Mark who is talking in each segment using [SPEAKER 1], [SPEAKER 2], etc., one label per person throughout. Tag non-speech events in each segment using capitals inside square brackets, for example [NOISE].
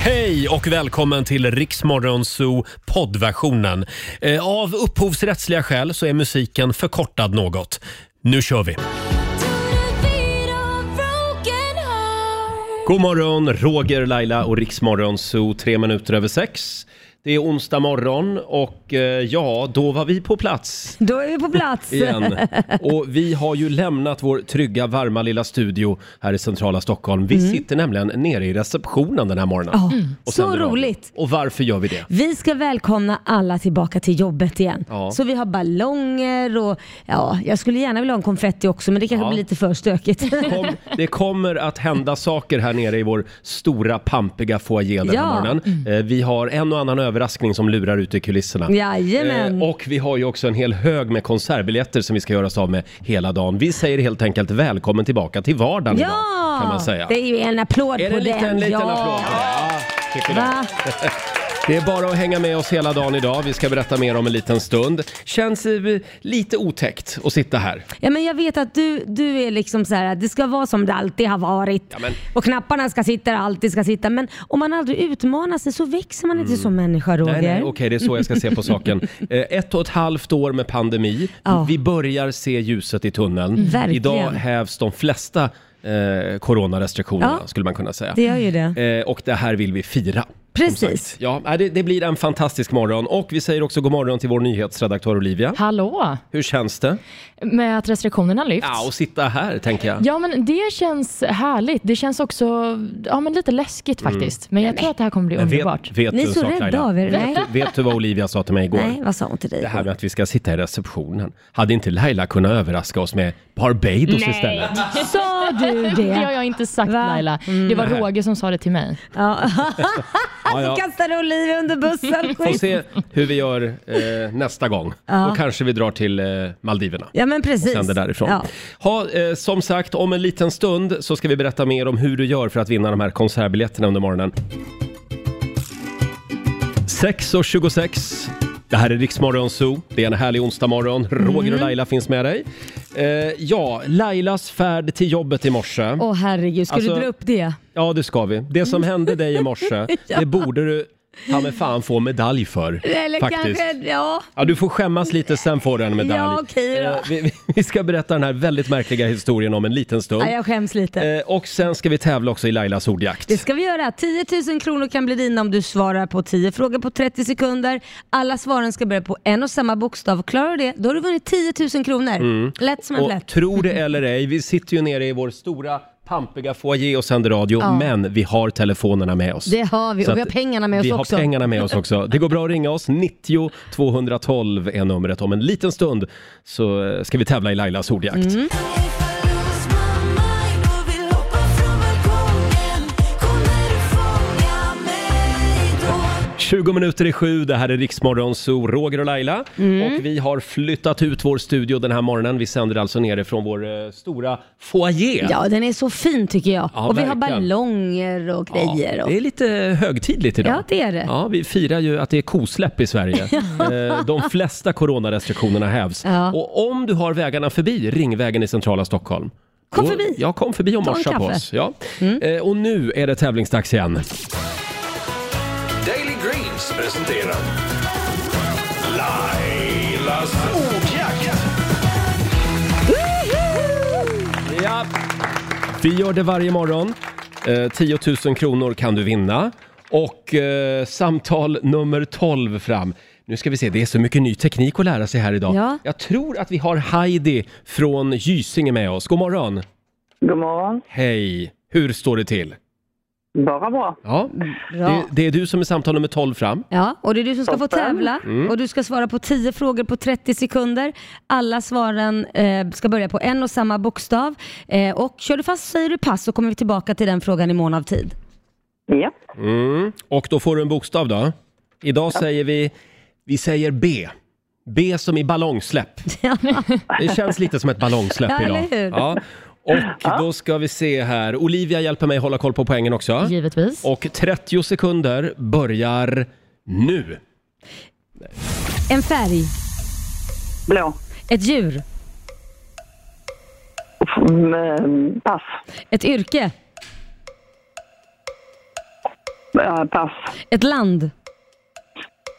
[SPEAKER 1] Hej och välkommen till Riksmorgon Zoo poddversionen. Eh, Av upphovsrättsliga skäl så är musiken förkortad något. Nu kör vi! God morgon, Roger, Laila och Riksmorgon Zoo, tre minuter över sex. Det är onsdag morgon och eh, ja, då var vi på plats
[SPEAKER 2] Då är vi på
[SPEAKER 1] [LAUGHS]
[SPEAKER 2] plats.
[SPEAKER 1] igen. Och vi har ju lämnat vår trygga, varma lilla studio här i centrala Stockholm. Vi sitter nämligen nere i receptionen den här morgonen.
[SPEAKER 2] Ja,
[SPEAKER 1] och
[SPEAKER 2] så
[SPEAKER 1] sänder radio.
[SPEAKER 2] roligt.
[SPEAKER 1] Och varför gör vi det?
[SPEAKER 2] Vi ska välkomna alla tillbaka till jobbet igen.
[SPEAKER 1] Ja.
[SPEAKER 2] Så vi har ballonger och ja, jag skulle gärna vilja ha en konfetti också men det kanske
[SPEAKER 1] Ja.
[SPEAKER 2] blir lite
[SPEAKER 1] [LAUGHS]
[SPEAKER 2] för stökigt.
[SPEAKER 1] Kom, det kommer att hända saker här nere i vår stora pampiga foajé den här
[SPEAKER 2] Ja. Mm.
[SPEAKER 1] morgonen. Eh, Vi har en och annan överraskning som lurar ute i kulisserna.
[SPEAKER 2] Jajamän.
[SPEAKER 1] Eh, Och vi har ju också en hel hög med konsertbiljetter som vi ska göra oss av med hela dagen. Vi säger helt enkelt välkommen tillbaka till vardagen idag, kan man säga.
[SPEAKER 2] det är ju en applåd
[SPEAKER 1] Är
[SPEAKER 2] på
[SPEAKER 1] det en liten,
[SPEAKER 2] den.
[SPEAKER 1] liten
[SPEAKER 2] ja.
[SPEAKER 1] applåd? Ja, tycker det.
[SPEAKER 2] Va?
[SPEAKER 1] [LAUGHS] Det är bara att hänga med oss hela dagen idag. Vi ska berätta mer om en liten stund. Känns eh, lite otäckt att sitta här.
[SPEAKER 2] Ja, men jag vet att du, du är liksom så här, det ska vara som det alltid har varit.
[SPEAKER 1] Ja, men-
[SPEAKER 2] Och knapparna ska sitta där alltid ska sitta. Men om man aldrig utmanar sig så växer man inte som människa Roger.
[SPEAKER 1] Mm. Nej, nej, okej, det är så jag ska se på
[SPEAKER 2] [LAUGHS]
[SPEAKER 1] saken. Eh, Ett och ett halvt år med pandemi.
[SPEAKER 2] Ja. Mm,
[SPEAKER 1] Vi börjar se ljuset i tunneln.
[SPEAKER 2] verkligen.
[SPEAKER 1] Idag hävs de flesta eh, coronarestriktionerna,
[SPEAKER 2] Ja.
[SPEAKER 1] skulle man kunna säga.
[SPEAKER 2] Det gör ju det.
[SPEAKER 1] Eh, och det här vill vi fira.
[SPEAKER 2] Precis.
[SPEAKER 1] som sagt. Ja, nej, det, det blir en fantastisk morgon. Och vi säger också god morgon till vår nyhetsredaktör Olivia.
[SPEAKER 3] Hallå!
[SPEAKER 1] Hur känns det?
[SPEAKER 3] Med att restriktionerna lyfts.
[SPEAKER 1] Ja, att sitta här, tänker jag.
[SPEAKER 3] Ja, men det känns härligt. Det känns också ja, men lite läskigt faktiskt. Men jag tror att det här kommer bli
[SPEAKER 1] Mm. Men
[SPEAKER 3] underbart.
[SPEAKER 1] Eh, vet, vet
[SPEAKER 2] Ni
[SPEAKER 1] du
[SPEAKER 2] är
[SPEAKER 1] en
[SPEAKER 2] så
[SPEAKER 1] sak,
[SPEAKER 2] rädda
[SPEAKER 1] Laila?
[SPEAKER 2] av er.
[SPEAKER 1] Vet,
[SPEAKER 2] Nej.
[SPEAKER 1] du- vet du vad Olivia sa till mig igår?
[SPEAKER 2] Nej, vad sa hon till dig?
[SPEAKER 1] Det här med att vi ska sitta i receptionen. Hade inte Laila kunnat överraska oss med Barbados istället?
[SPEAKER 2] Sa
[SPEAKER 3] [LAUGHS]
[SPEAKER 2] du det?
[SPEAKER 3] Det Mm. har jag inte sagt
[SPEAKER 2] Va?
[SPEAKER 3] Laila. Det var Roger som sa det till mig.
[SPEAKER 2] Ja.
[SPEAKER 1] [LAUGHS] Ja, ja.
[SPEAKER 2] Så kastade Olivia under bussen.
[SPEAKER 1] Får se hur vi gör eh, nästa gång. Då kanske vi drar till eh, Maldiverna.
[SPEAKER 2] Ja men precis.
[SPEAKER 1] Sänder därifrån.
[SPEAKER 2] Ja.
[SPEAKER 1] Ha, eh, som sagt, om en liten stund så ska vi berätta mer om hur du gör för att vinna de här konsertbiljetterna under morgonen. 6.26. Det här är Riksmorgon Zoo. Det är en härlig onsdagmorgon.
[SPEAKER 2] Mm.
[SPEAKER 1] Roger och Laila finns med dig. Eh, ja, Lailas färd till jobbet i morse.
[SPEAKER 2] Åh herregud, ska
[SPEAKER 1] Alltså-
[SPEAKER 2] du dra upp det?
[SPEAKER 1] Ja, det ska vi. Det som
[SPEAKER 2] Mm.
[SPEAKER 1] hände dig i
[SPEAKER 2] [LAUGHS]
[SPEAKER 1] morse, det borde du ta med fan få medalj för.
[SPEAKER 2] Eller
[SPEAKER 1] faktiskt. Oh.
[SPEAKER 2] kanske, ja.
[SPEAKER 1] Ja, du får skämmas lite, sen får du en medalj.
[SPEAKER 2] Ja, okej då.
[SPEAKER 1] Eh, vi- vi, vi ska berätta den här väldigt märkliga historien om en liten stund.
[SPEAKER 2] Nej, jag skäms lite.
[SPEAKER 1] Eh, och sen ska vi tävla också i Lailas ordjakt.
[SPEAKER 2] Det ska vi göra. 10 000 kronor kan bli dina om du svarar på 10 frågor på 30 sekunder. Alla svaren ska börja på en och samma bokstav. Klarar du det, då har du vunnit 10 000 kronor. Lätt som en
[SPEAKER 1] Mm. Och
[SPEAKER 2] plätt.
[SPEAKER 1] tro det eller ej, vi sitter ju nere i vår stora pampiga foajé och sänder radio, men vi har telefonerna med oss.
[SPEAKER 2] Det har vi
[SPEAKER 1] Så
[SPEAKER 2] och vi har
[SPEAKER 1] att
[SPEAKER 2] pengarna med
[SPEAKER 1] vi
[SPEAKER 2] oss
[SPEAKER 1] har
[SPEAKER 2] också.
[SPEAKER 1] pengarna med oss också. Det går bra att ringa oss, 90 212 är numret. Om en liten stund så eh, ska vi tävla i Lailas ordjakt.
[SPEAKER 2] Mm.
[SPEAKER 4] Kommer
[SPEAKER 1] 20 minuter i sju, det här är Riksmorgon Zoo, Roger och Laila.
[SPEAKER 2] Mm.
[SPEAKER 1] Och vi har flyttat ut vår studio den här morgonen. Vi sänder alltså nerifrån vår eh, stora foyer.
[SPEAKER 2] Ja, den är så fin tycker jag.
[SPEAKER 1] Ja,
[SPEAKER 2] och vi har
[SPEAKER 1] verkligen.
[SPEAKER 2] ballonger och
[SPEAKER 1] Ja,
[SPEAKER 2] grejer. Och...
[SPEAKER 1] det är lite högtidligt idag.
[SPEAKER 2] Ja, det är det.
[SPEAKER 1] Ja, vi firar ju att det är kosläpp i
[SPEAKER 2] [LAUGHS]
[SPEAKER 1] Sverige. Eh, De flesta coronarestriktionerna hävs.
[SPEAKER 2] Ja.
[SPEAKER 1] Och om du har vägarna förbi Ringvägen i centrala Stockholm.
[SPEAKER 2] Kom
[SPEAKER 1] då-
[SPEAKER 2] förbi.
[SPEAKER 1] Ja, kom förbi och
[SPEAKER 2] Ta en
[SPEAKER 1] morsa på
[SPEAKER 2] kaffe. Mm.
[SPEAKER 1] oss. Ja. Eh, Och nu är det tävlingsdags igen.
[SPEAKER 5] Daily Greens presenterar Lailas ordjakt.
[SPEAKER 1] Ja. Vi gör det varje morgon. Eh, 10 000 kronor kan du vinna. Och eh, samtal nummer 12 fram. Nu ska vi se, det är så mycket ny teknik att lära sig här idag.
[SPEAKER 2] Ja.
[SPEAKER 1] Jag tror att vi har Heidi från Gysinge med oss. God morgon!
[SPEAKER 6] God morgon.
[SPEAKER 1] Hej! Hur står det till?
[SPEAKER 6] Bara bra.
[SPEAKER 1] Ja, det,
[SPEAKER 2] Bra.
[SPEAKER 1] det är du som är samtal nummer 12 fram.
[SPEAKER 2] Ja, och det är du som ska få
[SPEAKER 6] Toppen. Mm.
[SPEAKER 2] tävla och du ska svara på 10 frågor på 30 sekunder. Alla svaren eh, ska börja på en och samma bokstav. Eh, och kör du fast så säger du pass så kommer vi tillbaka till den frågan i mån av tid.
[SPEAKER 6] Ja.
[SPEAKER 1] Mm. Och då får du en bokstav då. Idag säger vi, vi säger B. B som i
[SPEAKER 2] [LAUGHS]
[SPEAKER 1] ballongsläpp. Det känns lite som ett ballongsläpp
[SPEAKER 2] Ja,
[SPEAKER 1] idag.
[SPEAKER 2] eller hur?
[SPEAKER 1] Ja. Och då ska vi se här. Olivia hjälper mig hålla koll på poängen också.
[SPEAKER 3] Givetvis.
[SPEAKER 1] Och 30 sekunder börjar nu.
[SPEAKER 2] En färg,
[SPEAKER 6] Blå.
[SPEAKER 2] ett djur,
[SPEAKER 6] Mm, eh, pass.
[SPEAKER 2] ett yrke,
[SPEAKER 6] Eh, pass.
[SPEAKER 2] Ett land.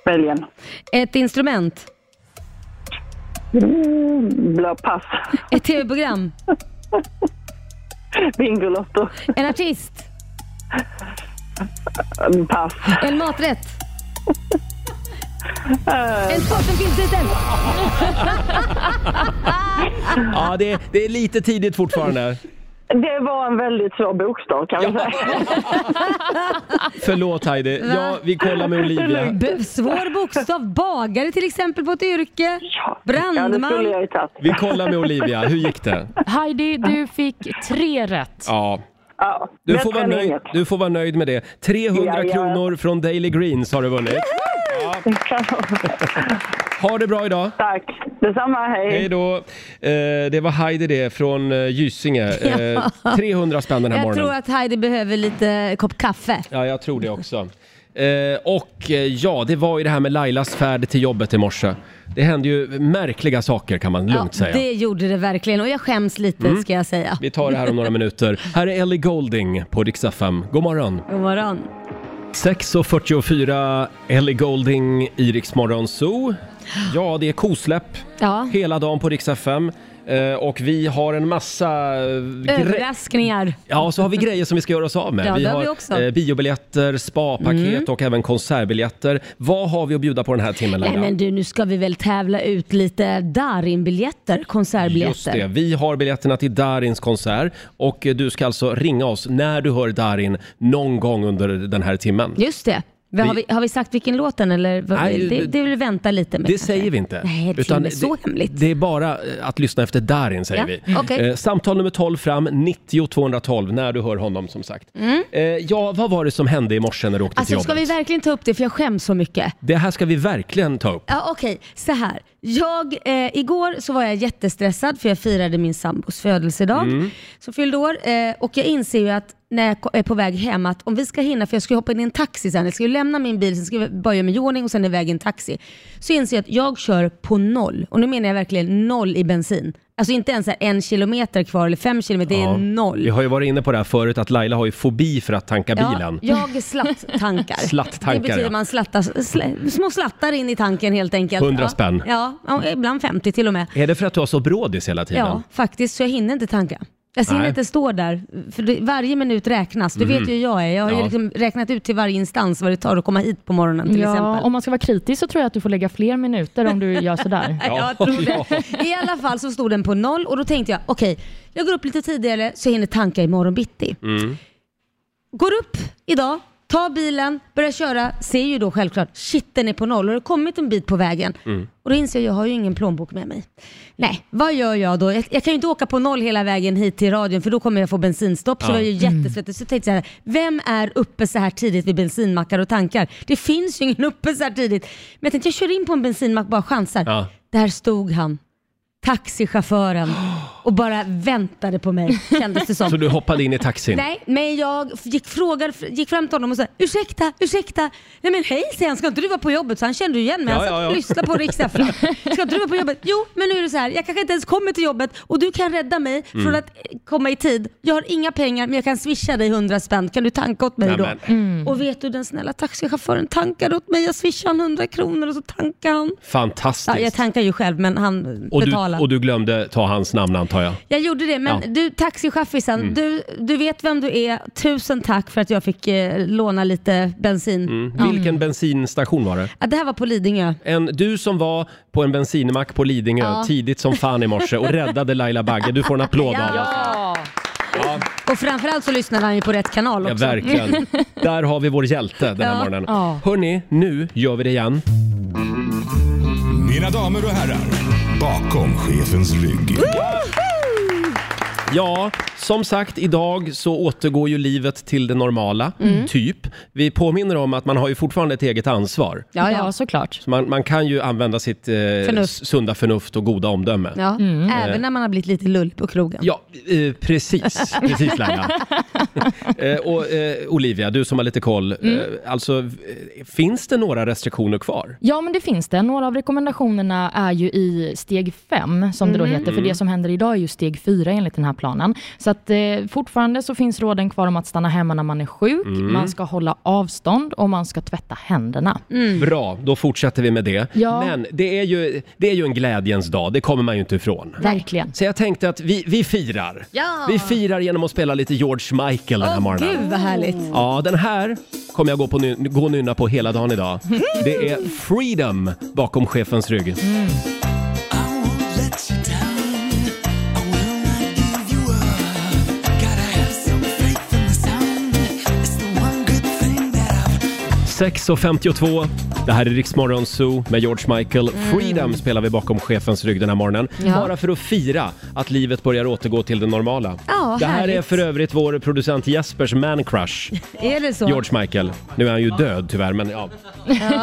[SPEAKER 6] Belgien.
[SPEAKER 2] Ett instrument.
[SPEAKER 6] Mm, Blå. Pass. [LAUGHS]
[SPEAKER 2] Ett tv-program.
[SPEAKER 6] Bingolotto.
[SPEAKER 2] En artist.
[SPEAKER 6] Mm, Pass.
[SPEAKER 2] En maträtt.
[SPEAKER 6] Eh.
[SPEAKER 2] En sport som finns liten.
[SPEAKER 1] Ja, det, det är lite tidigt fortfarande.
[SPEAKER 6] Det var en väldigt svår bokstav kan vi säga. [LAUGHS]
[SPEAKER 1] Förlåt Heidi. Ja, vi kollar med Olivia.
[SPEAKER 2] B- svår bokstav. Bagare till exempel på ett yrke.
[SPEAKER 6] Ja. Ja, det skulle
[SPEAKER 2] Brandman.
[SPEAKER 6] jag ju tagit.
[SPEAKER 1] Vi kollar med Olivia. Hur gick
[SPEAKER 2] [LAUGHS]
[SPEAKER 1] det?
[SPEAKER 3] Heidi, du fick tre rätt.
[SPEAKER 1] Ja.
[SPEAKER 6] Ja,
[SPEAKER 1] Du
[SPEAKER 6] bättre
[SPEAKER 1] får, vara
[SPEAKER 6] än
[SPEAKER 1] nöjd,
[SPEAKER 6] inget. [LAUGHS]
[SPEAKER 1] du får vara nöjd med det. 300
[SPEAKER 6] Ja, ja.
[SPEAKER 1] kronor från Daily Greens har du vunnit. Ha det bra idag.
[SPEAKER 6] Tack. Detsamma,
[SPEAKER 1] Hej då. Eh, det var Heidi det från eh, Gysinge.
[SPEAKER 2] [LAUGHS]
[SPEAKER 1] Eh, 300 spänn den här
[SPEAKER 2] Jag
[SPEAKER 1] morgonen.
[SPEAKER 2] tror att Heidi behöver lite kopp kaffe.
[SPEAKER 1] Ja, jag tror det också. Eh, och eh, ja, det var ju det här med Lailas färd till jobbet i morse. Det hände ju märkliga saker kan man lugnt säga.
[SPEAKER 2] det gjorde det verkligen och jag skäms lite ska jag säga.
[SPEAKER 1] Vi tar det här om några minuter. Här är Ellie Golding på Dix FM. God morgon!
[SPEAKER 2] God morgon.
[SPEAKER 1] 6.44, Ellie Golding i Rix Morgon Zoo. Ja, det är kosläpp
[SPEAKER 2] Ja.
[SPEAKER 1] hela dagen på Rix FM. Eh, och vi har en massa... eh, gre-
[SPEAKER 2] Överraskningar.
[SPEAKER 1] Ja, och så har vi grejer som vi ska göra oss av med.
[SPEAKER 2] Ja,
[SPEAKER 1] vi
[SPEAKER 2] det har
[SPEAKER 1] har
[SPEAKER 2] vi också. Mm.
[SPEAKER 1] eh, biobiljetter, spapaket och även konsertbiljetter. Vad har vi att bjuda på den här timmen,
[SPEAKER 2] Nej
[SPEAKER 1] Laila?
[SPEAKER 2] men du, nu ska vi väl tävla ut lite Darin-biljetter,
[SPEAKER 1] Just
[SPEAKER 2] konsertbiljetter.
[SPEAKER 1] det, vi har biljetterna till Darins konsert och eh, du ska alltså ringa oss när du hör Darin någon gång under den här timmen.
[SPEAKER 2] Just det. Vad Har, vi, har vi sagt vilken låt den eller? vad-
[SPEAKER 1] Nej,
[SPEAKER 2] det, det vill vi vänta lite med.
[SPEAKER 1] Det säger vi inte.
[SPEAKER 2] Nej, det är inte så hemligt.
[SPEAKER 1] Det är bara eh, att lyssna efter Darin säger
[SPEAKER 2] Ja,
[SPEAKER 1] vi.
[SPEAKER 2] okej.
[SPEAKER 1] Eh, samtal nummer 12 fram, 90 212 när du hör honom som sagt. Eh, ja, vad var det som hände i morse när du åkte till
[SPEAKER 2] Mm. Alltså
[SPEAKER 1] jobbet?
[SPEAKER 2] ska vi verkligen ta upp det för jag skäms så mycket.
[SPEAKER 1] Det här ska vi verkligen ta upp.
[SPEAKER 2] Ja, Okej, så här. Jag, eh, igår så var jag jättestressad för jag firade min sambos födelsedag
[SPEAKER 1] Mm.
[SPEAKER 2] som fyllde år eh, och jag inser ju att när jag ko- är på väg hem att om vi ska hinna, för jag ska ju hoppa in i en taxi sen, jag ska ju lämna min bil, sen ska jag bara göra mig i ordning och sen iväg i en taxi. Så inser jag att jag kör på noll och nu menar jag verkligen noll i bensin. Alltså inte ens så här en kilometer kvar eller fem kilometer, det är
[SPEAKER 1] Ja.
[SPEAKER 2] noll.
[SPEAKER 1] Vi har ju varit inne på det här förut att Laila har ju fobi för att tanka bilen.
[SPEAKER 2] Ja, jag slatt-tankar.
[SPEAKER 1] [LAUGHS] Slatt-tankar,
[SPEAKER 2] det betyder
[SPEAKER 1] ja.
[SPEAKER 2] man slattar, sl- små slattar in i tanken helt enkelt.
[SPEAKER 1] 100
[SPEAKER 2] ja.
[SPEAKER 1] spänn.
[SPEAKER 2] Ja, ja, ibland 50 till och med.
[SPEAKER 1] Är det för att du har så brådis hela tiden?
[SPEAKER 2] Ja, faktiskt, så jag hinner inte tanka. Jag hinner
[SPEAKER 1] Nej. Mm.
[SPEAKER 2] inte stå där, för det, varje minut räknas. Du vet ju hur jag är. Jag har
[SPEAKER 1] Ja.
[SPEAKER 2] ju liksom räknat ut till varje instans vad det tar att komma hit på morgonen till
[SPEAKER 3] Ja,
[SPEAKER 2] exempel.
[SPEAKER 3] om man ska vara kritisk så tror jag att du får lägga fler minuter om du gör sådär.
[SPEAKER 1] Ja,
[SPEAKER 2] Jag tror det.
[SPEAKER 1] ja.
[SPEAKER 2] [LAUGHS] I alla fall så stod den på noll och då tänkte jag, okej, jag går upp lite tidigare så jag hinner tanka imorgon bitti. Går upp idag, tar bilen, börjar köra, ser ju då självklart, shit den är på noll och det har kommit en bit på vägen. Och då inser jag, jag har ju ingen plånbok med mig. Nej, vad gör jag då? Jag, jag kan ju inte åka på noll hela vägen hit till radion för då kommer jag få bensinstopp. Så
[SPEAKER 1] Ja.
[SPEAKER 2] jag är ju jättesvettig. Så tänkte jag, så här, vem är uppe så här tidigt vid bensinmackar och tankar? Det finns ju ingen uppe så här tidigt. Men jag tänkte, jag kör in på en bensinmack, bara chansar.
[SPEAKER 1] Ja.
[SPEAKER 2] Där stod han, taxichauffören, och bara väntade på mig kändes
[SPEAKER 1] [LAUGHS]
[SPEAKER 2] det
[SPEAKER 1] Så
[SPEAKER 2] som.
[SPEAKER 1] du hoppade in i taxin?
[SPEAKER 2] Nej, men jag gick, frågade, gick fram till honom och sa ursäkta, ursäkta. Nej men hej säger han, ska inte du vara på jobbet? Så han kände ju igen mig. Han
[SPEAKER 1] Ja,
[SPEAKER 2] satt
[SPEAKER 1] ja, ja.
[SPEAKER 2] och lyssnade på Rix FM.
[SPEAKER 1] [LAUGHS]
[SPEAKER 2] Ska inte du vara på jobbet? Jo, men nu är det så här, jag kanske inte ens kommer till jobbet och du kan rädda mig
[SPEAKER 1] Mm.
[SPEAKER 2] från att eh, komma i tid. Jag har inga pengar men jag kan swisha dig 100 spänn. Kan du tanka åt mig
[SPEAKER 1] Nej,
[SPEAKER 2] då?
[SPEAKER 1] men-
[SPEAKER 2] Och vet du den snälla taxichauffören tankade åt mig. Jag swishade han 100 kronor och så tankade han.
[SPEAKER 1] Fantastiskt.
[SPEAKER 2] Ja, jag tankar ju själv men han
[SPEAKER 1] och, du,
[SPEAKER 2] betalar.
[SPEAKER 1] och du glömde ta hans namn antar jag?
[SPEAKER 2] Jag gjorde det, men
[SPEAKER 1] Ja. Mm.
[SPEAKER 2] du taxichaffisen, du, du vet vem du är. Tusen tack för att jag fick eh, låna lite bensin.
[SPEAKER 1] Vilken bensinstation var det?
[SPEAKER 2] Ja, det här var på Lidingö.
[SPEAKER 1] En, du som var på en bensinmack på Lidingö
[SPEAKER 2] Ja.
[SPEAKER 1] tidigt som fan i morse och räddade Laila Bagge. Du får en applåd av
[SPEAKER 2] Ja.
[SPEAKER 1] oss.
[SPEAKER 2] Och framförallt så lyssnade han ju på rätt kanal
[SPEAKER 1] Ja,
[SPEAKER 2] också.
[SPEAKER 1] verkligen. Där har vi vår hjälte den här
[SPEAKER 2] Ja.
[SPEAKER 1] morgonen.
[SPEAKER 3] Ja.
[SPEAKER 1] Hörni, nu gör vi det igen.
[SPEAKER 5] Mina damer och herrar, bakom chefens rygg.
[SPEAKER 1] Ja, som sagt, idag så återgår ju livet till det normala,
[SPEAKER 2] Mm.
[SPEAKER 1] typ. Vi påminner om att man har ju fortfarande ett eget ansvar.
[SPEAKER 2] ja, ja.
[SPEAKER 3] [LAUGHS] ja såklart.
[SPEAKER 1] Så man, man kan ju använda sitt eh,
[SPEAKER 2] Förnuft.
[SPEAKER 1] sunda förnuft och goda omdöme.
[SPEAKER 2] ja. Även när man har blivit lite lull på krogen.
[SPEAKER 1] Ja, eh,
[SPEAKER 2] [LAUGHS]
[SPEAKER 1] precis. Precis Laila. eh, och eh, Olivia, du som har lite koll.
[SPEAKER 2] Mm.
[SPEAKER 1] Eh, alltså, eh, finns det några restriktioner kvar?
[SPEAKER 3] Ja, men det finns det. Några av rekommendationerna är ju i steg fem, som det då heter, för det som händer idag är ju steg fyra enligt den här planen. Så att, eh, fortfarande så finns råden kvar om att stanna hemma när man är sjuk, man ska hålla avstånd och man ska tvätta händerna.
[SPEAKER 1] Mm.
[SPEAKER 2] Mm.
[SPEAKER 1] Bra, då fortsätter vi med det.
[SPEAKER 3] Ja.
[SPEAKER 1] Men det är, ju, det är ju en glädjens dag, det kommer man ju inte ifrån.
[SPEAKER 3] Verkligen.
[SPEAKER 1] Så jag tänkte att vi, vi firar.
[SPEAKER 2] Ja.
[SPEAKER 1] Vi firar genom att spela lite George Michael den här
[SPEAKER 2] Åh
[SPEAKER 1] morgonen.
[SPEAKER 2] gud vad härligt.
[SPEAKER 1] Ja, den här kommer jag gå, på ny, gå och nynna på hela dagen idag. Det är Freedom bakom chefens rygg.
[SPEAKER 4] I've
[SPEAKER 1] 6.52, det här är Riksmorgon Zoo med George Michael.
[SPEAKER 2] Mm.
[SPEAKER 1] Freedom spelar vi bakom chefens rygg den här morgonen. Bara för att fira att livet börjar återgå till det normala.
[SPEAKER 2] Ja,
[SPEAKER 1] det här är
[SPEAKER 2] härligt.
[SPEAKER 1] för övrigt vår producent Jespers man crush.
[SPEAKER 2] Är det så?
[SPEAKER 1] George Michael. Nu är han ju död tyvärr, men ja.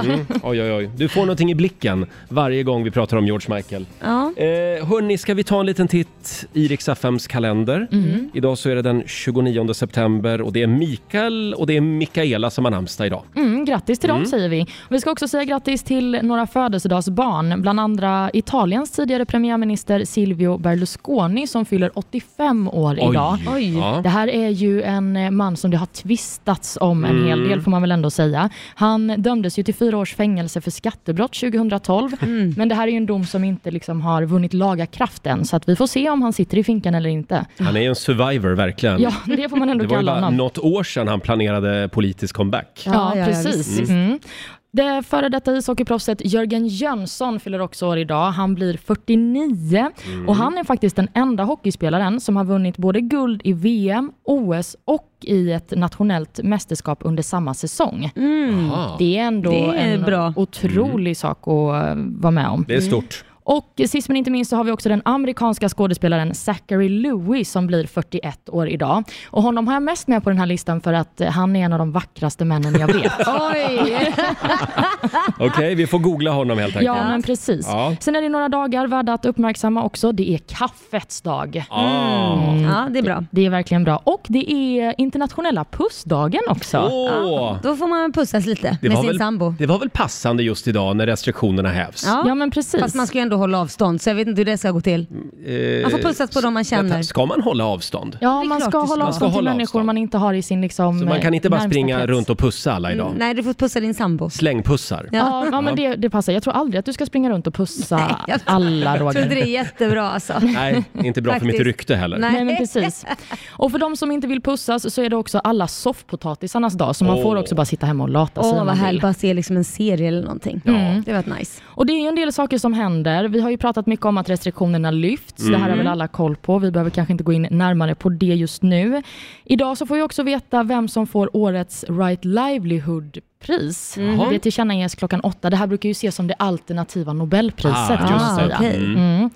[SPEAKER 1] Mm. Oj, oj, oj. Du får någonting i blicken varje gång vi pratar om George Michael.
[SPEAKER 2] Ja.
[SPEAKER 1] Eh, hörni, ska vi ta en liten titt i Rix FMs kalender?
[SPEAKER 2] Mm.
[SPEAKER 1] Idag så är det den 29 september och det är Mikael och det är Mikaela som har namnsdag idag.
[SPEAKER 3] Mm, grattis till dem säger vi. Och Vi ska också säga grattis till några födelsedagsbarn, bland andra Italiens tidigare premiärminister Silvio Berlusconi som fyller 85 år idag.
[SPEAKER 2] Oj.
[SPEAKER 1] Ja.
[SPEAKER 3] Det här är ju en eh, man som det har tvistats om en
[SPEAKER 1] Mm.
[SPEAKER 3] hel del får man väl ändå säga. Han dömdes ju till fyra års fängelse för skattebrott 2012, men det här är ju en dom som inte liksom har vunnit laga kraft än, så att vi får se om han sitter i finkan eller inte.
[SPEAKER 1] Han är ju en survivor verkligen.
[SPEAKER 3] Ja, det får man
[SPEAKER 1] Mm. det
[SPEAKER 3] ändå
[SPEAKER 1] var ju
[SPEAKER 3] kalla
[SPEAKER 1] bara
[SPEAKER 3] honom.
[SPEAKER 1] något år sedan han planerade politisk comeback.
[SPEAKER 3] Ja,
[SPEAKER 2] Ja, ja, ja,
[SPEAKER 3] precis. Mm. Det före detta ishockeyproffset Jörgen Jönsson fyller också år idag. Han blir 49 och han är faktiskt den enda hockeyspelaren som har vunnit både guld i VM, OS och i ett nationellt mästerskap under samma säsong.
[SPEAKER 1] Ah,
[SPEAKER 3] Det är ändå
[SPEAKER 2] Det är
[SPEAKER 3] en
[SPEAKER 2] bra.
[SPEAKER 3] otrolig sak att eh, vara med om.
[SPEAKER 1] det är stort.
[SPEAKER 3] Och sist men inte minst så har vi också den amerikanska skådespelaren Zachary Lewis som blir 41 år idag. Och honom har jag mest med på den här listan för att eh, han är en av de vackraste männen jag vet.
[SPEAKER 2] Oj!
[SPEAKER 1] Okej, vi får googla honom helt enkelt.
[SPEAKER 3] Ja, mm. men precis.
[SPEAKER 1] Ja.
[SPEAKER 3] Sen är det några dagar värda att uppmärksamma också. Det är kaffets dag.
[SPEAKER 1] Ah.
[SPEAKER 2] Mm. Ja, det är bra.
[SPEAKER 3] Det är verkligen bra. Och det är internationella pussdagen också.
[SPEAKER 1] Åh.
[SPEAKER 2] Då får man pussas lite med sin
[SPEAKER 1] väl,
[SPEAKER 2] sambo.
[SPEAKER 1] det var väl passande just idag när restriktionerna hävs.
[SPEAKER 2] Ja.
[SPEAKER 3] Ja, men precis.
[SPEAKER 2] Fast man ska ju ändå hålla avstånd så jag vet inte hur det ska gå till.
[SPEAKER 1] Mm, eh,
[SPEAKER 2] Man får pussas på dem man känner.
[SPEAKER 1] Ska man hålla avstånd?
[SPEAKER 3] Ja,
[SPEAKER 2] Det är
[SPEAKER 3] man
[SPEAKER 2] klart
[SPEAKER 3] ska
[SPEAKER 2] du ska.
[SPEAKER 3] hålla
[SPEAKER 1] Man ska
[SPEAKER 3] avstånd till
[SPEAKER 1] hålla
[SPEAKER 3] människor
[SPEAKER 1] avstånd.
[SPEAKER 3] man inte har i sin liksom,
[SPEAKER 1] Så man kan inte bara
[SPEAKER 3] närmsta
[SPEAKER 1] springa
[SPEAKER 3] krets.
[SPEAKER 1] runt och pussa alla idag?
[SPEAKER 2] Mm, Nej, du får pussa din sambo.
[SPEAKER 1] Slängpussar?
[SPEAKER 3] Ja, ja, men det, det passar. Jag tror aldrig att du ska springa runt och pussa
[SPEAKER 2] jag-
[SPEAKER 3] alla,
[SPEAKER 2] Jag tror inte
[SPEAKER 3] Roger.
[SPEAKER 2] det är
[SPEAKER 1] [LAUGHS]
[SPEAKER 2] jättebra alltså.
[SPEAKER 1] Nej, inte bra för mitt
[SPEAKER 2] Faktiskt.
[SPEAKER 1] rykte heller.
[SPEAKER 2] Nej.
[SPEAKER 3] Nej, men precis. Och för de som inte vill pussas så är det också alla soffpotatisarnas dag, så man får
[SPEAKER 1] Åh.
[SPEAKER 3] också bara sitta hemma och lata sig
[SPEAKER 2] Åh
[SPEAKER 3] om
[SPEAKER 2] vad
[SPEAKER 3] man vill.
[SPEAKER 2] härligt, bara se liksom en serie eller någonting. Mm. Det var nice.
[SPEAKER 3] Och det är ju en del saker som händer. Vi har ju pratat mycket om att restriktionerna lyfts. Det
[SPEAKER 1] Mm.
[SPEAKER 3] här har väl alla koll på. Vi behöver kanske inte gå in närmare på det just nu. Idag så får vi också veta vem som får årets Right Livelihood-pris.
[SPEAKER 1] Mm.
[SPEAKER 3] Det tillkännages klockan åtta. Det här brukar ju ses som det alternativa Nobelpriset.
[SPEAKER 1] Ah,
[SPEAKER 3] kan man
[SPEAKER 1] just det.
[SPEAKER 3] säga.
[SPEAKER 2] okej.
[SPEAKER 1] Mm.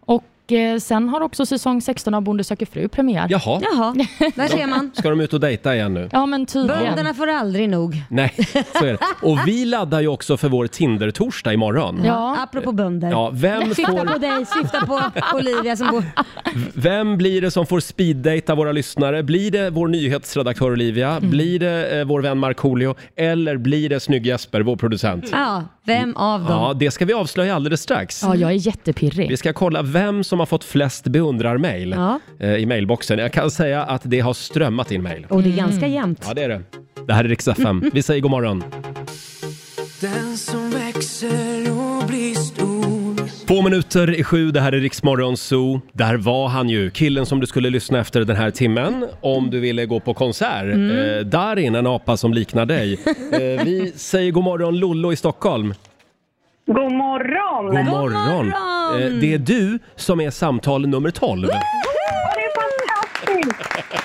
[SPEAKER 3] Och eh, sen har också säsong 16 av Bonde söker fru premiär.
[SPEAKER 1] Jaha,
[SPEAKER 2] Jaha, där
[SPEAKER 1] [LAUGHS]
[SPEAKER 2] ser man.
[SPEAKER 1] ska de ut och dejta igen nu?
[SPEAKER 3] Ja, men tydligen.
[SPEAKER 2] Bönderna får aldrig nog.
[SPEAKER 1] Nej, så är det. Och vi laddar ju också för vår Tinder-torsdag imorgon.
[SPEAKER 3] Ja.
[SPEAKER 2] Apropå bönder.
[SPEAKER 1] Ja, vem,
[SPEAKER 2] Syfta
[SPEAKER 1] får,
[SPEAKER 2] på dig, syfta på Olivia som
[SPEAKER 1] [LAUGHS]
[SPEAKER 2] går...
[SPEAKER 1] vem blir det som får speeddejta våra lyssnare? Blir det vår nyhetsredaktör Olivia?
[SPEAKER 2] Mm.
[SPEAKER 1] Blir det eh, vår vän Markoolio? Eller blir det snygg Jesper, vår producent?
[SPEAKER 2] Ja, vem av dem?
[SPEAKER 1] Ja, det ska vi avslöja alldeles strax.
[SPEAKER 3] ja, jag är jättepirrig.
[SPEAKER 1] Vi ska kolla vem som har fått flest beundrar-mail
[SPEAKER 2] Ja.
[SPEAKER 1] eh, i mailboxen. Jag kan säga att det har strömmat in mail.
[SPEAKER 2] Och det är ganska jämnt.
[SPEAKER 1] Mm. Ja, det är det. Det här är Rix FM. Vi säger god morgon.
[SPEAKER 4] Den som växer och blir stor
[SPEAKER 1] Två minuter i sju, det här är Riksmorgon Zoo. Där var han ju, killen som du skulle lyssna efter den här timmen om du ville gå på konsert. Eh, Darin, en apa som liknar dig. Eh, vi säger god morgon Lollo i Stockholm.
[SPEAKER 6] God morgon!
[SPEAKER 1] God morgon!
[SPEAKER 2] morgon.
[SPEAKER 1] Eh, det är du som är samtal nummer 12.
[SPEAKER 6] Åh, det är fantastiskt!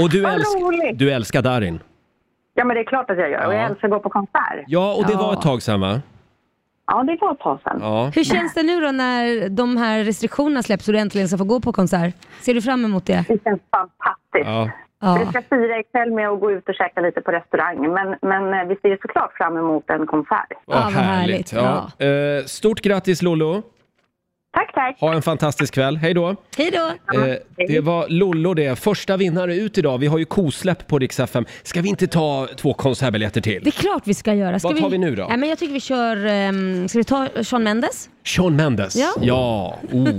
[SPEAKER 1] Och du,
[SPEAKER 6] Vad
[SPEAKER 1] älsk-
[SPEAKER 6] roligt.
[SPEAKER 1] du älskar Darin.
[SPEAKER 6] Ja, men det är klart att jag gör. Och jag
[SPEAKER 1] Ja.
[SPEAKER 6] älskar att gå på konsert.
[SPEAKER 1] Ja, och det var ett tag sedan va?
[SPEAKER 6] Ja, det var ett tag sedan.
[SPEAKER 1] Ja.
[SPEAKER 2] Hur känns det nu då när de här restriktionerna släpps och du äntligen ska få gå på konsert? Ser du fram emot det?
[SPEAKER 6] Det känns fantastiskt.
[SPEAKER 1] ja.
[SPEAKER 6] Vi
[SPEAKER 2] Ja.
[SPEAKER 6] ska fira ikväll med att gå ut och käka lite på restaurang. Men, men eh, vi ser såklart fram emot en konsert.
[SPEAKER 2] Ja, vad härligt.
[SPEAKER 1] Ja. Eh, stort grattis Lollo!
[SPEAKER 6] Tack, tack.
[SPEAKER 1] Ha en fantastisk kväll. Hej då!
[SPEAKER 2] Hej då!
[SPEAKER 1] Eh, det var Lollo det. Första vinnare ut idag. Vi har ju kosläpp på Rix FM. Ska vi inte ta två konsertbiljetter
[SPEAKER 2] Det
[SPEAKER 1] till?
[SPEAKER 2] är klart vi ska göra. Ska
[SPEAKER 1] Vad tar vi nu då?
[SPEAKER 2] Nej, men jag tycker vi kör, ehm, ska vi ta Sean Mendes?
[SPEAKER 1] Sean Mendes.
[SPEAKER 2] Ja.
[SPEAKER 1] ja. Oh,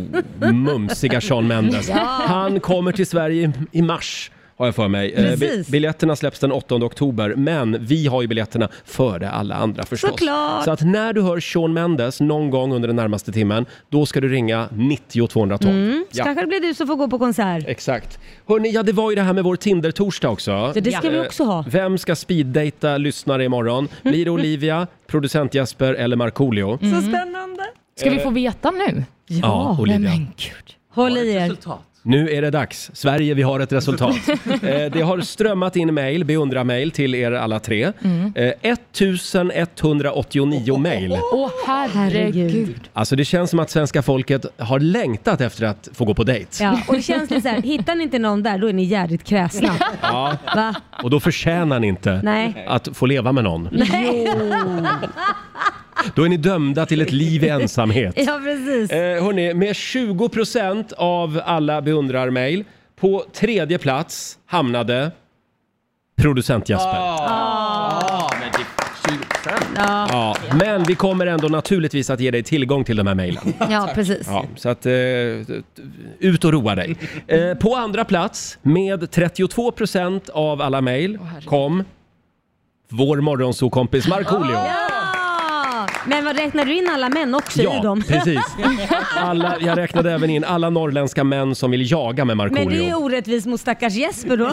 [SPEAKER 1] mumsiga Sean Mendes.
[SPEAKER 2] [LAUGHS] Ja.
[SPEAKER 1] Han kommer till Sverige i- i mars. Har jag för mig. Eh, bi-
[SPEAKER 2] Precis.
[SPEAKER 1] Biljetterna släpps den 8 oktober, men vi har ju biljetterna före alla andra förstås.
[SPEAKER 2] Såklart.
[SPEAKER 1] Så att när du hör Sean Mendes någon gång under den närmaste timmen, då ska du ringa 90 212.
[SPEAKER 2] Så kanske det blir du som får gå på konsert.
[SPEAKER 1] Exakt. Hörni, ja det var ju det här med vår Tinder-torsdag också.
[SPEAKER 2] Så det ska
[SPEAKER 3] Ja.
[SPEAKER 2] vi också ha.
[SPEAKER 1] Vem ska speeddata lyssnare
[SPEAKER 2] Mm.
[SPEAKER 1] imorgon? Blir det Olivia, producent Jesper eller Markoolio?
[SPEAKER 2] Så spännande.
[SPEAKER 3] Ska vi få veta nu?
[SPEAKER 1] Ja, Olivia.
[SPEAKER 3] Men gud.
[SPEAKER 2] Håll i er.
[SPEAKER 1] Nu är det dags. Sverige, vi har ett resultat.
[SPEAKER 2] [LAUGHS]
[SPEAKER 1] eh, det har strömmat in mejl, beundra-mejl till er alla tre.
[SPEAKER 2] Mm.
[SPEAKER 1] Eh, 1189 mejl.
[SPEAKER 3] Åh herregud.
[SPEAKER 2] Herregud.
[SPEAKER 1] Alltså det känns som att svenska folket har längtat efter att få gå på dejt.
[SPEAKER 2] Ja, och det känns lite så här, hittar ni inte någon där då är ni jävligt kräsna.
[SPEAKER 1] Ja.
[SPEAKER 2] Va?
[SPEAKER 1] Och då förtjänar ni inte
[SPEAKER 2] Nej.
[SPEAKER 1] att få leva med någon. Då är ni dömda till ett liv i ensamhet.
[SPEAKER 2] Ja precis.
[SPEAKER 1] Eh, hörni, med 20% av alla beundrar-mail på tredje plats hamnade producent Jesper.
[SPEAKER 2] Ja,
[SPEAKER 1] Ja, men vi kommer ändå naturligtvis att ge dig tillgång till de här mejlen.
[SPEAKER 2] ja precis.
[SPEAKER 1] Ja, så att, eh, ut och roa dig. Eh, på andra plats, med 32% av alla mejl, kom vår morgonsokompis Markoolio.
[SPEAKER 2] Ja! Ah! Men vad räknar du in alla män också i dem? [LAUGHS]
[SPEAKER 1] precis. Alla, jag räknade även in alla norrländska män som vill jaga med Markoolio.
[SPEAKER 2] Men det är orättvist mot stackars Jesper då.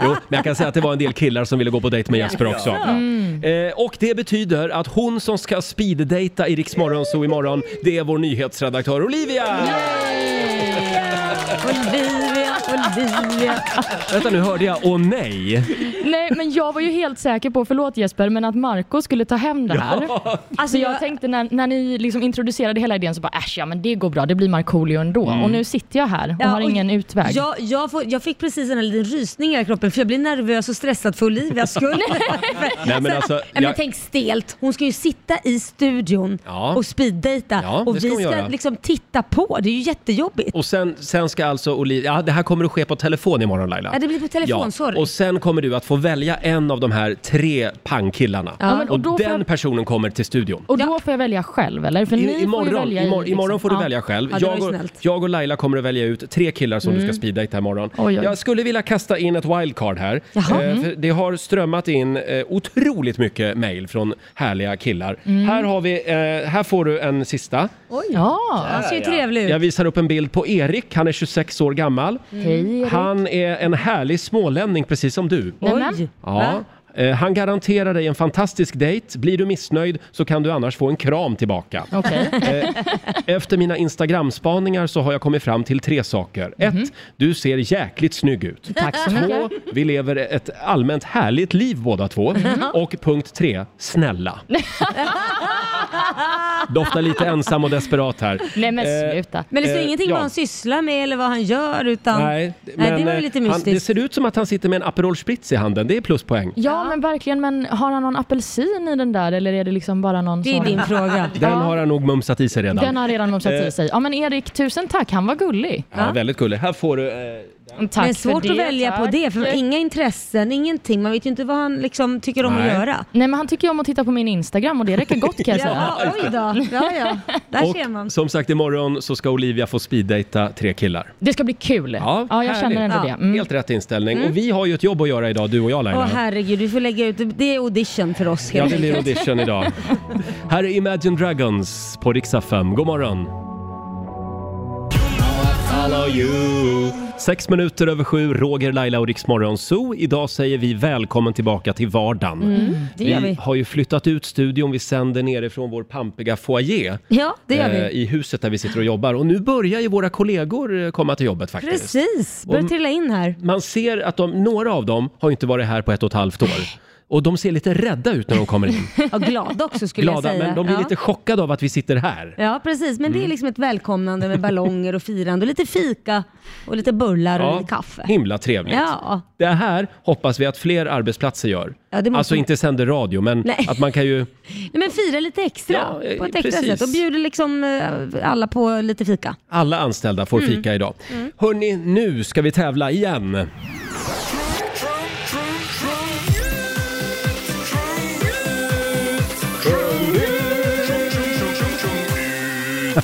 [SPEAKER 1] Jo, men jag kan säga att det var en del killar som ville gå på dejt med Jesper också.
[SPEAKER 2] Mm.
[SPEAKER 1] Eh, och det betyder att hon som ska speeddejta i Rix Morgon Zoo imorgon, det är vår nyhetsredaktör Olivia!
[SPEAKER 2] [LAUGHS] Olivia, Olivia.
[SPEAKER 1] Vänta nu hörde jag åh nej.
[SPEAKER 3] Nej men jag var ju helt säker på, förlåt Jesper, men att Marco skulle ta hem det här.
[SPEAKER 2] Alltså
[SPEAKER 3] Så jag
[SPEAKER 2] jag,
[SPEAKER 3] tänkte när, när ni liksom introducerade hela idén så bara äsch ja men det går bra, det blir Markoolio ändå.
[SPEAKER 1] Mm.
[SPEAKER 3] Och nu sitter jag här och
[SPEAKER 2] Ja,
[SPEAKER 3] har
[SPEAKER 2] och-
[SPEAKER 3] ingen utväg.
[SPEAKER 2] jag, jag, får, jag fick precis en liten rysning i hela kroppen för jag blir nervös och stressad för
[SPEAKER 3] [LAUGHS]
[SPEAKER 2] Olivias skull. [LAUGHS]
[SPEAKER 1] Nej men alltså,
[SPEAKER 2] Nej, men
[SPEAKER 1] jag,
[SPEAKER 2] tänk stelt. Hon ska ju sitta i studion
[SPEAKER 1] Ja.
[SPEAKER 2] och speeddejta
[SPEAKER 1] Ja, det
[SPEAKER 2] och
[SPEAKER 1] ska
[SPEAKER 2] vi
[SPEAKER 1] hon
[SPEAKER 2] ska
[SPEAKER 1] göra.
[SPEAKER 2] liksom titta på. Det är ju jättejobbigt.
[SPEAKER 1] och sen, sen ska alltså Olivia, ja det här kommer att ske på telefon imorgon Laila.
[SPEAKER 2] Ja, det blir på telefon, sorry.
[SPEAKER 1] Och sen kommer du att få välja en av de här tre pangkillarna.
[SPEAKER 3] Ja, men- och
[SPEAKER 1] och
[SPEAKER 3] då får
[SPEAKER 1] den
[SPEAKER 3] jag-
[SPEAKER 1] personen kommer till studion.
[SPEAKER 3] och då får jag välja själv eller? För ni
[SPEAKER 1] I,
[SPEAKER 3] får ju
[SPEAKER 1] imorgon,
[SPEAKER 3] välja i,
[SPEAKER 1] imorgon, imorgon
[SPEAKER 3] liksom.
[SPEAKER 1] får du
[SPEAKER 3] Ja.
[SPEAKER 1] välja själv.
[SPEAKER 2] Ja, det var
[SPEAKER 1] jag,
[SPEAKER 2] ju
[SPEAKER 1] och,
[SPEAKER 2] snällt.
[SPEAKER 1] jag och Laila kommer att välja ut tre killar som du ska speeddejta imorgon.
[SPEAKER 3] Mm. Oj, Mm. oj.
[SPEAKER 1] Jag skulle vilja kasta in ett wildcard här.
[SPEAKER 2] Jaha.
[SPEAKER 1] Eh, för det har strömmat in eh, otroligt mycket mejl från härliga killar.
[SPEAKER 3] Mm.
[SPEAKER 1] Här, har vi, eh, här får du en sista.
[SPEAKER 3] Ja,
[SPEAKER 2] Han ser ju trevlig ut.
[SPEAKER 1] Jag visar upp en bild på Erik. Han är 26 år gammal.
[SPEAKER 2] Mm.
[SPEAKER 3] okej.
[SPEAKER 1] Han är en härlig smålänning precis som du.
[SPEAKER 3] Nämen.
[SPEAKER 2] Oj!
[SPEAKER 1] Ja.
[SPEAKER 2] Va?
[SPEAKER 1] Eh, Han garanterar dig en fantastisk dejt. Blir du missnöjd så kan du annars få en kram tillbaka.
[SPEAKER 2] [LAUGHS]
[SPEAKER 3] Okej.
[SPEAKER 1] Efter mina Instagram-spaningar så har jag kommit fram till tre saker.
[SPEAKER 2] Mhm.
[SPEAKER 1] Ett, Du ser jäkligt snygg ut.
[SPEAKER 3] Tack så
[SPEAKER 1] Två,
[SPEAKER 3] mycket.
[SPEAKER 1] Vi lever ett allmänt härligt liv båda två.
[SPEAKER 2] Mhm.
[SPEAKER 1] Och punkt tre,
[SPEAKER 2] [LAUGHS]
[SPEAKER 1] snälla. Doftar lite ensam och desperat här.
[SPEAKER 3] Nej men
[SPEAKER 1] Eh,
[SPEAKER 3] sluta.
[SPEAKER 2] Men det står
[SPEAKER 1] Eh,
[SPEAKER 2] ingenting
[SPEAKER 1] ja.
[SPEAKER 2] vad han sysslar med eller vad han gör utan...
[SPEAKER 1] Nej,
[SPEAKER 2] det var
[SPEAKER 1] eh,
[SPEAKER 2] ju lite
[SPEAKER 1] han, det
[SPEAKER 2] mystiskt.
[SPEAKER 1] ser ut som att han sitter med en Aperol Spritz i handen. Det är pluspoäng.
[SPEAKER 3] Ja men verkligen, men har han någon apelsin i den där eller är det liksom bara någon
[SPEAKER 2] Det är
[SPEAKER 3] sån? [LAUGHS]
[SPEAKER 2] din fråga.
[SPEAKER 1] Den har han nog mumsat i sig redan.
[SPEAKER 3] Den har redan mumsat
[SPEAKER 1] Eh.
[SPEAKER 3] i sig. Ja men Erik, tusen tack, han var gullig.
[SPEAKER 1] Ja, väldigt gullig. Här får du... Eh,
[SPEAKER 3] Tack
[SPEAKER 2] det är svårt
[SPEAKER 3] för det,
[SPEAKER 2] att välja på
[SPEAKER 3] tack.
[SPEAKER 2] det för inga intressen, ingenting. Man vet ju inte vad han liksom tycker om
[SPEAKER 1] Nej.
[SPEAKER 2] att göra.
[SPEAKER 3] Nej men han tycker ju om att titta på min Instagram och det räcker gott
[SPEAKER 2] [LAUGHS]
[SPEAKER 3] kan jag säga.
[SPEAKER 2] Ja, ah, oj då. Ja, ja. Där ser man.
[SPEAKER 1] och som sagt, imorgon så ska Olivia få speeddejta tre killar.
[SPEAKER 3] Det ska bli kul.
[SPEAKER 1] Ja,
[SPEAKER 3] Ja, jag
[SPEAKER 1] härligt.
[SPEAKER 3] känner ändå
[SPEAKER 2] Ja.
[SPEAKER 3] det. Mm.
[SPEAKER 1] Helt rätt inställning. Och vi har ju ett jobb att göra idag, du och jag
[SPEAKER 2] Åh
[SPEAKER 1] Laila.
[SPEAKER 2] herregud, vi får lägga ut. Det är audition för oss
[SPEAKER 1] ja,
[SPEAKER 2] helt
[SPEAKER 1] det blir
[SPEAKER 2] enkelt.
[SPEAKER 1] audition
[SPEAKER 3] [LAUGHS]
[SPEAKER 1] idag. Här är Imagine Dragons på Riksa 5. God morgon! Sex minuter över sju, Roger, Laila och Riksmorgon Zoo. Idag säger vi välkommen tillbaka till vardagen.
[SPEAKER 3] Mm,
[SPEAKER 2] Det gör vi.
[SPEAKER 1] har ju flyttat ut studion, vi sänder nerifrån vår pampiga foyer.
[SPEAKER 2] Ja, det
[SPEAKER 1] eh,
[SPEAKER 2] gör vi.
[SPEAKER 1] i huset där vi sitter och jobbar. Och nu börjar ju våra kollegor eh, komma till jobbet faktiskt.
[SPEAKER 2] Precis, börjar trilla in här.
[SPEAKER 1] Man ser att de, några av dem har ju inte varit här på ett och ett halvt år. Och de ser lite rädda ut när de kommer
[SPEAKER 2] [LAUGHS]
[SPEAKER 1] in.
[SPEAKER 2] Ja, glad också skulle jag
[SPEAKER 1] Glada,
[SPEAKER 2] säga.
[SPEAKER 1] men de blir
[SPEAKER 2] ja.
[SPEAKER 1] lite Mm. chockade av att vi sitter här.
[SPEAKER 2] Ja precis, men det är liksom ett välkomnande med ballonger och firande och lite fika och lite bullar och lite kaffe.
[SPEAKER 1] Himla trevligt.
[SPEAKER 2] Ja.
[SPEAKER 1] Det här hoppas vi att fler arbetsplatser gör.
[SPEAKER 2] Ja, det måste
[SPEAKER 1] alltså
[SPEAKER 2] man-
[SPEAKER 1] inte sänder radio, men
[SPEAKER 2] Nej.
[SPEAKER 1] att man kan ju...
[SPEAKER 2] Nej, men fira lite extra
[SPEAKER 1] Ja, eh,
[SPEAKER 2] på ett extra
[SPEAKER 1] precis.
[SPEAKER 2] sätt och bjuder liksom eh, alla på lite fika.
[SPEAKER 1] Alla anställda får
[SPEAKER 2] Mm.
[SPEAKER 1] fika idag. Hörni, nu ska vi tävla igen.
[SPEAKER 5] I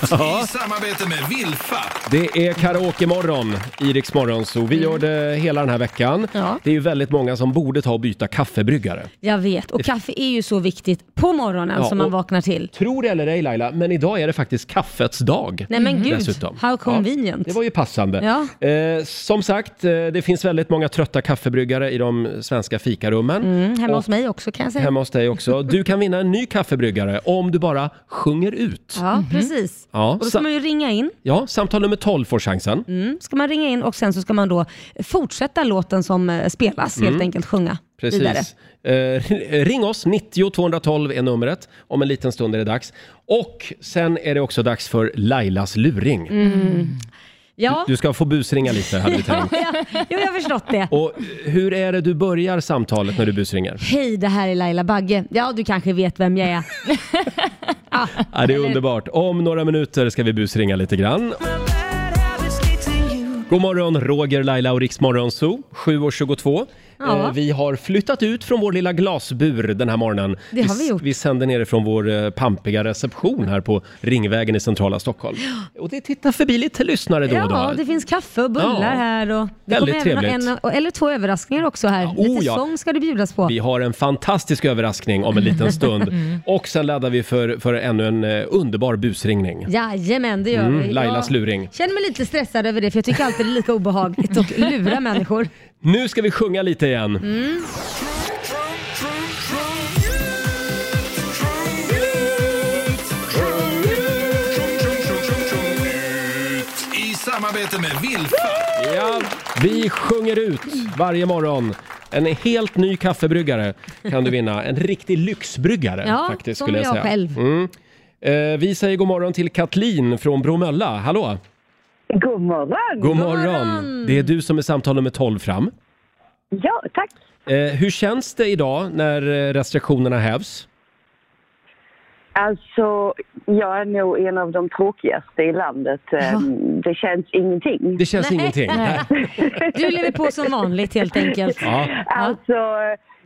[SPEAKER 5] samarbete med Wilfa.
[SPEAKER 1] Det är karaokemorgon i Rix Morgon, så vi gör det hela den här veckan.
[SPEAKER 2] Ja.
[SPEAKER 1] Det är ju väldigt många som borde ta och byta kaffebryggare.
[SPEAKER 2] Jag vet, och kaffe är ju så viktigt på morgonen
[SPEAKER 1] Ja,
[SPEAKER 2] som man
[SPEAKER 1] och-
[SPEAKER 2] vaknar till.
[SPEAKER 1] Tror det eller ej Laila, men idag är det faktiskt kaffets dag.
[SPEAKER 2] Nej men gud,
[SPEAKER 1] Mm. Dessutom.
[SPEAKER 2] how convenient.
[SPEAKER 1] Det var ju passande.
[SPEAKER 2] Ja.
[SPEAKER 1] Eh, som sagt, eh, det finns väldigt många trötta kaffebryggare i de svenska fikarummen.
[SPEAKER 2] Mm, hemma
[SPEAKER 1] Och
[SPEAKER 2] hos mig också kan jag säga.
[SPEAKER 1] Hemma hos dig också. Du kan vinna en ny kaffebryggare om du bara sjunger ut.
[SPEAKER 2] Ja, precis.
[SPEAKER 1] Mhm. Ja,
[SPEAKER 2] och då
[SPEAKER 1] sa-
[SPEAKER 2] ska man ju ringa in.
[SPEAKER 1] Ja, samtal nummer 12 får chansen.
[SPEAKER 2] Mm, ska man ringa in och sen så ska man då fortsätta låten som eh, spelas, helt enkelt sjunga vidare.
[SPEAKER 1] Mm. Precis. Eh, ring oss, 90 212 är numret. Om en liten stund är det dags. Och sen är det också dags för Lailas luring.
[SPEAKER 2] Mm. Ja,
[SPEAKER 1] Du ska få busringa lite, hade
[SPEAKER 2] [LAUGHS]
[SPEAKER 1] vi tänkt.
[SPEAKER 2] ja, jo, jag har förstått det.
[SPEAKER 1] Och hur är det du börjar samtalet när du busringer?
[SPEAKER 2] Hej, det här är Laila Bagge. Ja, du kanske vet vem jag är.
[SPEAKER 1] Ja, det är underbart. Om några minuter ska vi busringa lite grann. God morgon, Roger, Laila och Riksmorgon Zoo, 7.22.
[SPEAKER 2] Ja.
[SPEAKER 1] Eh, vi har flyttat ut från vår lilla glasbur den här morgonen.
[SPEAKER 2] Det har
[SPEAKER 1] s-
[SPEAKER 2] vi gjort.
[SPEAKER 1] Vi sänder nerifrån vår eh, pampiga reception här på Ringvägen i centrala
[SPEAKER 2] [GASPS]
[SPEAKER 1] Stockholm. Och det tittar förbi lite lyssnare då och då.
[SPEAKER 2] Ja, det finns kaffe och bullar
[SPEAKER 1] Ja.
[SPEAKER 2] här. Och det
[SPEAKER 1] Väldigt
[SPEAKER 2] kommer även
[SPEAKER 1] trevligt.
[SPEAKER 2] En, och- eller två överraskningar också här.
[SPEAKER 1] oh
[SPEAKER 2] Lite
[SPEAKER 1] ja.
[SPEAKER 2] sång ska det bjudas på.
[SPEAKER 1] Vi har en fantastisk överraskning om en
[SPEAKER 2] [LAUGHS]
[SPEAKER 1] liten stund.
[SPEAKER 2] Mm.
[SPEAKER 1] Och sen laddar vi för, för ännu en eh, underbar busringning.
[SPEAKER 2] Jajamän, det gör
[SPEAKER 1] Mm,
[SPEAKER 2] vi.
[SPEAKER 1] Lailas
[SPEAKER 2] Jag
[SPEAKER 1] luring.
[SPEAKER 2] känner mig lite stressad över det för jag tycker alltid det är lika obehagligt att lura människor.
[SPEAKER 1] Nu ska vi sjunga lite igen.
[SPEAKER 5] I samarbete med Wilfa.
[SPEAKER 1] Ja, vi sjunger ut varje morgon. En helt ny kaffebryggare kan du vinna. En riktig lyxbryggare
[SPEAKER 2] Ja,
[SPEAKER 1] faktiskt
[SPEAKER 2] som
[SPEAKER 1] skulle jag
[SPEAKER 2] jag
[SPEAKER 1] säga.
[SPEAKER 2] själv.
[SPEAKER 1] Mm. Eh, vi säger god morgon till Katlin från Bromölla. Hallå!
[SPEAKER 6] God morgon!
[SPEAKER 1] God morgon.
[SPEAKER 2] morgon.
[SPEAKER 1] Det är du som är samtal nummer 12 fram.
[SPEAKER 6] Ja, tack.
[SPEAKER 1] Eh, hur känns det idag när eh, restriktionerna hävs?
[SPEAKER 6] Alltså, jag är nog en av de tråkigaste i landet. Ehm, Det känns ingenting.
[SPEAKER 1] Det känns
[SPEAKER 2] Nej.
[SPEAKER 1] ingenting.
[SPEAKER 2] Du lever på som vanligt helt enkelt.
[SPEAKER 1] Ja.
[SPEAKER 6] Alltså,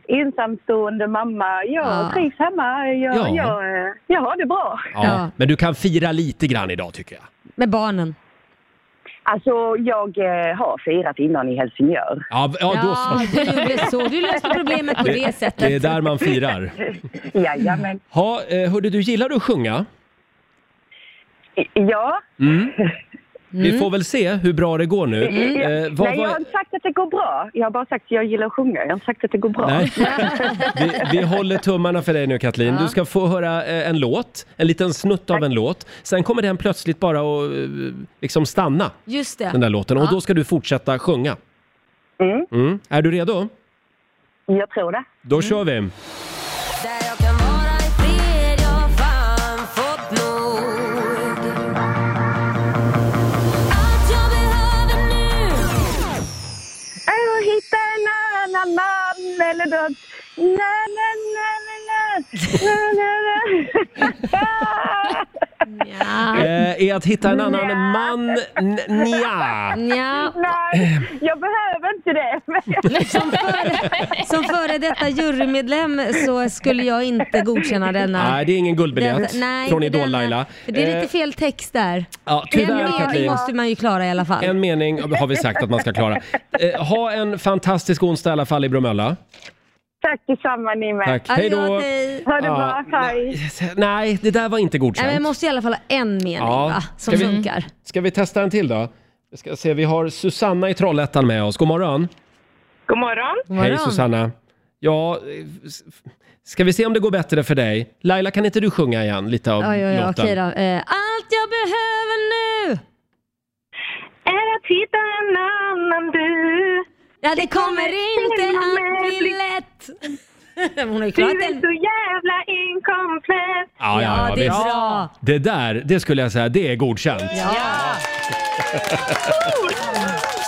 [SPEAKER 6] ensamstående mamma. Jag
[SPEAKER 2] Ja.
[SPEAKER 6] trivs hemma. Jag,
[SPEAKER 1] Ja.
[SPEAKER 6] jag, eh, jag har det bra.
[SPEAKER 1] Ja.
[SPEAKER 2] [LAUGHS] Ja.
[SPEAKER 1] Men du kan fira lite grann idag tycker jag.
[SPEAKER 2] Med barnen.
[SPEAKER 6] Alltså, jag eh, har firat innan i Helsingör.
[SPEAKER 1] Ja, v- ja då
[SPEAKER 2] Ja,
[SPEAKER 1] så.
[SPEAKER 2] du gjorde så.
[SPEAKER 1] [LAUGHS]
[SPEAKER 2] Du löste problemet på det,
[SPEAKER 1] Det är
[SPEAKER 2] sättet.
[SPEAKER 1] där man firar.
[SPEAKER 6] Jajamän.
[SPEAKER 1] Ha, eh, hörde du, gillar du att sjunga?
[SPEAKER 6] I- Ja.
[SPEAKER 1] Vi får väl se hur bra det går nu. Eh, vad-
[SPEAKER 6] Mm. [LAUGHS] Nej, jag har
[SPEAKER 1] vad-
[SPEAKER 6] inte sagt att det går bra. Jag har bara sagt att jag gillar att sjunga. Jag har inte sagt att det går bra. [LAUGHS]
[SPEAKER 1] Nej. Vi, vi håller tummarna för dig nu Katlin. Du ska få höra eh, en låt, en liten snutt av en låt. Sen kommer den plötsligt bara att eh, liksom stanna,
[SPEAKER 2] Just
[SPEAKER 1] den där
[SPEAKER 2] det.
[SPEAKER 1] låten. Och då ska du fortsätta sjunga.
[SPEAKER 6] Mm.
[SPEAKER 1] Mm. Är du redo?
[SPEAKER 6] Jag tror det.
[SPEAKER 1] Då kör
[SPEAKER 6] Mm.
[SPEAKER 1] vi!
[SPEAKER 7] Där jag kan vara i fred, jag fan fått nog Allt jag behöver nu
[SPEAKER 6] Att hitta en annan man eller nåt. Na, na, na, na, na. Na, na, na. [LAUGHS]
[SPEAKER 2] Ja.
[SPEAKER 1] Eh, är att hitta en annan man... N- nja.
[SPEAKER 2] Ja.
[SPEAKER 6] Nej, jag behöver inte det. [LAUGHS]
[SPEAKER 2] Som, före, som före detta jurymedlem så skulle jag inte godkänna denna.
[SPEAKER 1] Nej, det är ingen guldbiljett
[SPEAKER 2] Detta- nej,
[SPEAKER 1] från
[SPEAKER 2] inte denna.
[SPEAKER 1] Idol-Laila.
[SPEAKER 2] För Det är
[SPEAKER 1] Eh,
[SPEAKER 2] lite fel text där.
[SPEAKER 1] ja,
[SPEAKER 2] en
[SPEAKER 1] tyvärr
[SPEAKER 2] mening
[SPEAKER 1] Katlin.
[SPEAKER 2] måste man ju klara i alla fall.
[SPEAKER 1] En mening har vi sagt att man ska klara. Eh, ha en fantastisk onsdag i alla fall i Bromölla.
[SPEAKER 6] Tack detsamma ni med.
[SPEAKER 1] Tack. Hej då!
[SPEAKER 2] Adjö, hej.
[SPEAKER 6] Ha det
[SPEAKER 1] Ja,
[SPEAKER 6] bra. Hej.
[SPEAKER 1] Nej, det där var inte
[SPEAKER 2] Nej, men jag
[SPEAKER 1] godkänt.
[SPEAKER 2] måste i alla fall ha en mening
[SPEAKER 1] Ja.
[SPEAKER 2] va, som
[SPEAKER 1] Ska vi-
[SPEAKER 2] funkar.
[SPEAKER 1] Ska vi testa en till då? Vi ska se, vi har Susanna i Trollhättan med oss. God morgon!
[SPEAKER 6] God morgon.
[SPEAKER 2] God
[SPEAKER 1] Hej
[SPEAKER 2] morgon.
[SPEAKER 1] Susanna! Ja, eh, s- ska vi se om det går bättre för dig? Laila, kan inte du sjunga igen lite av
[SPEAKER 2] Oj, oj, oj,
[SPEAKER 1] låten?
[SPEAKER 2] okej då. Eh, Allt jag behöver nu!
[SPEAKER 6] Är att hitta en annan du.
[SPEAKER 2] Ja, det kommer inte att bli lätt. [LAUGHS] Hon har
[SPEAKER 6] Du
[SPEAKER 2] ju klarat
[SPEAKER 6] är
[SPEAKER 2] den.
[SPEAKER 6] så jävla inkomplett.
[SPEAKER 1] Ja, ja, ja,
[SPEAKER 2] det är
[SPEAKER 1] visst.
[SPEAKER 2] bra.
[SPEAKER 1] Det där, det skulle jag säga, det är godkänt.
[SPEAKER 2] Ja.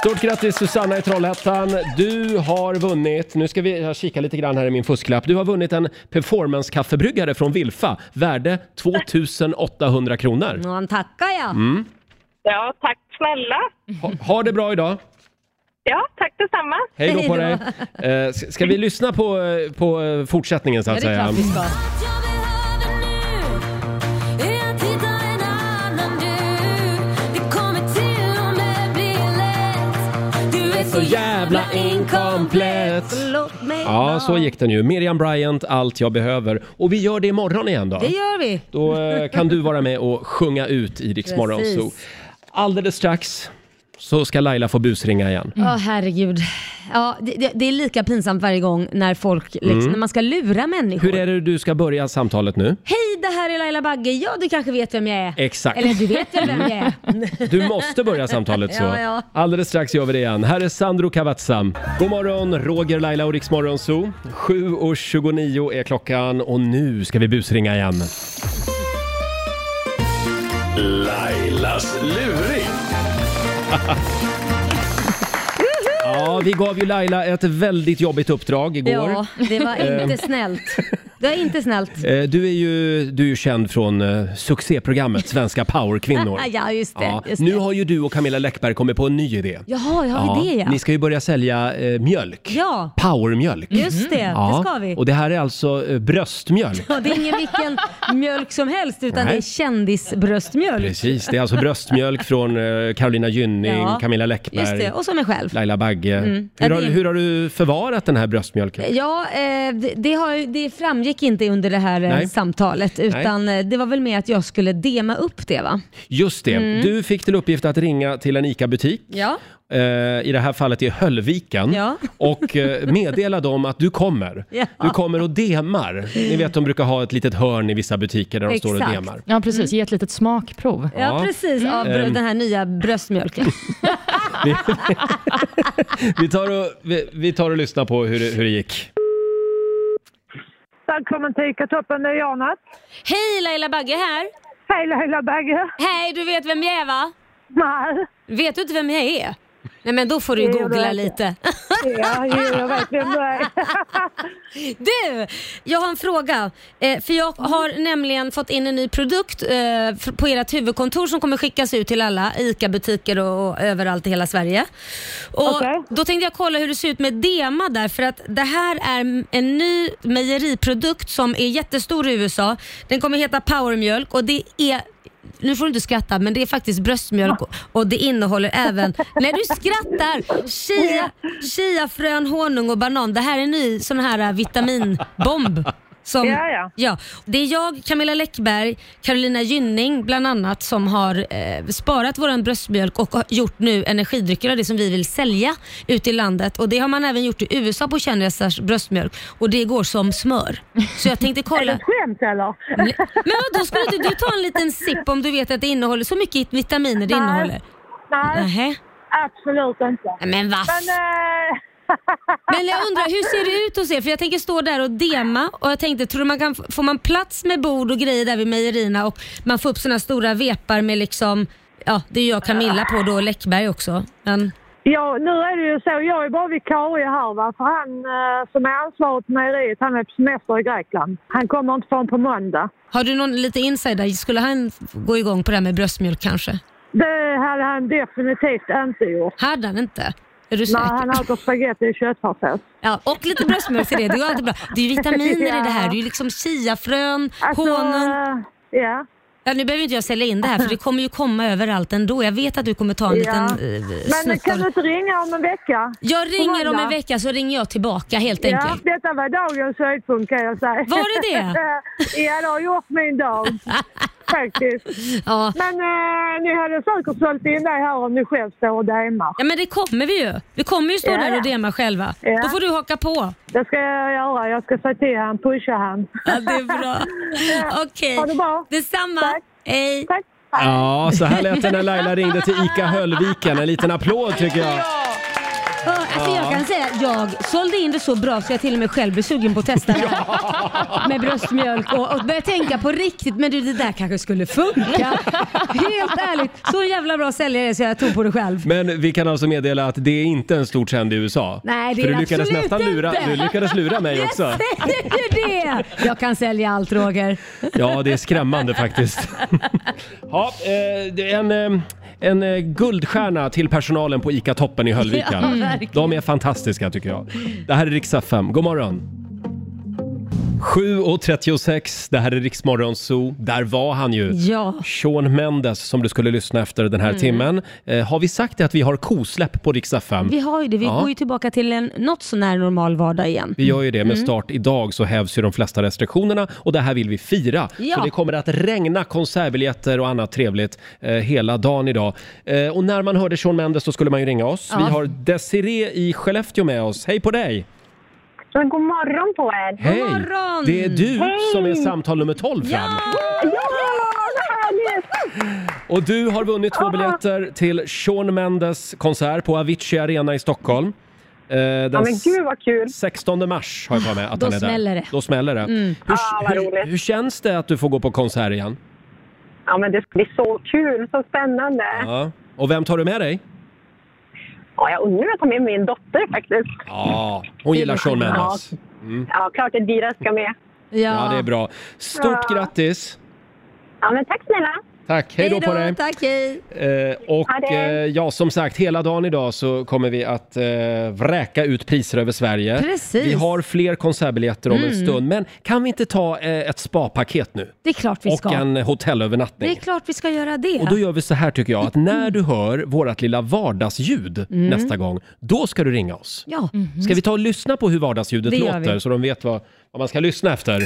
[SPEAKER 1] Stort grattis Susanna i Trollhättan. Du har vunnit, nu ska vi jag kika lite grann här i min fusklapp. Du har vunnit en performance-kaffebryggare från Vilfa, värde 2800 kronor.
[SPEAKER 2] Och han tackar jag.
[SPEAKER 1] Mm,
[SPEAKER 6] Ja, tack snälla.
[SPEAKER 1] Ha, ha det bra idag.
[SPEAKER 6] Ja, tack detsamma.
[SPEAKER 1] Hej då på dig.
[SPEAKER 2] Hej
[SPEAKER 1] Eh, s- ska vi lyssna på, eh, på eh, fortsättningen så
[SPEAKER 2] Ja,
[SPEAKER 1] att
[SPEAKER 2] det är
[SPEAKER 1] säga?
[SPEAKER 2] klart vi ska.
[SPEAKER 7] Allt jag behöver nu är att hitta en annan du. Det kommer till om det blir lätt. Du är så jävla inkomplett.
[SPEAKER 2] Förlåt mig.
[SPEAKER 1] Ja, så gick den ju. Miriam Bryant, Allt jag behöver. Och vi gör det imorgon igen då.
[SPEAKER 2] Det gör vi.
[SPEAKER 1] Då eh, kan du vara med och sjunga ut i Rix
[SPEAKER 2] Precis.
[SPEAKER 1] Morgonzoo. Alldeles strax så ska Laila få busringa igen.
[SPEAKER 2] Ja, herregud. Ja, det, det, det är lika pinsamt varje gång när folk, liksom, när man ska lura människor.
[SPEAKER 1] Mm. Hur är det du ska börja samtalet nu?
[SPEAKER 2] Hej, det här är Laila Bagge. Ja, du kanske vet vem jag är.
[SPEAKER 1] Exakt. Mm.
[SPEAKER 2] Eller du vet väl vem jag är?
[SPEAKER 1] Du måste börja
[SPEAKER 2] [LAUGHS]
[SPEAKER 1] samtalet så.
[SPEAKER 2] Ja, ja.
[SPEAKER 1] Alldeles strax gör vi det igen. Här är Sandro Cavazza. God morgon, Roger, Laila och Rix Morgonzoo. 7.29 är klockan och nu ska vi busringa igen.
[SPEAKER 5] Lailas luring.
[SPEAKER 1] Ja, vi gav ju Laila ett väldigt jobbigt uppdrag igår.
[SPEAKER 2] Ja, det var inte snällt. Det var
[SPEAKER 1] [LAUGHS]
[SPEAKER 2] inte snällt.
[SPEAKER 1] Eh, Du är ju du är ju känd från eh, succéprogrammet Svenska powerkvinnor.
[SPEAKER 2] [LAUGHS] Ja, just det.
[SPEAKER 1] Ja,
[SPEAKER 2] Just
[SPEAKER 1] nu
[SPEAKER 2] det.
[SPEAKER 1] har ju du och Camilla Läckberg kommit på en ny idé.
[SPEAKER 2] Jaha, jag har vi det ja.
[SPEAKER 1] Ni ska ju börja sälja eh, mjölk.
[SPEAKER 2] Ja,
[SPEAKER 1] Powermjölk.
[SPEAKER 2] just det. Det ska vi.
[SPEAKER 1] Mm. Och det här är alltså eh,
[SPEAKER 2] [LAUGHS]
[SPEAKER 1] bröstmjölk.
[SPEAKER 2] Ja, det är ingen vilken mjölk som helst utan
[SPEAKER 1] Nej.
[SPEAKER 2] det är kändisbröstmjölk.
[SPEAKER 1] Precis, det är alltså bröstmjölk från eh, Carolina Gynning,
[SPEAKER 2] Ja.
[SPEAKER 1] Camilla Läckberg,
[SPEAKER 2] Just det, och som mig själv.
[SPEAKER 1] Laila Bagge.
[SPEAKER 2] Ja,
[SPEAKER 1] Hur,
[SPEAKER 2] det
[SPEAKER 1] har,
[SPEAKER 2] är-
[SPEAKER 1] hur har du förvarat den här bröstmjölken?
[SPEAKER 2] Ja, eh, det, det, har, ju- det framgick inte under det här eh,
[SPEAKER 1] Nej.
[SPEAKER 2] samtalet utan eh, det var väl mer att jag skulle dema upp det va?
[SPEAKER 1] Just det,
[SPEAKER 2] mm.
[SPEAKER 1] du fick till uppgift att ringa till en ICA-butik.
[SPEAKER 2] Ja.
[SPEAKER 1] eh, I det här fallet i Höllviken
[SPEAKER 2] Ja.
[SPEAKER 1] [LAUGHS] och eh, meddela dem att du kommer.
[SPEAKER 2] Ja.
[SPEAKER 1] Du kommer och demar. Ni vet de brukar ha ett litet hörn i vissa butiker där de står och
[SPEAKER 2] Exakt.
[SPEAKER 1] demar.
[SPEAKER 3] Ja, precis. Ge ett litet smakprov.
[SPEAKER 2] Ja,
[SPEAKER 1] Ja. Mm. Ehm.
[SPEAKER 2] precis, av brö- den här
[SPEAKER 1] [LAUGHS]
[SPEAKER 2] nya bröstmjölken.
[SPEAKER 1] Vi tar och, vi, vi tar och lyssnar på hur det, hur det gick.
[SPEAKER 6] Välkommen till Ica-toppen, det är Jana.
[SPEAKER 2] Hej Laila Bagge här!
[SPEAKER 6] Hej Laila Bagge.
[SPEAKER 2] Hej, du vet vem jag är va?
[SPEAKER 6] Nej,
[SPEAKER 2] Vet du inte vem jag är? Nej men då får du
[SPEAKER 6] Jo, det vet
[SPEAKER 2] googla
[SPEAKER 6] jag.
[SPEAKER 2] lite. [LAUGHS]
[SPEAKER 6] ja, jo, jag vet vem du är.
[SPEAKER 2] Du, jag har en fråga. Eh, för jag har nämligen fått in en ny produkt eh, f- på ert huvudkontor som kommer skickas ut till alla ICA-butiker och, och överallt i hela Sverige. Och
[SPEAKER 6] Okej.
[SPEAKER 2] Då tänkte jag kolla hur det ser ut med DEMA där för att det här är m- en ny mejeriprodukt som är jättestor i USA. Den kommer heta powermjölk och det är nu får du inte skratta men det är faktiskt bröstmjölk och- och det innehåller även, nej du skrattar, chia, chiafrön, honung och banan. Det här är en ny sån här äh, vitaminbomb. Som,
[SPEAKER 6] Ja, ja.
[SPEAKER 2] Det är jag, Camilla Läckberg, Carolina Gynning bland annat som har eh, sparat våran bröstmjölk och har gjort nu energidrycker av det som vi vill sälja ute i landet. Och Det har man även gjort i USA på kändisars bröstmjölk och det går som smör. Så jag
[SPEAKER 6] [LAUGHS]
[SPEAKER 2] tänkte
[SPEAKER 6] Är
[SPEAKER 2] kolla.
[SPEAKER 6] det skämt eller?
[SPEAKER 2] Men då skulle inte du ta en liten sipp om du vet att det innehåller så mycket vitaminer det
[SPEAKER 6] Nej.
[SPEAKER 2] innehåller?
[SPEAKER 6] Nej,
[SPEAKER 2] Nähä.
[SPEAKER 6] absolut inte.
[SPEAKER 2] Men vad?
[SPEAKER 6] Men, eh, [LAUGHS]
[SPEAKER 2] Men jag undrar, hur ser det ut hos er? För jag tänker stå där och dema och jag tänkte, tror du man kan, får man plats med bord och grejer där vid mejerierna och man får upp såna stora vepar med liksom, ja det är ju jag och Camilla på då och Läckberg också. Men,
[SPEAKER 6] ja, nu är det ju så, jag är bara vikarie här va, för han eh, som är ansvarig på mejeriet, han är på semester i Grekland. Han kommer inte förrän på måndag.
[SPEAKER 2] har du någon lite insider? Skulle han gå igång på det här med bröstmjölk kanske?
[SPEAKER 6] Det hade han definitivt inte gjort.
[SPEAKER 2] Hade han inte? Är du
[SPEAKER 6] Nej,
[SPEAKER 2] säker?
[SPEAKER 6] han äter spagetti och köttfärssås.
[SPEAKER 2] Ja, och lite bröstmjölk till det. Det är ju alltid bra. Det är ju vitaminer i det här.
[SPEAKER 6] Ja.
[SPEAKER 2] Det är ju liksom chiafrön,
[SPEAKER 6] Alltså,
[SPEAKER 2] honung.
[SPEAKER 6] eh, Ja.
[SPEAKER 2] Ja, nu behöver inte jag sälja in det här för det kommer ju komma överallt ändå. Jag vet att du kommer ta en
[SPEAKER 6] Ja.
[SPEAKER 2] liten eh,
[SPEAKER 6] Men
[SPEAKER 2] snutt
[SPEAKER 6] kan
[SPEAKER 2] av
[SPEAKER 6] du
[SPEAKER 2] det.
[SPEAKER 6] inte ringa om en vecka?
[SPEAKER 2] Jag ringer om en
[SPEAKER 6] Amanda?
[SPEAKER 2] vecka så ringer jag tillbaka helt
[SPEAKER 6] Ja,
[SPEAKER 2] enkelt.
[SPEAKER 6] detta var dagens höjdpunkt kan jag säga.
[SPEAKER 2] Var det det?
[SPEAKER 6] [LAUGHS] ja, det har gjort min
[SPEAKER 2] [LAUGHS]
[SPEAKER 6] dag. Faktiskt.
[SPEAKER 2] Ja.
[SPEAKER 6] Men eh, ni hade säkert sålt in dig här om ni själv står och demar.
[SPEAKER 2] ja, men det kommer vi ju. Vi kommer ju stå
[SPEAKER 6] Ja,
[SPEAKER 2] där och
[SPEAKER 6] ja.
[SPEAKER 2] dema själva.
[SPEAKER 6] Ja.
[SPEAKER 2] Då får du haka på.
[SPEAKER 6] Det ska jag göra. Jag ska säga till han, pusha han.
[SPEAKER 2] Ja, det är
[SPEAKER 6] [LAUGHS]
[SPEAKER 2] bra. [LAUGHS] Okej.
[SPEAKER 6] Ha det bra.
[SPEAKER 2] Detsamma.
[SPEAKER 6] Tack.
[SPEAKER 2] Hej.
[SPEAKER 6] Tack.
[SPEAKER 1] Ja, så här lät det när Laila ringde till ICA Höllviken. En liten applåd tycker jag.
[SPEAKER 2] Ja, Alltså jag kan säga att jag sålde in det så bra så jag till och med själv blev sugen på att testa det här. Med bröstmjölk och, och började tänka på riktigt, men du det där kanske skulle funka. Helt ärligt, så jävla bra säljare så jag tog på det själv.
[SPEAKER 1] Men vi kan alltså meddela att det är inte en stor trend i USA.
[SPEAKER 2] Nej, det
[SPEAKER 1] För
[SPEAKER 2] är
[SPEAKER 1] du
[SPEAKER 2] det
[SPEAKER 1] lyckades
[SPEAKER 2] absolut
[SPEAKER 1] nästan lura,
[SPEAKER 2] inte.
[SPEAKER 1] Du lyckades lura
[SPEAKER 2] [LAUGHS]
[SPEAKER 1] mig
[SPEAKER 2] Jag
[SPEAKER 1] också.
[SPEAKER 2] säger ju det! Jag kan sälja allt Roger.
[SPEAKER 1] Ja, det är skrämmande faktiskt. [LAUGHS] ja, eh, det är en, eh, en eh, guldstjärna till personalen på ICA Toppen i Höllviken.
[SPEAKER 2] Ja, verkligen.
[SPEAKER 1] De är fantastiska tycker jag. Det här är Riksdag 5. God morgon! 7.36, det här är Riksmorgon Zoo. Där var han ju.
[SPEAKER 2] Ja. Mm.
[SPEAKER 1] Sean Mendes som du skulle lyssna efter den här timmen. Eh, har vi sagt det att vi har kosläpp på Riksdag 5?
[SPEAKER 2] Vi har ju det. Vi
[SPEAKER 1] Ja.
[SPEAKER 2] går ju tillbaka till en något så när normal vardag igen.
[SPEAKER 1] Vi gör ju det med start idag så hävs ju de flesta restriktionerna och det här vill vi fira.
[SPEAKER 2] Ja.
[SPEAKER 1] Så det kommer att regna konsertbiljetter och annat trevligt eh, hela dagen idag. Eh, och när man hörde Sean Mendes så skulle man ju ringa oss. Vi har Desiree i Skellefteå med oss. Hej på dig!
[SPEAKER 8] Men god morgon på er!
[SPEAKER 1] Hej!
[SPEAKER 2] morgon!
[SPEAKER 1] Det är du som är samtal nummer 12 fram.
[SPEAKER 8] Ja, vad härligt!
[SPEAKER 1] Och du har vunnit två biljetter till Sean Mendes konsert på Avicii Arena i Stockholm. Eh, den
[SPEAKER 8] Ja, men gud vad kul!
[SPEAKER 1] 16 mars har jag för mig att
[SPEAKER 2] Då
[SPEAKER 1] han är där.
[SPEAKER 2] smäller det. Mm.
[SPEAKER 1] Då smäller det. Hur,
[SPEAKER 8] Ah, vad
[SPEAKER 1] hur,
[SPEAKER 8] roligt.
[SPEAKER 1] hur känns det att du får gå på konsert igen?
[SPEAKER 8] Ja, men det ska bli så kul, så spännande!
[SPEAKER 1] Ja. Och vem tar du med dig?
[SPEAKER 8] Ja, jag undrar om jag tar med min dotter faktiskt.
[SPEAKER 1] Ja, hon gillar Sean Mendes.
[SPEAKER 8] Ja, klart att Dira ska med.
[SPEAKER 2] Ja,
[SPEAKER 1] Ja, det är bra. Stort
[SPEAKER 8] Ja.
[SPEAKER 1] grattis!
[SPEAKER 8] Ja, men tack snälla!
[SPEAKER 1] Tack, hej då på dig!
[SPEAKER 2] Tack, hej.
[SPEAKER 1] Eh,
[SPEAKER 8] Ha
[SPEAKER 1] och
[SPEAKER 8] det.
[SPEAKER 1] eh, ja, som sagt, hela dagen idag så kommer vi att eh, vräka ut priser över Sverige.
[SPEAKER 2] Precis. Mm.
[SPEAKER 1] Vi har fler konsertbiljetter om en stund, men kan vi inte ta eh, ett spapaket nu?
[SPEAKER 2] Det är klart vi
[SPEAKER 1] Och
[SPEAKER 2] ska.
[SPEAKER 1] en hotellövernattning.
[SPEAKER 2] Det är klart vi ska göra det.
[SPEAKER 1] Och då gör vi så här tycker jag, att när du hör vårat lilla vardagsljud
[SPEAKER 2] Mm.
[SPEAKER 1] nästa gång, då ska du ringa oss.
[SPEAKER 2] Ja.
[SPEAKER 1] Ska vi ta och lyssna på hur vardagsljudet
[SPEAKER 2] Mm. Det gör
[SPEAKER 1] låter
[SPEAKER 2] vi.
[SPEAKER 1] så de vet vad, vad man ska lyssna efter?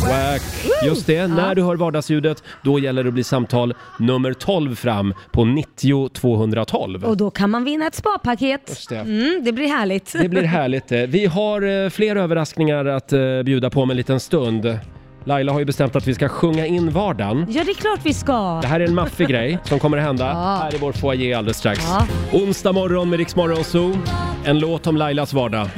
[SPEAKER 1] Whack. Just det, när du hör vardagsljudet då gäller det att bli samtal nummer 12 fram på 90 212.
[SPEAKER 2] Och då kan man vinna ett spapaket.
[SPEAKER 1] Just det.
[SPEAKER 2] Mm, det blir härligt.
[SPEAKER 1] Det blir härligt. det. Vi har eh, fler överraskningar att eh, bjuda på om en liten stund. Laila har ju bestämt att vi ska sjunga in vardagen.
[SPEAKER 2] Ja, det är klart vi ska.
[SPEAKER 1] Det här är en maffig grej som kommer att hända här i vår foyer alldeles strax.
[SPEAKER 2] Ja.
[SPEAKER 1] Onsdag morgon med Rix Morgon Zoo. En låt om Lailas
[SPEAKER 2] [LAUGHS]
[SPEAKER 1] vardag.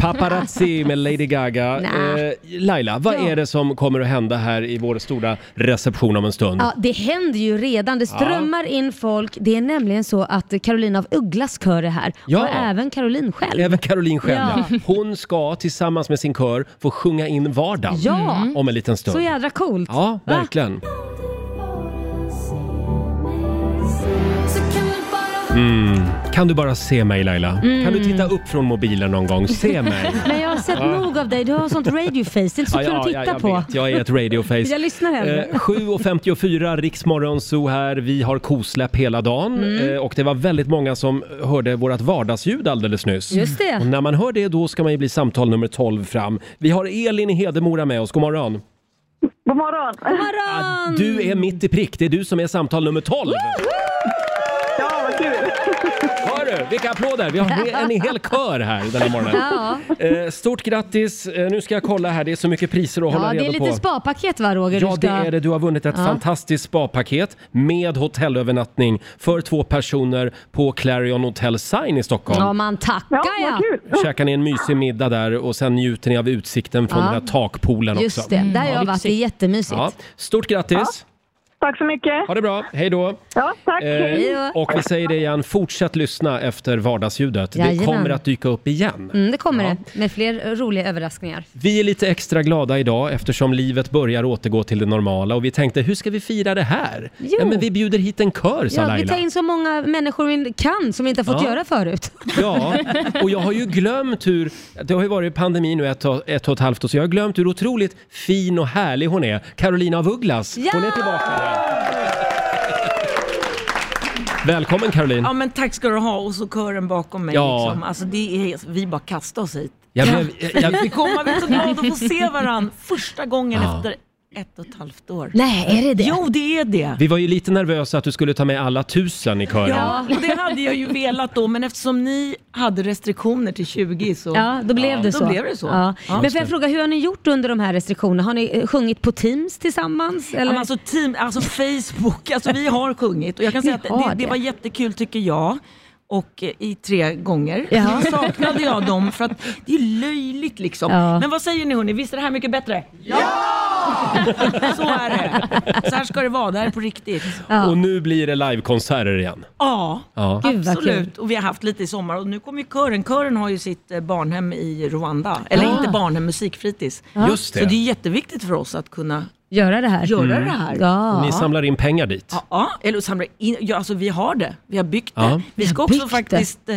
[SPEAKER 1] Paparazzi med Lady Gaga.
[SPEAKER 2] Nä.
[SPEAKER 1] Eh, Laila, vad är det som kommer att hända här i vår stora reception om en stund?
[SPEAKER 2] Ja, det händer ju redan. Det strömmar in folk. Det är nämligen så att Carolina av Ugglas kör är här.
[SPEAKER 1] Ja.
[SPEAKER 2] Och även Caroline själv.
[SPEAKER 1] Även Caroline själv, ja.
[SPEAKER 2] Ja.
[SPEAKER 1] Hon ska tillsammans med sin kör få sjunga in vardagen
[SPEAKER 2] Ja.
[SPEAKER 1] om en liten stund.
[SPEAKER 2] Så jädra coolt.
[SPEAKER 1] Mm. Ja,
[SPEAKER 2] Va?
[SPEAKER 1] verkligen. Mm. Kan du bara se mig Laila?
[SPEAKER 2] Mm.
[SPEAKER 1] Kan du titta upp från mobilen någon gång?
[SPEAKER 2] [LAUGHS]
[SPEAKER 1] Se mig!
[SPEAKER 2] Men jag har sett nog av dig. Du har sånt radioface. Det är inte så kul att titta
[SPEAKER 1] jag
[SPEAKER 2] på.
[SPEAKER 1] Vet, jag är ett radioface.
[SPEAKER 2] Jag lyssnar hellre.
[SPEAKER 1] Eh, 7.54, Riksmorgon Zoo här. Vi har kosläpp hela dagen
[SPEAKER 2] Mm.
[SPEAKER 1] eh, och det var väldigt många som hörde vårt vardagsljud alldeles nyss.
[SPEAKER 2] Just det.
[SPEAKER 1] Och när man hör det då ska man ju bli samtal nummer 12 fram. Vi har Elin i Hedemora med oss, god morgon.
[SPEAKER 8] God morgon!
[SPEAKER 2] Morgon!
[SPEAKER 1] Du är mitt i prick, det är du som är samtal nummer 12.
[SPEAKER 8] Ja, vad kul!
[SPEAKER 1] Hör du, vilka applåder! Vi har en hel kör här den här morgonen.
[SPEAKER 2] Ja.
[SPEAKER 1] Eh, stort grattis! Eh, nu ska jag kolla här, det är så mycket priser att
[SPEAKER 2] Ja,
[SPEAKER 1] hålla
[SPEAKER 2] det är
[SPEAKER 1] reda på.
[SPEAKER 2] lite spapaket va Roger?
[SPEAKER 1] Ja,
[SPEAKER 2] du ska...
[SPEAKER 1] det är det. Du har vunnit ett fantastiskt spapaket med hotellövernattning för två personer på Clarion Hotel Sign i Stockholm.
[SPEAKER 2] Ja, man tackar
[SPEAKER 8] Ja,
[SPEAKER 2] ja.
[SPEAKER 8] vad kul!
[SPEAKER 1] Käkar ni en mysig middag där och sen njuter ni av utsikten från
[SPEAKER 2] Ja.
[SPEAKER 1] den här takpoolen
[SPEAKER 2] Just
[SPEAKER 1] också.
[SPEAKER 2] det,
[SPEAKER 9] Mm,
[SPEAKER 2] där har jag varit. Det är jättemysigt.
[SPEAKER 1] Ja. Stort grattis!
[SPEAKER 8] Tack så mycket!
[SPEAKER 1] Ha det bra, hej då!
[SPEAKER 8] Ja, tack!
[SPEAKER 2] Hej då.
[SPEAKER 1] Eh, och vi säger det igen, fortsätt lyssna efter vardagsljudet. Det
[SPEAKER 2] Jajamän.
[SPEAKER 1] kommer att dyka upp igen.
[SPEAKER 2] Mm, det kommer det, med fler eh, roliga överraskningar.
[SPEAKER 1] Vi är lite extra glada idag eftersom livet börjar återgå till det normala och vi tänkte hur ska vi fira det här?
[SPEAKER 2] Jo.
[SPEAKER 1] Ja, men vi bjuder hit en kör sa
[SPEAKER 2] Ja, vi
[SPEAKER 1] Laila.
[SPEAKER 2] tar in så många människor vi kan som vi inte har fått
[SPEAKER 1] Ja.
[SPEAKER 2] göra förut.
[SPEAKER 1] Ja, och jag har ju glömt hur, det har ju varit pandemi nu ett, och- ett och ett halvt år, så jag har glömt hur otroligt fin och härlig hon är. Carolina af Ugglas, hon är
[SPEAKER 2] Ja!
[SPEAKER 1] tillbaka här. Välkommen Caroline.
[SPEAKER 9] Ja men tack ska du ha och så kören bakom mig.
[SPEAKER 1] Ja.
[SPEAKER 9] Liksom. Alltså, det är, vi bara kastar oss hit.
[SPEAKER 1] Jag blev, jag,
[SPEAKER 9] Vi kommer vi är så glada att få se varandra första gången
[SPEAKER 1] Ja.
[SPEAKER 9] efter ett och ett halvt år.
[SPEAKER 2] [LAUGHS] Nej, är det det?
[SPEAKER 9] Jo, det är det.
[SPEAKER 1] Vi var ju lite nervösa att du skulle ta med alla tusen i kören.
[SPEAKER 9] Ja, och det hade jag ju velat då, men eftersom ni hade restriktioner till 20 så...
[SPEAKER 2] Ja, då blev det så.
[SPEAKER 9] Då blev det så.
[SPEAKER 2] Ja. Men
[SPEAKER 1] Just det.
[SPEAKER 2] får jag fråga, hur har ni gjort under de här restriktionerna? Har ni eh, sjungit på Teams tillsammans?
[SPEAKER 9] Ja,
[SPEAKER 2] Eller?
[SPEAKER 9] men Alltså, team, alltså Facebook, alltså vi har sjungit och jag kan
[SPEAKER 2] Ni
[SPEAKER 9] säga att
[SPEAKER 2] har
[SPEAKER 9] det, det
[SPEAKER 2] det.
[SPEAKER 9] var jättekul tycker jag. Och eh, i tre gånger.
[SPEAKER 2] Ja.
[SPEAKER 9] Nu saknade jag dem för att det är löjligt liksom.
[SPEAKER 2] Ja.
[SPEAKER 9] Men vad säger ni hörni, visst är det här mycket bättre? Ja! [LAUGHS] så är det. Så här ska det vara, det här är på riktigt.
[SPEAKER 1] Och nu blir det livekonserter igen.
[SPEAKER 9] Ja,
[SPEAKER 1] Ja.
[SPEAKER 2] Gud, vad
[SPEAKER 9] absolut. Och vi har haft lite i sommar och nu kommer ju kören. Kören har ju sitt eh, barnhem i Rwanda. Eller
[SPEAKER 2] Ah.
[SPEAKER 9] inte barnhem, musikfritids.
[SPEAKER 1] Just
[SPEAKER 9] Så det
[SPEAKER 1] det.
[SPEAKER 9] är jätteviktigt för oss att kunna
[SPEAKER 2] Göra det här? Mm.
[SPEAKER 9] göra det här.
[SPEAKER 2] Ja.
[SPEAKER 1] Ni samlar in pengar dit.
[SPEAKER 9] Ja, Ja, eller samla in. Ja, alltså vi har det. Vi har byggt det.
[SPEAKER 1] Ja.
[SPEAKER 9] Vi ska
[SPEAKER 2] har
[SPEAKER 9] också
[SPEAKER 2] byggt
[SPEAKER 9] faktiskt, eh,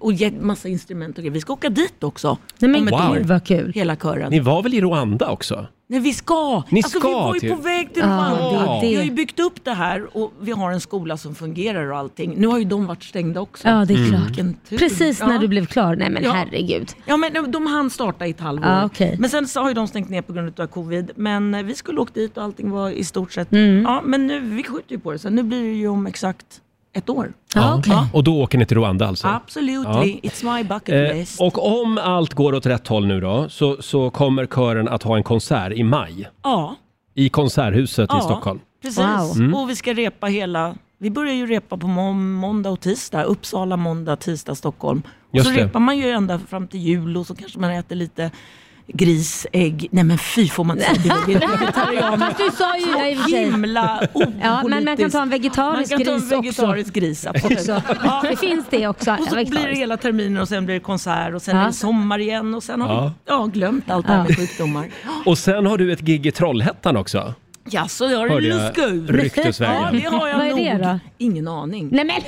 [SPEAKER 9] och ge massa instrument och grejer. Vi ska åka dit också.
[SPEAKER 2] Nej men
[SPEAKER 9] Om ett
[SPEAKER 1] Wow.
[SPEAKER 2] gud
[SPEAKER 9] år.
[SPEAKER 2] vad kul.
[SPEAKER 9] Hela kören.
[SPEAKER 1] Ni var väl i Rwanda också?
[SPEAKER 9] Nej, vi ska!
[SPEAKER 1] Ni
[SPEAKER 9] alltså,
[SPEAKER 1] ska
[SPEAKER 9] vi var ju
[SPEAKER 1] till-
[SPEAKER 9] på väg till
[SPEAKER 2] Ja,
[SPEAKER 9] Rwanda.
[SPEAKER 1] det är det.
[SPEAKER 9] Vi har ju byggt upp det här och vi har en skola som fungerar och allting. Nu har ju de varit stängda också.
[SPEAKER 2] Ja, det är klart.
[SPEAKER 9] Vilken tur.
[SPEAKER 2] Precis när
[SPEAKER 9] Mm. Ja.
[SPEAKER 2] du blev klar. Nej men
[SPEAKER 9] Ja.
[SPEAKER 2] herregud.
[SPEAKER 9] Ja, men de- de hann starta i ett halvår.
[SPEAKER 2] Ja, okej.
[SPEAKER 9] Men sen så har ju de stängt ner på grund av covid. Men eh, vi skulle åkt dit och allting var i stort sett...
[SPEAKER 2] Mm.
[SPEAKER 9] Ja, men nu, vi skjuter ju på det sen. Nu blir det ju om exakt ett år.
[SPEAKER 2] Ja, okej.
[SPEAKER 1] Och då åker ni till Rwanda alltså?
[SPEAKER 9] Absolutely, it's my bucket
[SPEAKER 1] Eh,
[SPEAKER 9] list.
[SPEAKER 1] och om allt går åt rätt håll nu då, så, så kommer kören att ha en konsert i maj.
[SPEAKER 9] ja,
[SPEAKER 1] I Konserthuset
[SPEAKER 9] ja,
[SPEAKER 1] i Stockholm. Mm.
[SPEAKER 9] Precis,
[SPEAKER 2] Wow.
[SPEAKER 9] och vi ska repa hela... Vi börjar ju repa på må- måndag och tisdag. Uppsala, måndag, tisdag, Stockholm. Och
[SPEAKER 1] Just
[SPEAKER 9] så
[SPEAKER 1] det.
[SPEAKER 9] repar man ju ända fram till jul och så kanske man äter lite gris, ägg. Nej men fy får man inte säga.
[SPEAKER 2] [LAUGHS]
[SPEAKER 9] Det är vegetarianer.
[SPEAKER 2] Fast du sa ju ja, i och för sig.
[SPEAKER 9] himla opolitiskt.
[SPEAKER 2] Ja, men man kan ta en vegetarisk
[SPEAKER 9] Man kan ta en
[SPEAKER 2] gris också.
[SPEAKER 9] vegetarisk gris, absolut.
[SPEAKER 2] Så, [LAUGHS]
[SPEAKER 9] Ja.
[SPEAKER 2] det finns det också.
[SPEAKER 9] Och så
[SPEAKER 2] Ja,
[SPEAKER 9] blir det
[SPEAKER 2] vegetariskt.
[SPEAKER 9] hela terminen och sen blir det konsert och sen
[SPEAKER 2] Ja.
[SPEAKER 9] är det sommar igen och sen har
[SPEAKER 1] Ja.
[SPEAKER 9] vi ja, glömt allt det här med
[SPEAKER 2] [LAUGHS]
[SPEAKER 9] sjukdomar.
[SPEAKER 1] Och sen har du ett gig i Trollhättan också.
[SPEAKER 9] Ja, så jag har
[SPEAKER 1] Hörde
[SPEAKER 9] det
[SPEAKER 1] jag
[SPEAKER 9] luska ut. Ja,
[SPEAKER 1] ryktesvägen.
[SPEAKER 9] det har jag
[SPEAKER 2] Vad är
[SPEAKER 9] nog.
[SPEAKER 2] det då?
[SPEAKER 9] Ingen aning.
[SPEAKER 2] Nej men!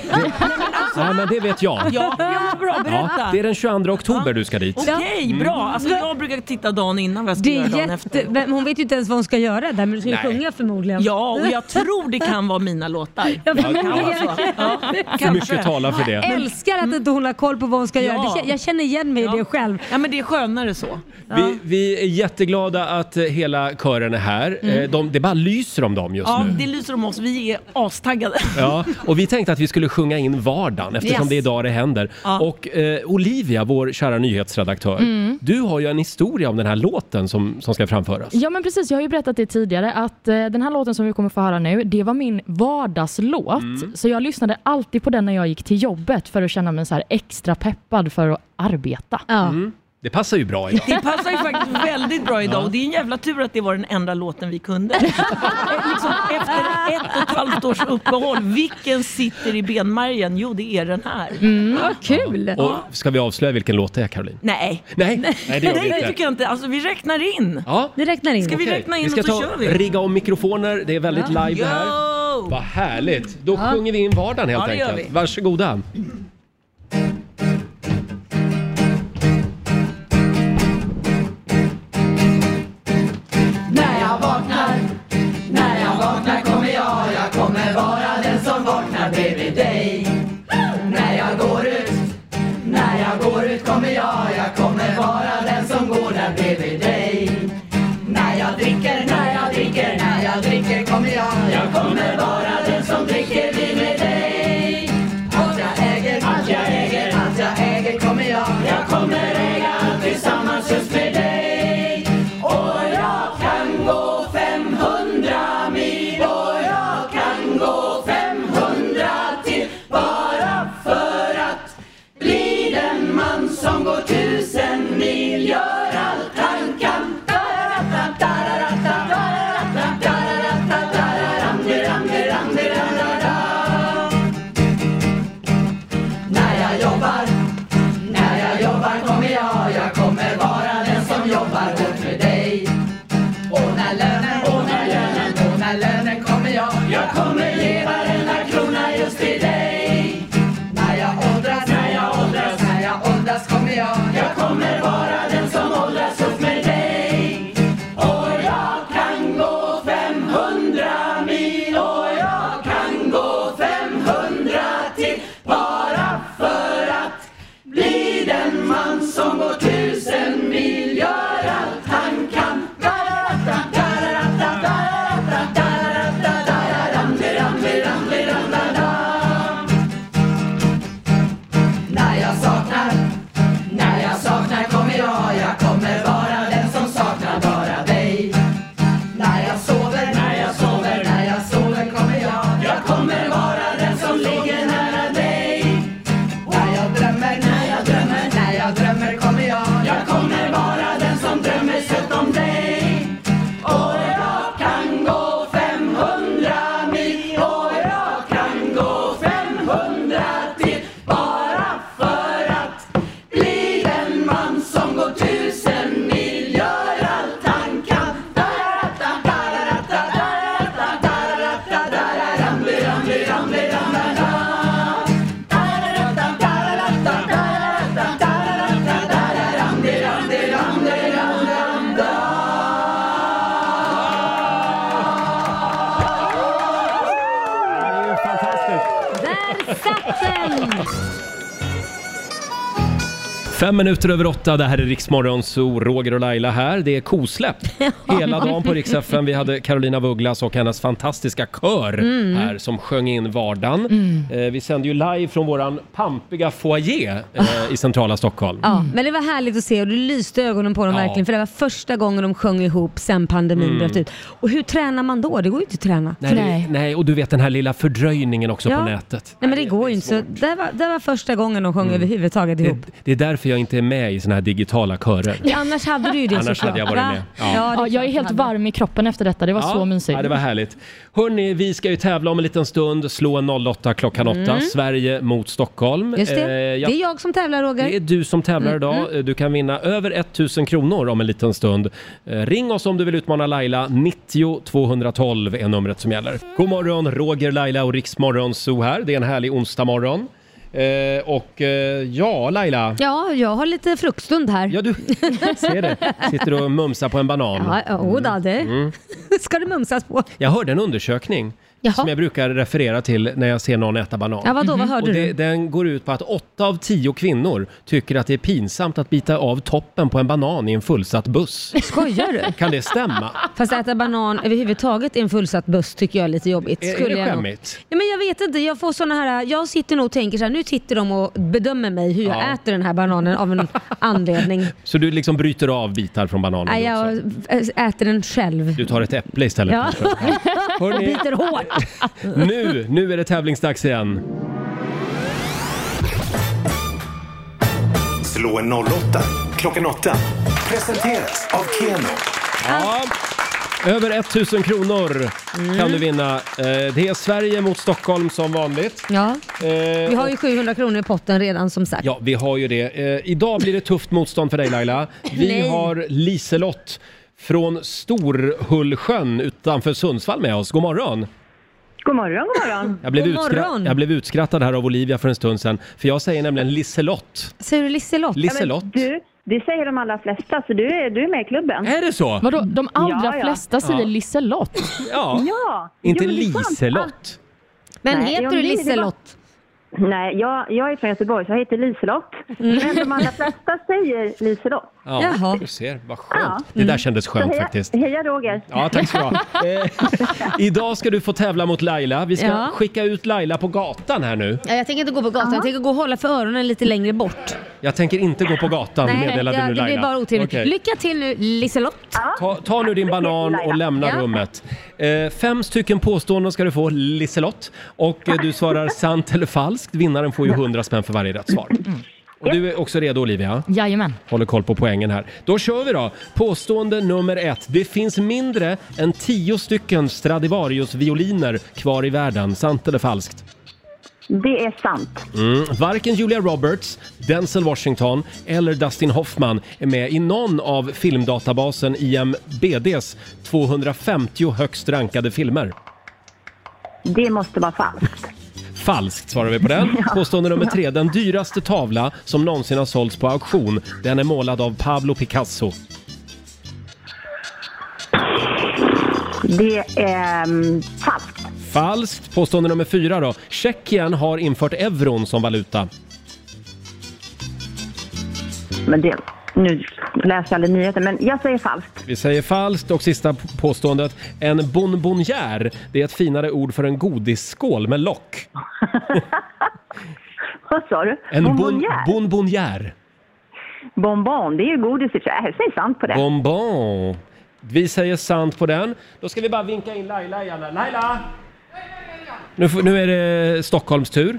[SPEAKER 1] Ja, men det vet jag.
[SPEAKER 9] Ja, ja, bra, berätta.
[SPEAKER 1] Ja, det är Mm. den 22 oktober du ska dit.
[SPEAKER 9] Okej, bra. Alltså, jag brukar titta dagen innan vad jag ska
[SPEAKER 2] Mm. Det
[SPEAKER 9] göra dagen
[SPEAKER 2] är
[SPEAKER 9] efter.
[SPEAKER 2] jätte... men Hon vet ju inte ens vad hon ska göra där men du ska ju
[SPEAKER 1] Nej.
[SPEAKER 2] sjunga förmodligen.
[SPEAKER 9] Ja, och jag tror det kan vara mina låtar.
[SPEAKER 2] Ja,
[SPEAKER 1] Ja,
[SPEAKER 2] förmodligen.
[SPEAKER 1] ja,
[SPEAKER 9] Ja,
[SPEAKER 1] För
[SPEAKER 9] kanske.
[SPEAKER 1] mycket talar för
[SPEAKER 2] Jag
[SPEAKER 1] det.
[SPEAKER 2] älskar att inte hon har koll på vad hon ska
[SPEAKER 9] Ja.
[SPEAKER 2] göra. Det- Jag känner igen mig i det själv.
[SPEAKER 9] Ja, men det är skönare så.
[SPEAKER 1] Vi, vi är jätteglada att eh, hela kören är här. Eh, De, det bara lyser om dem just
[SPEAKER 9] Mm. Ja,
[SPEAKER 1] nu.
[SPEAKER 9] det lyser om oss. Vi är astaggade.
[SPEAKER 1] Ja, och vi tänkte att vi skulle sjunga in vardagen eftersom
[SPEAKER 9] Yes.
[SPEAKER 1] det är idag det händer.
[SPEAKER 9] Ja. Mm.
[SPEAKER 1] Och eh, Olivia, vår kära nyhetsredaktör, du har ju en historia om den här låten som, som ska framföras.
[SPEAKER 3] Ja men precis, jag har ju berättat det tidigare att eh, den här låten som vi kommer få höra nu, det var min vardagslåt.
[SPEAKER 1] Mm.
[SPEAKER 3] Så jag lyssnade alltid på den när jag gick till jobbet för att känna mig så här extra peppad för att arbeta.
[SPEAKER 2] Ja.
[SPEAKER 1] Det passar ju bra idag.
[SPEAKER 9] Det passar ju faktiskt väldigt bra idag och det är en jävla tur att det var den enda låten
[SPEAKER 2] [LAUGHS]
[SPEAKER 9] vi kunde. liksom efter ett och ett halvt års uppehåll, vilken sitter i benmärgen? Jo, det är den här.
[SPEAKER 2] Vad kul!
[SPEAKER 1] Och ska vi avslöja vilken låt det är Caroline?
[SPEAKER 9] Nej.
[SPEAKER 1] Nej, nej det gör
[SPEAKER 9] Nej,
[SPEAKER 1] vi
[SPEAKER 9] det tycker
[SPEAKER 1] inte.
[SPEAKER 9] jag inte. Alltså, vi räknar in.
[SPEAKER 1] Ja.
[SPEAKER 2] Det räknar in.
[SPEAKER 9] Ska vi
[SPEAKER 1] okej.
[SPEAKER 9] räkna in
[SPEAKER 1] vi ska
[SPEAKER 9] och så
[SPEAKER 1] ta,
[SPEAKER 9] kör vi?
[SPEAKER 1] rigga om mikrofoner, det är väldigt live det här.
[SPEAKER 9] Yo!
[SPEAKER 1] Vad härligt! Då sjunger vi in vardagen helt
[SPEAKER 9] Ja, det gör
[SPEAKER 1] enkelt.
[SPEAKER 9] vi.
[SPEAKER 1] Varsågoda! Fem minuter över åtta, det här är Riksmorgon, så Roger och Laila här. Det är
[SPEAKER 2] [LAUGHS]
[SPEAKER 1] kosläpp hela dagen på Rix FM. Vi hade Carolina Vugglas och hennes fantastiska kör
[SPEAKER 7] Mm.
[SPEAKER 1] här som sjöng in vardagen.
[SPEAKER 2] Mm.
[SPEAKER 1] Eh, vi sände ju live från våran pampiga foyer eh, i centrala Stockholm.
[SPEAKER 2] Ah. Ja, men det var härligt att se och det lyste i ögonen på dem
[SPEAKER 1] Ja.
[SPEAKER 2] verkligen för det var första gången de sjöng ihop sen pandemin
[SPEAKER 1] Mm.
[SPEAKER 2] bröt ut. Och hur tränar man då? Det går ju inte att träna.
[SPEAKER 1] Nej, nej. nej, och du vet den här lilla fördröjningen också
[SPEAKER 2] Ja.
[SPEAKER 1] på nätet. Mm.
[SPEAKER 2] Nej men det går ju inte. Så det var, det var första gången de sjöng överhuvudtaget
[SPEAKER 1] Det,
[SPEAKER 2] ihop.
[SPEAKER 1] det är därför jag inte är med i såna här digitala körer.
[SPEAKER 2] Annars hade du ju det
[SPEAKER 1] Annars hade
[SPEAKER 2] såklart.
[SPEAKER 1] jag varit
[SPEAKER 2] Va?
[SPEAKER 1] med. Ja.
[SPEAKER 3] Ja,
[SPEAKER 2] Ja, det är
[SPEAKER 3] jag är
[SPEAKER 2] klart
[SPEAKER 3] helt
[SPEAKER 2] du hade.
[SPEAKER 3] varm i kroppen efter detta. Det var så mysigt.
[SPEAKER 1] Ja, det var härligt. Hörni, vi ska ju tävla om en liten stund. Slå en 08 klockan 8.
[SPEAKER 2] Mm.
[SPEAKER 1] Sverige mot Stockholm.
[SPEAKER 2] Just det.
[SPEAKER 1] Eh, ja,
[SPEAKER 2] Det är jag som tävlar Roger.
[SPEAKER 1] det är du som tävlar
[SPEAKER 2] Mm,
[SPEAKER 1] idag. Eh, Du kan vinna över 1000 kronor om en liten stund. Eh, Ring oss om du vill utmana Laila. 90 212 är numret som gäller. God morgon, Roger, Laila och Riksmorgon Zoo här. Det är en härlig onsdag morgon. Eh, och eh, ja, Laila.
[SPEAKER 2] Ja, jag har lite fruktstund här.
[SPEAKER 1] Ja, du [LAUGHS] ser det. Sitter du och mumsar på en banan?
[SPEAKER 2] Ja, ja, oh, då, det
[SPEAKER 1] Mm.
[SPEAKER 2] [LAUGHS] ska det mumsas på.
[SPEAKER 1] Jag hörde en undersökning
[SPEAKER 2] Jaha.
[SPEAKER 1] som jag brukar referera till när jag ser någon äta banan.
[SPEAKER 2] Ja, vadå? Vad hörde
[SPEAKER 1] och
[SPEAKER 2] du?
[SPEAKER 1] Den går ut på att åtta av tio kvinnor tycker att det är pinsamt att bita av toppen på en banan i en fullsatt buss.
[SPEAKER 2] Skojar
[SPEAKER 1] [LAUGHS]
[SPEAKER 2] du?
[SPEAKER 1] Kan det stämma?
[SPEAKER 2] [LAUGHS] Fast äta banan överhuvudtaget i en fullsatt buss tycker jag är lite jobbigt.
[SPEAKER 1] Är- är det
[SPEAKER 2] jag nog-
[SPEAKER 1] skämmigt?
[SPEAKER 2] Nej, men jag vet inte, jag får såna här, jag sitter nog och tänker så här, nu sitter de och bedömer mig hur jag
[SPEAKER 1] Ja.
[SPEAKER 2] äter den här bananen
[SPEAKER 1] [LAUGHS]
[SPEAKER 2] av en anledning.
[SPEAKER 1] Så du liksom bryter av bitar från bananen?
[SPEAKER 2] Nej,
[SPEAKER 1] då?
[SPEAKER 2] jag äter den själv.
[SPEAKER 1] Du tar ett äpple istället?
[SPEAKER 2] Ja. [LAUGHS]
[SPEAKER 1] kanske?
[SPEAKER 2] Och [LAUGHS]
[SPEAKER 1] Hörrni.
[SPEAKER 2] biter hårt.
[SPEAKER 1] Nu, nu är det tävlingsdags igen.
[SPEAKER 10] Slå en 08 klockan 8. Presenteras av Keno.
[SPEAKER 1] Ja. Över 1000 kronor kan
[SPEAKER 2] Mm.
[SPEAKER 1] du vinna. Eh, Det är Sverige mot Stockholm som vanligt.
[SPEAKER 2] Ja.
[SPEAKER 1] Eh,
[SPEAKER 2] Vi har ju 700 kronor i potten redan som sagt.
[SPEAKER 1] Ja, vi har ju det. Eh, idag blir det tufft motstånd för dig Laila. Vi
[SPEAKER 2] Nej.
[SPEAKER 1] har Liselott från Storhullsjön utanför Sundsvall med oss. God morgon!
[SPEAKER 8] God morgon, god morgon.
[SPEAKER 1] Jag blev,
[SPEAKER 2] God
[SPEAKER 1] utskra-
[SPEAKER 2] morgon.
[SPEAKER 1] jag blev utskrattad här av Olivia för en stund sedan, för jag säger nämligen Liselott.
[SPEAKER 2] Säger du Liselott?
[SPEAKER 1] Liselott.
[SPEAKER 8] Ja, men du, det säger de allra flesta, så du är, du är med i klubben.
[SPEAKER 1] Är det så?
[SPEAKER 3] Vadå, de allra
[SPEAKER 8] Ja, ja.
[SPEAKER 3] flesta säger
[SPEAKER 1] Ja.
[SPEAKER 3] Liselott?
[SPEAKER 1] Ja,
[SPEAKER 8] Ja.
[SPEAKER 1] inte
[SPEAKER 8] Jo, men det är sant.
[SPEAKER 1] Liselott.
[SPEAKER 2] Men
[SPEAKER 8] Nej,
[SPEAKER 2] heter
[SPEAKER 8] om
[SPEAKER 2] du
[SPEAKER 8] ni- det var-
[SPEAKER 2] Liselott?
[SPEAKER 8] Nej, jag, jag är från Göteborg så jag heter Liselott.
[SPEAKER 2] Mm.
[SPEAKER 8] Men de allra flesta säger Liselott.
[SPEAKER 1] Ja,
[SPEAKER 2] Jaha.
[SPEAKER 1] du ser. Vad
[SPEAKER 8] Ja.
[SPEAKER 1] skönt. Det där kändes
[SPEAKER 8] Så
[SPEAKER 1] skönt
[SPEAKER 8] heja,
[SPEAKER 1] faktiskt.
[SPEAKER 8] Heja Roger!
[SPEAKER 1] Ja, tack ska du ha. Eh, idag ska du få tävla mot Laila. Vi ska
[SPEAKER 2] Ja.
[SPEAKER 1] skicka ut Laila på gatan här nu.
[SPEAKER 2] Ja, jag tänker inte gå på gatan, jag tänker gå och hålla för öronen lite längre bort.
[SPEAKER 1] Jag tänker inte gå på gatan, meddelade
[SPEAKER 2] ja,
[SPEAKER 1] nu
[SPEAKER 2] det
[SPEAKER 1] Laila.
[SPEAKER 2] blir bara otrevligt.
[SPEAKER 1] Okej.
[SPEAKER 2] Lycka till nu Liselott.
[SPEAKER 1] Ta, ta nu din banan och lämna
[SPEAKER 2] Ja.
[SPEAKER 1] rummet. Eh, fem stycken påståenden ska du få, Liselott. Och eh, du svarar sant eller falskt. Vinnaren får ju 100 spänn för varje rätt svar. Och du är också redo Olivia?
[SPEAKER 3] Jajamän.
[SPEAKER 1] Håller koll på poängen här. Då kör vi då! Påstående nummer ett. Det finns mindre än tio stycken Stradivarius-violiner kvar i världen. Sant eller falskt?
[SPEAKER 8] Det är sant.
[SPEAKER 1] Mm. Varken Julia Roberts, Denzel Washington eller Dustin Hoffman är med i någon av filmdatabasen IMBDs 250 högst rankade filmer.
[SPEAKER 8] Det måste vara falskt.
[SPEAKER 1] Falskt svarar vi på den. Påstående nummer tre. Den dyraste tavla som någonsin har sålts på auktion. Den är målad av Pablo Picasso.
[SPEAKER 8] Det är mm, falskt.
[SPEAKER 1] Falskt. Påstående nummer fyra då. Tjeckien har infört euron som valuta.
[SPEAKER 8] Men det, nu läser jag aldrig nyheter, men jag säger falskt.
[SPEAKER 1] Vi säger falskt och sista p- påståendet. En bonbonnière, det är ett finare ord för en godisskål med lock.
[SPEAKER 8] Vad sa du?
[SPEAKER 1] En bon,
[SPEAKER 8] Bonbonnière?
[SPEAKER 1] bonbonnière.
[SPEAKER 8] Bonbon, det är ju godis i och för sig. Jag säger sant på det.
[SPEAKER 1] Bonbon. Vi säger sant på den. Då ska vi bara vinka in Laila igen. här. Laila! Nu, får- nu är det Stockholms tur.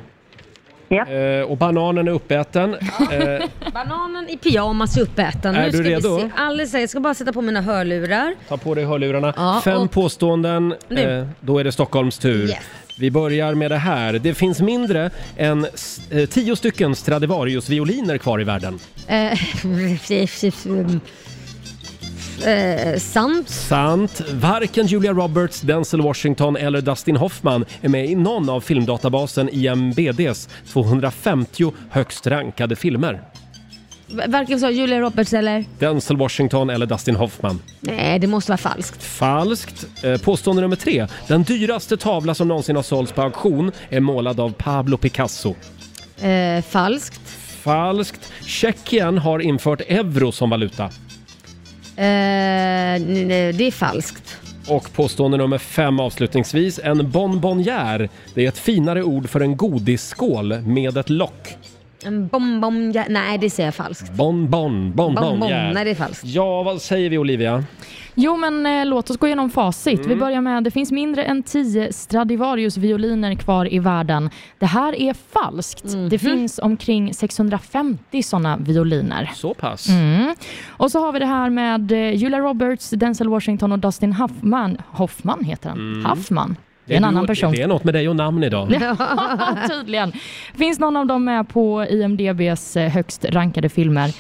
[SPEAKER 8] Ja.
[SPEAKER 1] Eh, och bananen är uppäten. Eh,
[SPEAKER 2] Bananen i pyjamas i uppätan.
[SPEAKER 1] Är
[SPEAKER 2] nu
[SPEAKER 1] du
[SPEAKER 2] ska
[SPEAKER 1] redo?
[SPEAKER 2] Vi se. Alldeles, jag ska bara sätta på mina hörlurar.
[SPEAKER 1] ta på dig hörlurarna.
[SPEAKER 2] Ja,
[SPEAKER 1] Fem
[SPEAKER 2] och-
[SPEAKER 1] påståenden.
[SPEAKER 2] Nu.
[SPEAKER 1] Eh, då är det Stockholms tur.
[SPEAKER 2] Yes.
[SPEAKER 1] Vi börjar med det här. Det finns mindre än s- eh, tio stycken Stradivarius-violiner kvar i världen.
[SPEAKER 2] Eh, [LAUGHS] f- f- f- mm. eh, sant.
[SPEAKER 1] Sant. Varken Julia Roberts, Denzel Washington eller Dustin Hoffman är med i någon av filmdatabasen IMBDs 250 högst rankade filmer.
[SPEAKER 2] Varken så Julia Roberts eller?
[SPEAKER 1] Denzel Washington eller Dustin Hoffman.
[SPEAKER 2] Nej, det måste vara falskt.
[SPEAKER 1] Falskt. Eh, Påstående nummer tre. Den dyraste tavla som någonsin har sålts på auktion är målad av Pablo Picasso.
[SPEAKER 2] Eh, falskt.
[SPEAKER 1] Falskt. Tjeckien har infört euro som valuta.
[SPEAKER 2] Eh, n- nej, det är falskt.
[SPEAKER 1] Och påstående nummer fem avslutningsvis. En bonbonnière, det är ett finare ord för en godisskål med ett lock.
[SPEAKER 2] En bom, bom, ja, nej, det säger jag falskt.
[SPEAKER 1] Bonbon,
[SPEAKER 2] Bonbon,
[SPEAKER 1] bonbonnière.
[SPEAKER 2] nej det är falskt.
[SPEAKER 1] Ja, vad säger vi Olivia?
[SPEAKER 3] Jo, men eh, låt oss gå igenom facit. Vi
[SPEAKER 1] Mm.
[SPEAKER 3] börjar med det finns mindre än 10 Stradivarius-violiner kvar i världen. Det här är falskt.
[SPEAKER 1] Mm.
[SPEAKER 3] Det finns omkring 650 sådana violiner.
[SPEAKER 1] Så pass.
[SPEAKER 3] Mm. Och så har vi det här med eh, Julia Roberts, Denzel Washington och Dustin Hoffman. Hoffman heter han.
[SPEAKER 1] Mm.
[SPEAKER 3] Hoffman. Det är en
[SPEAKER 1] du-
[SPEAKER 3] annan person.
[SPEAKER 1] Det är något med dig och namn idag.
[SPEAKER 3] Ja, Tydligen. Finns någon av dem med på IMDBs eh, högst rankade filmer?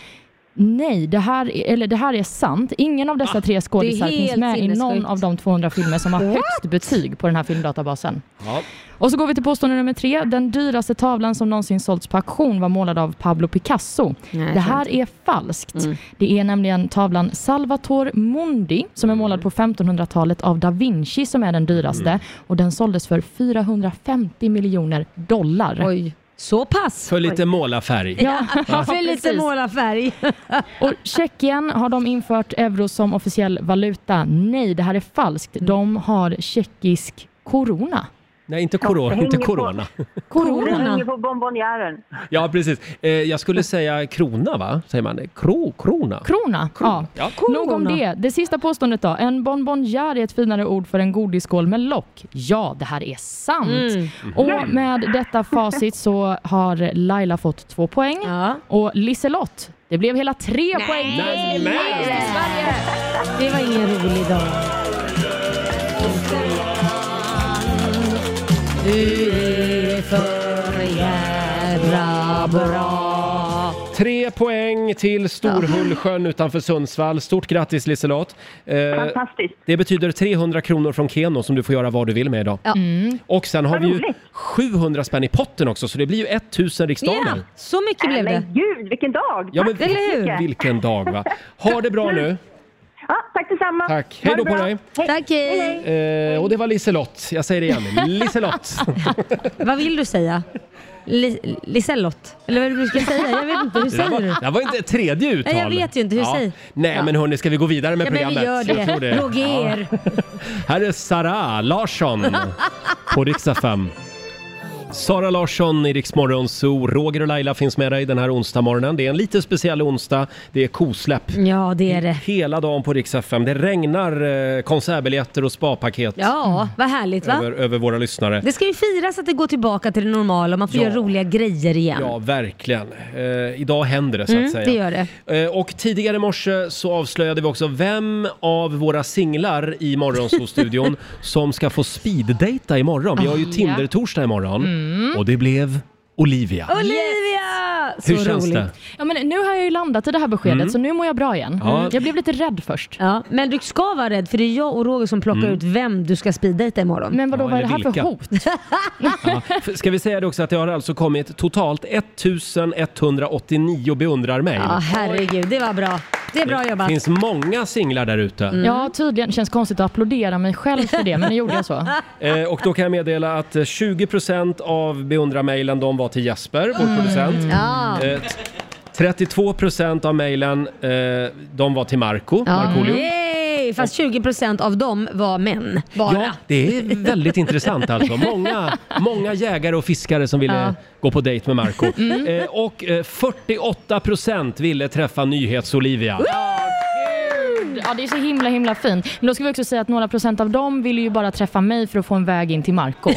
[SPEAKER 3] Nej, det här, är- eller det här är sant. Ingen av dessa tre skådisar
[SPEAKER 2] Ah, helt
[SPEAKER 3] finns med i någon
[SPEAKER 2] sinnessjukt.
[SPEAKER 3] av de 200 filmer som har
[SPEAKER 2] What?
[SPEAKER 3] högst betyg på den här filmdatabasen.
[SPEAKER 1] Ja.
[SPEAKER 3] Och så går vi till påstående nummer tre. Den dyraste tavlan som någonsin sålts på auktion var målad av Pablo Picasso.
[SPEAKER 2] Nej,
[SPEAKER 3] det här är falskt. Det är nämligen tavlan Salvator Mundi som är målad på 1500-talet av da Vinci som är den dyraste och den såldes för 450 miljoner dollar.
[SPEAKER 2] Oj, så pass?
[SPEAKER 1] För lite målarfärg.
[SPEAKER 3] Ja,
[SPEAKER 2] För lite
[SPEAKER 3] precis.
[SPEAKER 2] målarfärg.
[SPEAKER 3] Och Tjeckien, har de infört euro som officiell valuta? Nej, det här är falskt. De har tjeckisk corona.
[SPEAKER 1] Nej, inte corona. Inte
[SPEAKER 8] på.
[SPEAKER 1] corona. [LAUGHS]
[SPEAKER 8] Det
[SPEAKER 3] Corona.
[SPEAKER 8] hänger på bonbonjären.
[SPEAKER 1] Ja, precis. Eh, jag skulle säga krona, va? Säger man Kro, Krona?
[SPEAKER 3] Krona. Ja.
[SPEAKER 1] Ja.
[SPEAKER 3] Nog om det. Det sista påståendet då. En bonbonnière är ett finare ord för en godisskål med lock. Ja, det här är sant.
[SPEAKER 1] Mm.
[SPEAKER 3] Och med detta facit så har Laila fått två poäng.
[SPEAKER 2] Ja.
[SPEAKER 3] Och Liselott, det blev hela tre poäng.
[SPEAKER 1] Nej, men-
[SPEAKER 2] Det var ingen rolig dag. Du är för jävla bra.
[SPEAKER 1] Tre poäng till Storhullsjön utanför Sundsvall. Stort grattis Liselott! Eh,
[SPEAKER 8] Fantastiskt.
[SPEAKER 1] det betyder 300 kronor från Keno som du får göra vad du vill med idag.
[SPEAKER 2] Ja.
[SPEAKER 1] Och sen har
[SPEAKER 8] Vad
[SPEAKER 1] vi ju
[SPEAKER 8] roligt.
[SPEAKER 1] 700 spänn i potten också, så det blir ju 1000
[SPEAKER 2] Ja,
[SPEAKER 1] riksdaler.
[SPEAKER 2] så mycket blev
[SPEAKER 6] Äh,
[SPEAKER 2] det.
[SPEAKER 8] Men gud, vilken dag!
[SPEAKER 1] Ja, men
[SPEAKER 8] Tack så
[SPEAKER 2] eller hur?
[SPEAKER 8] mycket.
[SPEAKER 1] vilken dag va! Ha det bra nu!
[SPEAKER 8] Ja, tack detsamma.
[SPEAKER 1] Tack.
[SPEAKER 8] Ha
[SPEAKER 1] Hej då
[SPEAKER 8] det
[SPEAKER 1] på
[SPEAKER 8] bra.
[SPEAKER 1] dig.
[SPEAKER 2] Tack, hej.
[SPEAKER 1] Eh, och det var Liselott, jag säger det
[SPEAKER 2] [LAUGHS]
[SPEAKER 1] igen. Liselott!
[SPEAKER 2] Vad vill du säga? Li- Lisellot? Eller vad är det du ska säga? Jag vet inte. Hur
[SPEAKER 1] Det där var,
[SPEAKER 2] säger du?
[SPEAKER 1] det där var inte ett tredje uttal.
[SPEAKER 2] Nej, jag vet ju inte. Hur säger-
[SPEAKER 1] Nej,
[SPEAKER 2] Ja.
[SPEAKER 1] men hörni, ska vi gå vidare med
[SPEAKER 2] Ja, men
[SPEAKER 1] programmet?
[SPEAKER 2] vi gör
[SPEAKER 1] Jag tror
[SPEAKER 2] det. Roger.
[SPEAKER 1] Här är Sara Larsson på riksdag 5. Sara Larsson i Rix Morgon Zoo. Roger och Laila finns med dig den här onsdag Det är en lite speciell onsdag. Det är kosläpp
[SPEAKER 2] Ja, det är det.
[SPEAKER 1] hela dagen på Rix FM. Det regnar eh, konsertbiljetter och spapaket
[SPEAKER 2] Ja, vad härligt va?
[SPEAKER 1] Mm. över, över våra lyssnare.
[SPEAKER 2] Det ska ju firas att det går tillbaka till det normala och man får
[SPEAKER 1] Ja.
[SPEAKER 2] göra roliga grejer igen.
[SPEAKER 1] Ja, verkligen. Eh, idag händer det så
[SPEAKER 2] Mm,
[SPEAKER 1] att säga.
[SPEAKER 2] det gör det.
[SPEAKER 1] Eh, Och tidigare i morse så avslöjade vi också vem av våra singlar i
[SPEAKER 2] [LAUGHS]
[SPEAKER 1] Morgonzoo-studion som ska få speeddejta imorgon. Vi har ju
[SPEAKER 3] Ah, ja.
[SPEAKER 1] Tinder-torsdag imorgon
[SPEAKER 2] Mm.
[SPEAKER 1] och det blev Olivia.
[SPEAKER 2] Olivia! Så
[SPEAKER 1] Hur känns
[SPEAKER 2] roligt. [LAUGHS]
[SPEAKER 1] det?
[SPEAKER 3] Ja, men nu har jag ju landat i det här beskedet, så nu mår jag bra igen.
[SPEAKER 1] Mm. Ja.
[SPEAKER 3] Jag blev lite rädd först.
[SPEAKER 2] Ja, men du ska vara rädd för det är jag och Roger
[SPEAKER 1] Mm.
[SPEAKER 2] som plockar ut vem du ska speeddejta imorgon.
[SPEAKER 3] Men vadå,
[SPEAKER 1] Ja,
[SPEAKER 3] vad är det
[SPEAKER 1] eller
[SPEAKER 3] här
[SPEAKER 1] vilka?
[SPEAKER 3] för hot?
[SPEAKER 1] Ja. F- Ska vi säga det också att det har alltså kommit totalt 1189 beundrar mig.
[SPEAKER 2] Ja, herregud. Det var bra. Det är bra
[SPEAKER 1] Det
[SPEAKER 2] jobbat.
[SPEAKER 1] finns många singlar där ute.
[SPEAKER 2] Mm.
[SPEAKER 3] Ja, tydligen. Känns konstigt att applådera mig själv för det, men nu gjorde jag så.
[SPEAKER 1] Eh, och då kan jag meddela att eh, 20% av beundra-mejlen de var till Jesper, vår producent.
[SPEAKER 2] Ja.
[SPEAKER 1] Eh, t- 32% av mejlen eh, de var till Marco, Markoolio.
[SPEAKER 2] Yay! Fast 20% av dem var män. Bara.
[SPEAKER 1] Ja, det är väldigt intressant alltså. Många, många jägare och fiskare som ville gå på dejt med Marco. Eh, och eh, 48% ville träffa nyhets-Olivia.
[SPEAKER 3] Ja, det är så himla, himla fint. Men då ska vi också säga att några procent av dem ville ju bara träffa mig för att få en väg in till Marco.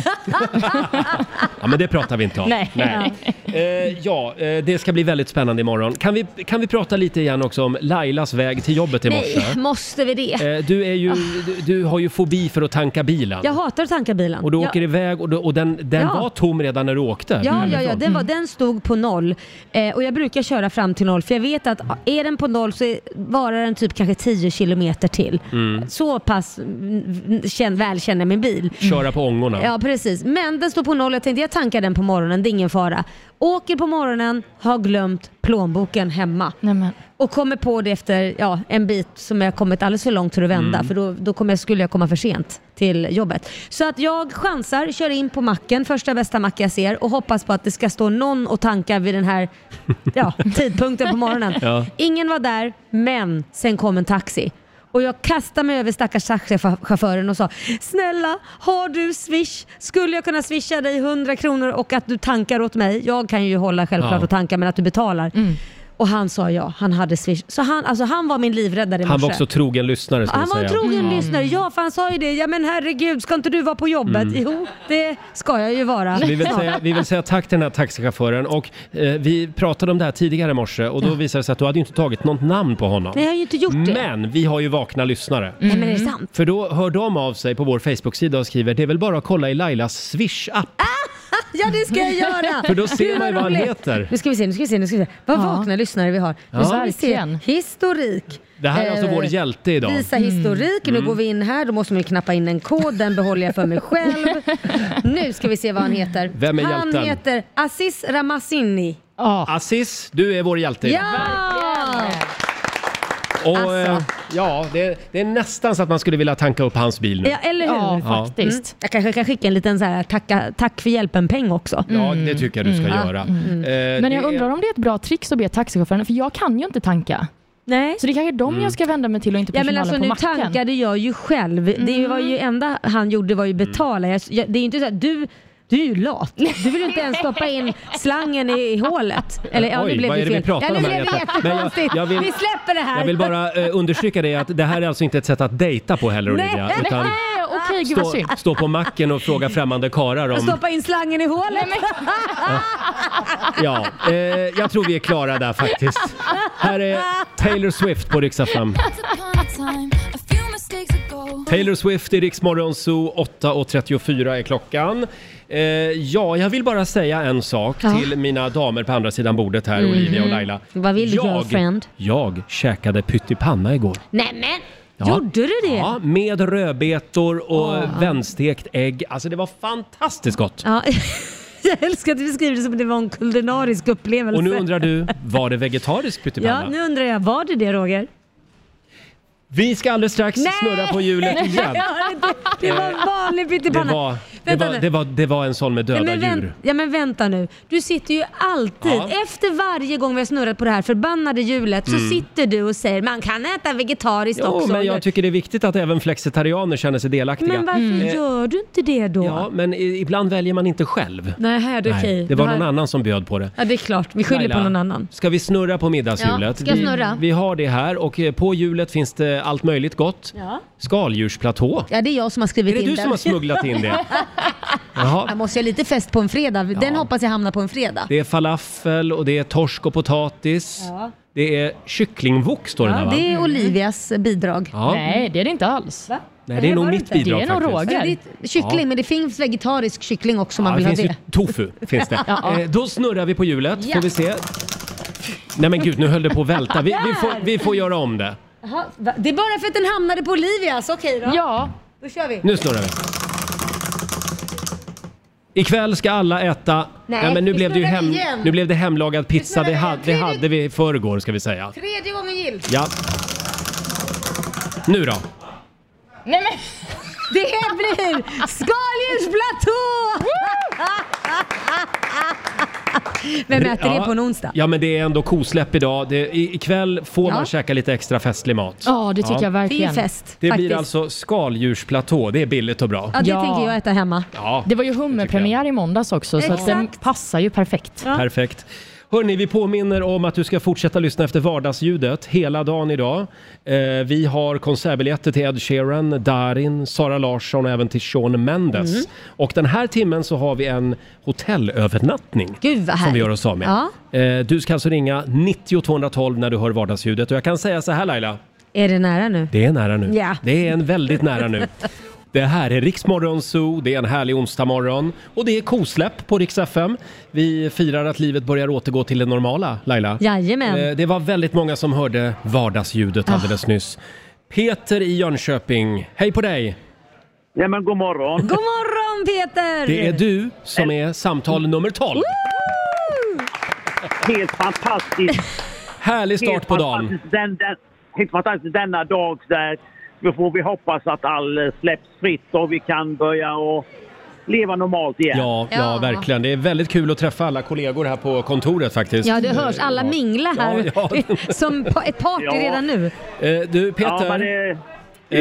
[SPEAKER 1] Ja, men det pratar vi inte om.
[SPEAKER 3] Nej.
[SPEAKER 1] Eh, ja, eh, det ska bli väldigt spännande imorgon. Kan vi, kan vi prata lite igen också om Lailas väg till jobbet i
[SPEAKER 2] [LAUGHS]
[SPEAKER 1] morse?
[SPEAKER 2] Nej, måste vi det?
[SPEAKER 1] Eh, Du, är ju, du, du har ju fobi för att tanka bilen.
[SPEAKER 2] Jag hatar att tanka bilen.
[SPEAKER 1] Och du
[SPEAKER 2] Jag-
[SPEAKER 1] åker iväg och, du, och den, den
[SPEAKER 2] Ja.
[SPEAKER 1] var tom redan när du åkte.
[SPEAKER 2] Ja, ja, ja
[SPEAKER 1] hemifrån.
[SPEAKER 2] den, var, den stod på noll. Eh, och jag brukar köra fram till noll för jag vet att ah, är den på noll så är- varar den typ kanske 10 kilometer till. Så pass mm, känn, väl känner jag min bil.
[SPEAKER 1] Köra på ångorna.
[SPEAKER 2] Ja precis, men den står på noll. Jag tänkte jag tankar den på morgonen, det är ingen fara. Åker på morgonen, har glömt plånboken hemma. Och kommer på det efter ja, en bit som jag kommit alldeles för långt till att vända
[SPEAKER 11] Mm.
[SPEAKER 2] för då, då kommer, skulle jag komma för sent till jobbet. Så att jag chansar, kör in på macken, första bästa mack jag ser och hoppas på att det ska stå någon och tanka vid den här ja, tidpunkten på morgonen.
[SPEAKER 7] Ja.
[SPEAKER 2] Ingen var där, men sen kom en taxi. Och jag kastade mig över stackars taxichauffören och sa Snälla, har du swish? Skulle jag kunna swisha dig 100 kronor och att du tankar åt mig? Jag kan ju hålla självklart
[SPEAKER 1] Ja.
[SPEAKER 2] och tanka men att du betalar. Och han sa ja, han hade swish. Så han, alltså, han var min livräddare i
[SPEAKER 1] Han var
[SPEAKER 2] morse.
[SPEAKER 1] också trogen lyssnare ska
[SPEAKER 2] Han
[SPEAKER 1] vi
[SPEAKER 2] var en
[SPEAKER 1] säga.
[SPEAKER 2] trogen lyssnare. Ja, för han sa ju det. Ja men herregud, ska inte du vara på jobbet?
[SPEAKER 1] Mm.
[SPEAKER 2] Jo, det ska jag ju vara.
[SPEAKER 1] Så vi, vill säga, vi vill säga tack till den här taxichauffören och eh, vi pratade om det här tidigare i morse och då visade det sig att du hade ju inte tagit något namn på honom.
[SPEAKER 2] Nej, jag har ju inte gjort det.
[SPEAKER 1] Men vi har ju vakna lyssnare.
[SPEAKER 2] Nej, men är det sant?
[SPEAKER 1] För då hör de av sig på vår Facebook-sida och skriver det är väl bara att kolla i Lailas Swish-app.
[SPEAKER 2] Ja det ska jag göra! [LAUGHS]
[SPEAKER 1] För då ser
[SPEAKER 2] Gud,
[SPEAKER 1] man ju vad han
[SPEAKER 2] roligt.
[SPEAKER 1] heter.
[SPEAKER 2] Nu ska vi se, nu ska vi se, nu ska vi se. Vad
[SPEAKER 1] Ja.
[SPEAKER 2] vakna lyssnare vi har. Nu
[SPEAKER 1] Ja.
[SPEAKER 2] ska vi se.
[SPEAKER 1] Verkligen.
[SPEAKER 2] Historik.
[SPEAKER 1] Det här är alltså
[SPEAKER 2] Eh,
[SPEAKER 1] vår hjälte idag.
[SPEAKER 2] Visa historik, nu
[SPEAKER 1] Mm.
[SPEAKER 2] går vi in här, då måste man ju knappa in en kod, den behåller jag för
[SPEAKER 1] [LAUGHS]
[SPEAKER 2] mig själv. Nu ska vi se vad han heter.
[SPEAKER 1] Vem är
[SPEAKER 2] han
[SPEAKER 1] hjälten?
[SPEAKER 2] heter Aziz Ramazzini.
[SPEAKER 1] Aziz, du är vår hjälte idag.
[SPEAKER 2] Ja!
[SPEAKER 1] Och,
[SPEAKER 2] Alltså.
[SPEAKER 1] eh, ja, det, det är nästan så att man skulle vilja tanka upp hans bil nu.
[SPEAKER 2] ja! Eller hur?
[SPEAKER 1] Ja, Ja. faktiskt.
[SPEAKER 2] Mm. Jag kanske kan skicka en liten så här, tacka, tack för hjälpen-peng också.
[SPEAKER 1] Ja, det tycker jag du ska
[SPEAKER 2] Mm.
[SPEAKER 1] göra.
[SPEAKER 2] Ja. Mm.
[SPEAKER 1] Eh,
[SPEAKER 3] Men jag
[SPEAKER 1] det är-
[SPEAKER 3] undrar om det är ett bra trick att be taxichauffören, för jag kan ju inte tanka.
[SPEAKER 2] Nej.
[SPEAKER 3] Så det är kanske är dem jag ska vända mig till och inte
[SPEAKER 2] Ja
[SPEAKER 3] personalen
[SPEAKER 2] men alltså
[SPEAKER 3] på
[SPEAKER 2] nu
[SPEAKER 3] macken.
[SPEAKER 2] tankade jag ju själv. Det var ju enda han gjorde var ju
[SPEAKER 1] Mm.
[SPEAKER 2] betala. Jag, jag- det är ju inte så att du du är ju lat. Du vill ju inte ens stoppa in slangen i, i hålet. Eller ja,
[SPEAKER 1] Oj,
[SPEAKER 2] nu blev
[SPEAKER 1] vad
[SPEAKER 2] det
[SPEAKER 1] är det vi
[SPEAKER 2] fel.
[SPEAKER 1] pratar
[SPEAKER 2] ja, nu
[SPEAKER 1] om här
[SPEAKER 2] blev det
[SPEAKER 1] egentligen? Men jag-
[SPEAKER 2] jättekonstigt.
[SPEAKER 1] jag vill-
[SPEAKER 2] vi släpper det här.
[SPEAKER 1] Jag vill bara eh, understryka det att det här är alltså inte ett sätt att dejta på heller
[SPEAKER 2] Nej.
[SPEAKER 1] Olivia. Utan
[SPEAKER 2] Nej,
[SPEAKER 3] okej gud vad
[SPEAKER 1] stå,
[SPEAKER 3] synd.
[SPEAKER 1] stå på macken och fråga främmande karar
[SPEAKER 2] Och
[SPEAKER 1] om...
[SPEAKER 2] stoppa in slangen i hålet.
[SPEAKER 1] Ja, eh, jag tror vi är klara där faktiskt. Här är Taylor Swift på riksdag fem. Taylor Swift i Rix Morgon Zoo, 8.34 är klockan. Eh, ja, jag vill bara säga en sak
[SPEAKER 2] Ja.
[SPEAKER 1] till mina damer på andra sidan bordet här,
[SPEAKER 2] Mhm.
[SPEAKER 1] Olivia och Laila.
[SPEAKER 2] Vad vill du, girlfriend?
[SPEAKER 1] Jag käkade pyttipanna igår.
[SPEAKER 2] Nej men,
[SPEAKER 1] Ja.
[SPEAKER 2] gjorde du det? Ah.
[SPEAKER 1] Ja, med rödbetor och vändstekt ägg. Alltså det var fantastiskt gott.
[SPEAKER 2] Ja. [LAUGHS] Jag älskar att du beskriver det som att det var en kulinarisk upplevelse.
[SPEAKER 1] Och nu undrar du, var det vegetarisk pyttipanna?
[SPEAKER 2] Ja, nu undrar jag, var det det Roger?
[SPEAKER 1] Vi ska alldeles strax
[SPEAKER 2] Nej!
[SPEAKER 1] snurra på hjulet
[SPEAKER 2] [LAUGHS]
[SPEAKER 1] igen.
[SPEAKER 2] Det var inte- Det var [LAUGHS] en vanlig
[SPEAKER 1] Det
[SPEAKER 2] pyttipanna.
[SPEAKER 1] var, det,
[SPEAKER 2] Vänta
[SPEAKER 1] var,
[SPEAKER 2] nu.
[SPEAKER 1] det, var, det var en sån med döda
[SPEAKER 2] ja, men vänt-
[SPEAKER 1] djur.
[SPEAKER 2] Ja men vänta nu. Du sitter ju alltid,
[SPEAKER 1] Ja.
[SPEAKER 2] efter varje gång vi har snurrat på det här förbannade hjulet
[SPEAKER 1] Mm.
[SPEAKER 2] så sitter du och säger man kan äta vegetariskt
[SPEAKER 1] Jo,
[SPEAKER 2] också.
[SPEAKER 1] men jag
[SPEAKER 2] eller-
[SPEAKER 1] tycker det är viktigt att även flexitarianer känner sig delaktiga.
[SPEAKER 2] men varför
[SPEAKER 1] Eh,
[SPEAKER 2] gör du inte det då?
[SPEAKER 1] Ja, men i- ibland väljer man inte själv.
[SPEAKER 2] Nej, här, det är okej.
[SPEAKER 1] det var
[SPEAKER 2] Det här-
[SPEAKER 1] någon annan som bjöd på det.
[SPEAKER 2] Ja det är klart, vi skyller på
[SPEAKER 1] Laila,
[SPEAKER 2] någon annan.
[SPEAKER 1] Ska vi snurra på
[SPEAKER 2] Ja,
[SPEAKER 1] middagshjulet?
[SPEAKER 2] ska jag snurra?
[SPEAKER 1] Vi, vi har det här och eh, på hjulet finns det allt möjligt gott.
[SPEAKER 2] Ja.
[SPEAKER 1] Skaldjursplatå.
[SPEAKER 2] ja det är jag som har skrivit
[SPEAKER 1] Är det
[SPEAKER 2] in
[SPEAKER 1] du
[SPEAKER 2] den.
[SPEAKER 1] som har smugglat in
[SPEAKER 2] [LAUGHS]
[SPEAKER 1] det? Jaha.
[SPEAKER 2] Jag måste ju ha lite fest på en fredag. Den hoppas jag hamnar på en fredag.
[SPEAKER 1] Det är falafel och det är torsk och potatis.
[SPEAKER 2] Ja.
[SPEAKER 1] Det är kycklingwok står det där
[SPEAKER 2] Ja,
[SPEAKER 1] va? Mm.
[SPEAKER 2] det är Olivias bidrag.
[SPEAKER 1] Ja. Nej,
[SPEAKER 3] det är det inte alls.
[SPEAKER 1] Nej, det är nog mitt bidrag faktiskt.
[SPEAKER 2] Ja, det är kyckling,
[SPEAKER 1] Ja.
[SPEAKER 2] men det finns vegetarisk kyckling också om man
[SPEAKER 1] Ja,
[SPEAKER 2] vill
[SPEAKER 1] det
[SPEAKER 2] ha
[SPEAKER 1] finns
[SPEAKER 2] det.
[SPEAKER 1] ju tofu.
[SPEAKER 2] [LAUGHS]
[SPEAKER 1] Finns det.
[SPEAKER 2] Ja.
[SPEAKER 1] eh, då snurrar vi på hjulet,
[SPEAKER 2] Ja.
[SPEAKER 1] får vi se. Nej men gud, nu höll det på att välta. Vi, vi, får, vi får göra om det.
[SPEAKER 2] Jaha, va? det är bara för att den hamnade på Olivias, okej då.
[SPEAKER 3] Ja.
[SPEAKER 2] Då kör vi.
[SPEAKER 1] Nu snurrar vi. Ikväll ska alla äta...
[SPEAKER 2] Nej,
[SPEAKER 1] men nu
[SPEAKER 2] vi
[SPEAKER 1] blev, det ju
[SPEAKER 2] snurrar
[SPEAKER 1] hem,
[SPEAKER 2] igen.
[SPEAKER 1] nu blev det hemlagad pizza. Det,
[SPEAKER 2] snurrar
[SPEAKER 1] ha,
[SPEAKER 2] igen.
[SPEAKER 1] det
[SPEAKER 2] Tredje-
[SPEAKER 1] hade vi i förrgår ska vi säga.
[SPEAKER 2] Tredje gången gill.
[SPEAKER 1] Ja. Nu då?
[SPEAKER 3] Nej men!
[SPEAKER 2] Det blir skaldjursplatå! Vem äter det på en onsdag?
[SPEAKER 1] Ja men det är ändå kosläpp idag. Det, i, ikväll får
[SPEAKER 2] Ja.
[SPEAKER 1] man käka lite extra festlig mat.
[SPEAKER 2] Ja, det tycker jag verkligen. Det är ju fest,
[SPEAKER 1] Det blir
[SPEAKER 2] faktiskt.
[SPEAKER 1] alltså skaldjursplatå. Det är billigt och bra.
[SPEAKER 2] Ja, det tänker jag äta hemma.
[SPEAKER 1] Ja,
[SPEAKER 3] Det var ju hummerpremiär i måndags också så att den passar ju perfekt.
[SPEAKER 1] perfekt. Hörni, vi påminner om att du ska fortsätta lyssna efter vardagsljudet hela dagen idag. Eh, vi har konsertbiljetter till Ed Sheeran, Darin, Sara Larsson och även till Shawn Mendes.
[SPEAKER 2] Mm.
[SPEAKER 1] Och den här timmen så har vi en hotellövernattning.
[SPEAKER 2] Gud vad
[SPEAKER 1] som vi
[SPEAKER 2] härligt.
[SPEAKER 1] gör oss av med.
[SPEAKER 2] Ja.
[SPEAKER 1] Eh, Du ska alltså ringa 90 212 när du hör vardagsljudet. Och jag kan säga så här Laila,
[SPEAKER 2] Är det nära nu?
[SPEAKER 1] det är nära nu.
[SPEAKER 2] Ja.
[SPEAKER 1] Det är en väldigt nära
[SPEAKER 2] [LAUGHS]
[SPEAKER 1] nu. Det här är Riksmorgon Zoo, det är en härlig onsdagmorgon och det är kosläpp på Rix FM. Vi firar att livet börjar återgå till det normala, Laila.
[SPEAKER 2] Jajamän. Ah.
[SPEAKER 1] Eh, Det var väldigt många som hörde vardagsljudet alldeles nyss. Peter i Jönköping, hej på dig!
[SPEAKER 12] Ja, men god morgon!
[SPEAKER 2] God morgon Peter!
[SPEAKER 1] Det är du som är samtal nummer 12.
[SPEAKER 11] helt fantastisk.
[SPEAKER 1] Härlig start på dagen.
[SPEAKER 11] fantastisk Den, den, helt fantastisk denna dag. Där vi får vi hoppas att all eh, släpps fritt och vi kan börja och leva normalt igen.
[SPEAKER 1] Ja, ja, verkligen. Det är väldigt kul att träffa alla kollegor här på kontoret faktiskt.
[SPEAKER 2] Ja, det hörs. Alla mingla här.
[SPEAKER 1] Ja, ja.
[SPEAKER 2] Som pa- ett party
[SPEAKER 1] Ja.
[SPEAKER 2] redan nu.
[SPEAKER 1] Eh, Du Peter,
[SPEAKER 2] Ja, men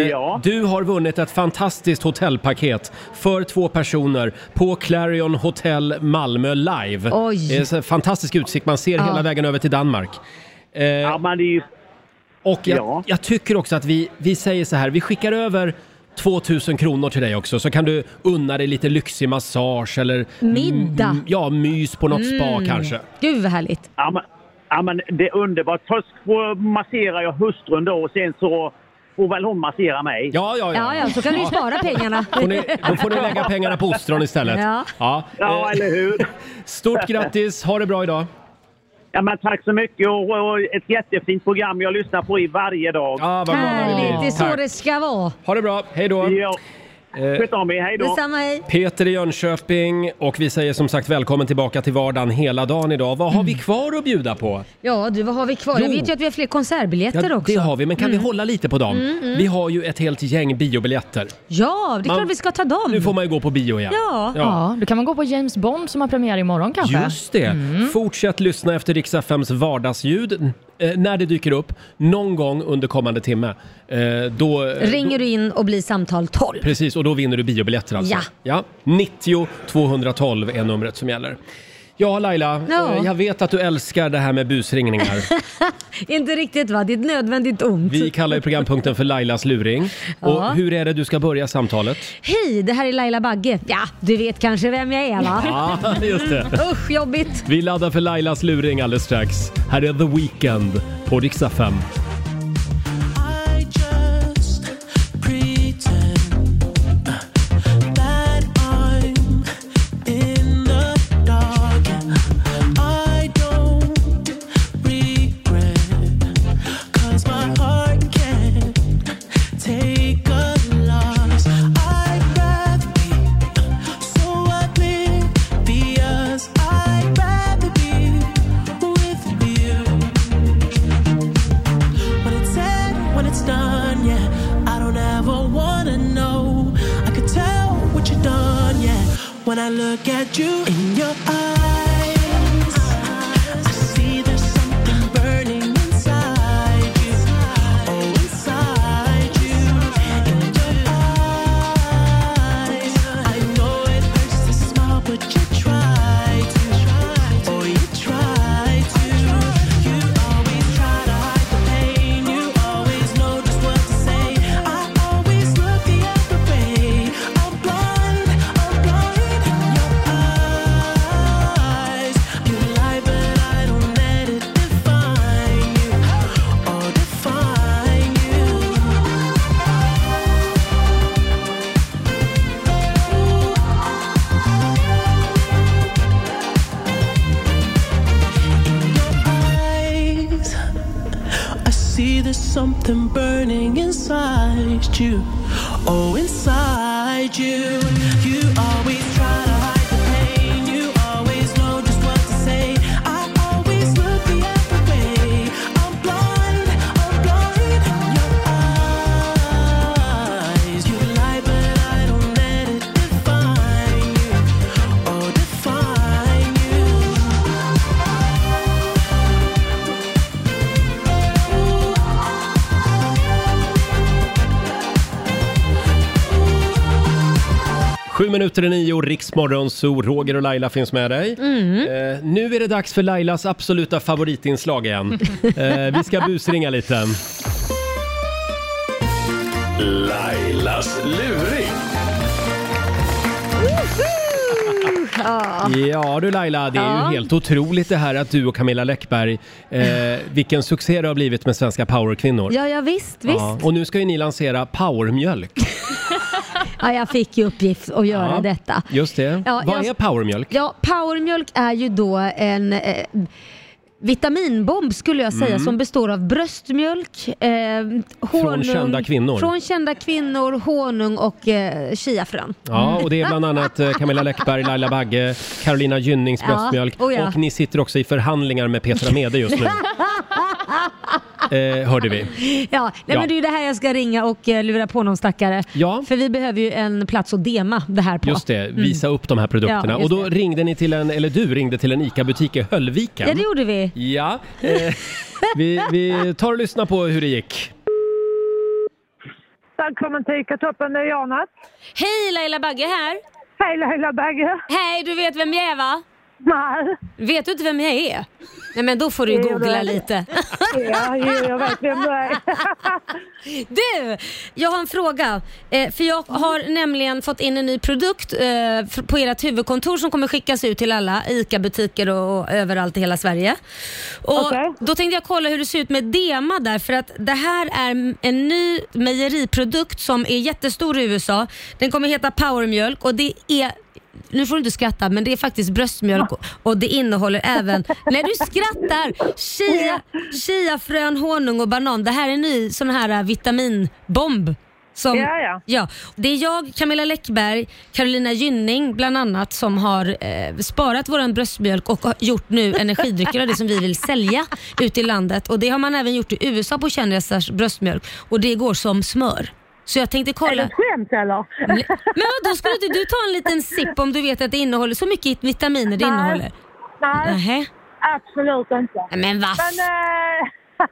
[SPEAKER 1] eh, du har vunnit ett fantastiskt hotellpaket för två personer på Clarion Hotel Malmö live.
[SPEAKER 11] Oj.
[SPEAKER 1] Det är så fantastisk utsikt, man ser
[SPEAKER 11] Ja.
[SPEAKER 1] hela vägen över till Danmark. Ja,
[SPEAKER 11] men det är ju...
[SPEAKER 1] Och jag,
[SPEAKER 11] Ja.
[SPEAKER 1] jag tycker också att vi, vi säger så här, vi skickar över 2000 kronor till dig också så kan du unna dig lite lyxig massage eller
[SPEAKER 2] Middag.
[SPEAKER 1] Mm, ja, mys på något spa
[SPEAKER 2] Mm.
[SPEAKER 1] kanske.
[SPEAKER 2] Gud vad härligt.
[SPEAKER 11] Ja, men, ja, men det är underbart. Först får- masserar jag hustrun då och sen så får väl hon massera mig.
[SPEAKER 1] Ja, ja,
[SPEAKER 2] Ja, ja, så kan du ju spara pengarna.
[SPEAKER 1] [LAUGHS] Får ni, då får ni lägga pengarna på ostron istället.
[SPEAKER 2] Ja.
[SPEAKER 1] eh.
[SPEAKER 11] Ja, eller hur?
[SPEAKER 1] Stort grattis, ha det bra idag.
[SPEAKER 11] Ja, men tack så mycket och, och ett jättefint program jag lyssnar på i varje dag.
[SPEAKER 1] Ja, vad glada vi blir.
[SPEAKER 2] Härligt, det är så
[SPEAKER 1] Tack.
[SPEAKER 2] det ska vara.
[SPEAKER 1] Ha det bra, hej då.
[SPEAKER 11] Ja.
[SPEAKER 1] Eh.
[SPEAKER 11] Sköt om er, hej
[SPEAKER 2] Detsamma, hej.
[SPEAKER 1] Peter i Jönköping och vi säger som sagt välkommen tillbaka till vardagen hela dagen idag. Vad har vi
[SPEAKER 2] Mm.
[SPEAKER 1] kvar att bjuda på?
[SPEAKER 2] Ja du, vad har vi kvar? Jag
[SPEAKER 1] Jo.
[SPEAKER 2] vet ju att vi har fler konsertbiljetter
[SPEAKER 1] Ja,
[SPEAKER 2] också.
[SPEAKER 1] det har vi, men kan
[SPEAKER 2] Mm.
[SPEAKER 1] vi hålla lite på dem?
[SPEAKER 2] Mm, mm.
[SPEAKER 1] Vi har ju ett helt gäng biobiljetter.
[SPEAKER 2] Ja, det är
[SPEAKER 1] Man-
[SPEAKER 2] klart vi ska ta dem.
[SPEAKER 1] Nu får man ju gå på bio igen.
[SPEAKER 3] Ja. ja, då kan man gå på James Bond som har premiär imorgon kanske.
[SPEAKER 1] Just det.
[SPEAKER 2] Mm.
[SPEAKER 1] Fortsätt lyssna efter Rix FMs vardagsljud eh, när det dyker upp någon gång under kommande timme. Eh, då,
[SPEAKER 2] Ringer du in och blir samtal 12.
[SPEAKER 1] Precis, och då vinner du biobiljetter alltså.
[SPEAKER 2] Ja.
[SPEAKER 1] 90 212 är numret som gäller. Ja, Laila,
[SPEAKER 2] Ja.
[SPEAKER 1] eh, jag vet att du älskar det här med busringningar.
[SPEAKER 2] Inte riktigt va? Det är ett nödvändigt ont.
[SPEAKER 1] Vi kallar ju programpunkten för Lailas luring.
[SPEAKER 2] Ja.
[SPEAKER 1] Och hur är det du ska börja samtalet?
[SPEAKER 2] Hej, det här är Laila Bagge. Ja, du vet kanske vem jag är va?
[SPEAKER 1] Ja, just det.
[SPEAKER 2] Usch, jobbigt.
[SPEAKER 1] Vi laddar för Lailas luring alldeles strax. Här är The Weeknd på Riksdag 5.
[SPEAKER 4] I just pretend that I'm in the dark. I don't regret, 'cause my heart can't take a loss. I'd rather be so oblivious. I'd rather be with you. When it's said, when it's done, yeah. I don't ever wanna know. I could tell what you've done, yeah. When I look at you in your eyes, I see there's something burning inside you. Oh, inside you. In your eyes, I know it hurts to smile, but you try to. Oh, you try to. You always try to hide the pain. You always know just what to say. I always look the other way. I'm blind, I'm blind in your eyes. You lie, but I don't let it define you or define you. eyes, I see there's something burning inside you. Oh, inside you. You always try to hide the pain. You always know just what to say. I always look the other way. I'm blind, I'm blind in your eyes. You lie, but I don't let it define you. Oh, define you.
[SPEAKER 1] Sju minuter i nio, Riksmorgon, så Roger och Laila finns med dig.
[SPEAKER 2] Mm.
[SPEAKER 1] Eh, nu är det dags för Lailas absoluta favoritinslag
[SPEAKER 2] [LAUGHS]
[SPEAKER 1] igen. eh, vi ska busringa lite.
[SPEAKER 5] Lailas luring.
[SPEAKER 2] Ja.
[SPEAKER 1] Ja du Laila, det är
[SPEAKER 2] Ja.
[SPEAKER 1] ju helt otroligt det här att du och Camilla Läckberg,
[SPEAKER 2] [LAUGHS]
[SPEAKER 1] eh, vilken succé det har blivit med svenska powerkvinnor.
[SPEAKER 2] Ja, ja visst, visst.
[SPEAKER 1] Ja,
[SPEAKER 2] Ja.
[SPEAKER 1] och nu ska ju ni lansera powermjölk.
[SPEAKER 2] jag fick ju uppgift att göra
[SPEAKER 1] Ja.
[SPEAKER 2] detta.
[SPEAKER 1] Just det.
[SPEAKER 2] Ja,
[SPEAKER 1] Vad
[SPEAKER 2] jag-
[SPEAKER 1] är powermjölk?
[SPEAKER 2] Ja, powermjölk är ju då en eh,
[SPEAKER 4] vitaminbomb skulle jag säga
[SPEAKER 1] Mm.
[SPEAKER 4] som består av bröstmjölk, eh, honung,
[SPEAKER 1] kända kvinnor.
[SPEAKER 4] från kända kvinnor, honung och eh, chiafrön.
[SPEAKER 1] Ja, och det är bland annat eh, Camilla Läckberg, Laila Bagge, Carolina Gynnings
[SPEAKER 4] Ja,
[SPEAKER 1] bröstmjölk
[SPEAKER 4] oh ja.
[SPEAKER 1] och ni sitter också i förhandlingar med Petra Mede just nu,
[SPEAKER 4] [LAUGHS]
[SPEAKER 1] eh, hörde vi.
[SPEAKER 4] [LAUGHS] Ja, nej,
[SPEAKER 1] Ja.
[SPEAKER 4] Men det är ju det här jag ska ringa och eh, lura på någon stackare.
[SPEAKER 1] Ja.
[SPEAKER 4] För vi behöver ju en plats att dema det här på.
[SPEAKER 1] Just det,
[SPEAKER 4] Mm.
[SPEAKER 1] visa upp de här produkterna.
[SPEAKER 4] Ja,
[SPEAKER 1] och
[SPEAKER 4] just
[SPEAKER 1] då ringde ni till en, eller du ringde till en ICA-butik i Höllviken.
[SPEAKER 4] Ja, det gjorde vi.
[SPEAKER 1] Ja, eh, vi, vi tar och lyssnar på hur det gick.
[SPEAKER 6] Välkommen till ICA-toppen, det är Jana.
[SPEAKER 2] Hej Laila Bagge här.
[SPEAKER 6] Hej Laila Bagge.
[SPEAKER 2] Hej, du vet vem jag är va?
[SPEAKER 6] Nej.
[SPEAKER 2] Vet du inte vem jag är? Nej men då får du
[SPEAKER 6] Jo, det
[SPEAKER 2] googla
[SPEAKER 6] vet jag.
[SPEAKER 2] lite.
[SPEAKER 6] [LAUGHS] Ja, jo, jag vet vem du är.
[SPEAKER 2] [LAUGHS] Du, jag har en fråga. Eh, för jag har nämligen fått in en ny produkt eh, f- på ert huvudkontor som kommer skickas ut till alla ICA-butiker och, och överallt i hela Sverige. Och Då tänkte jag kolla hur det ser ut med DEMA där för att det här är en ny mejeriprodukt som är jättestor i USA. Den kommer heta powermjölk och det är nu får du inte skratta, men det är faktiskt bröstmjölk och- och det innehåller även... Nej, du skrattar! Chia, chiafrön, honung och banan. Det här är en ny sån här äh, vitaminbomb. Som,
[SPEAKER 6] Ja, ja.
[SPEAKER 2] Det är jag, Camilla Läckberg, Carolina Gynning bland annat som har eh, sparat våran bröstmjölk och har gjort nu energidrycker av det som vi vill sälja ute i landet. Och Det har man även gjort i USA på kändisars bröstmjölk och det går som smör. Så jag tänkte kolla...
[SPEAKER 6] Är det ett skämt eller?
[SPEAKER 2] Men då skulle inte du ta en liten sipp om du vet att det innehåller så mycket vitaminer det
[SPEAKER 6] Nej.
[SPEAKER 2] innehåller?
[SPEAKER 6] Nej,
[SPEAKER 2] Nähä.
[SPEAKER 6] absolut inte.
[SPEAKER 2] Men vad?
[SPEAKER 6] Men, eh, [LAUGHS]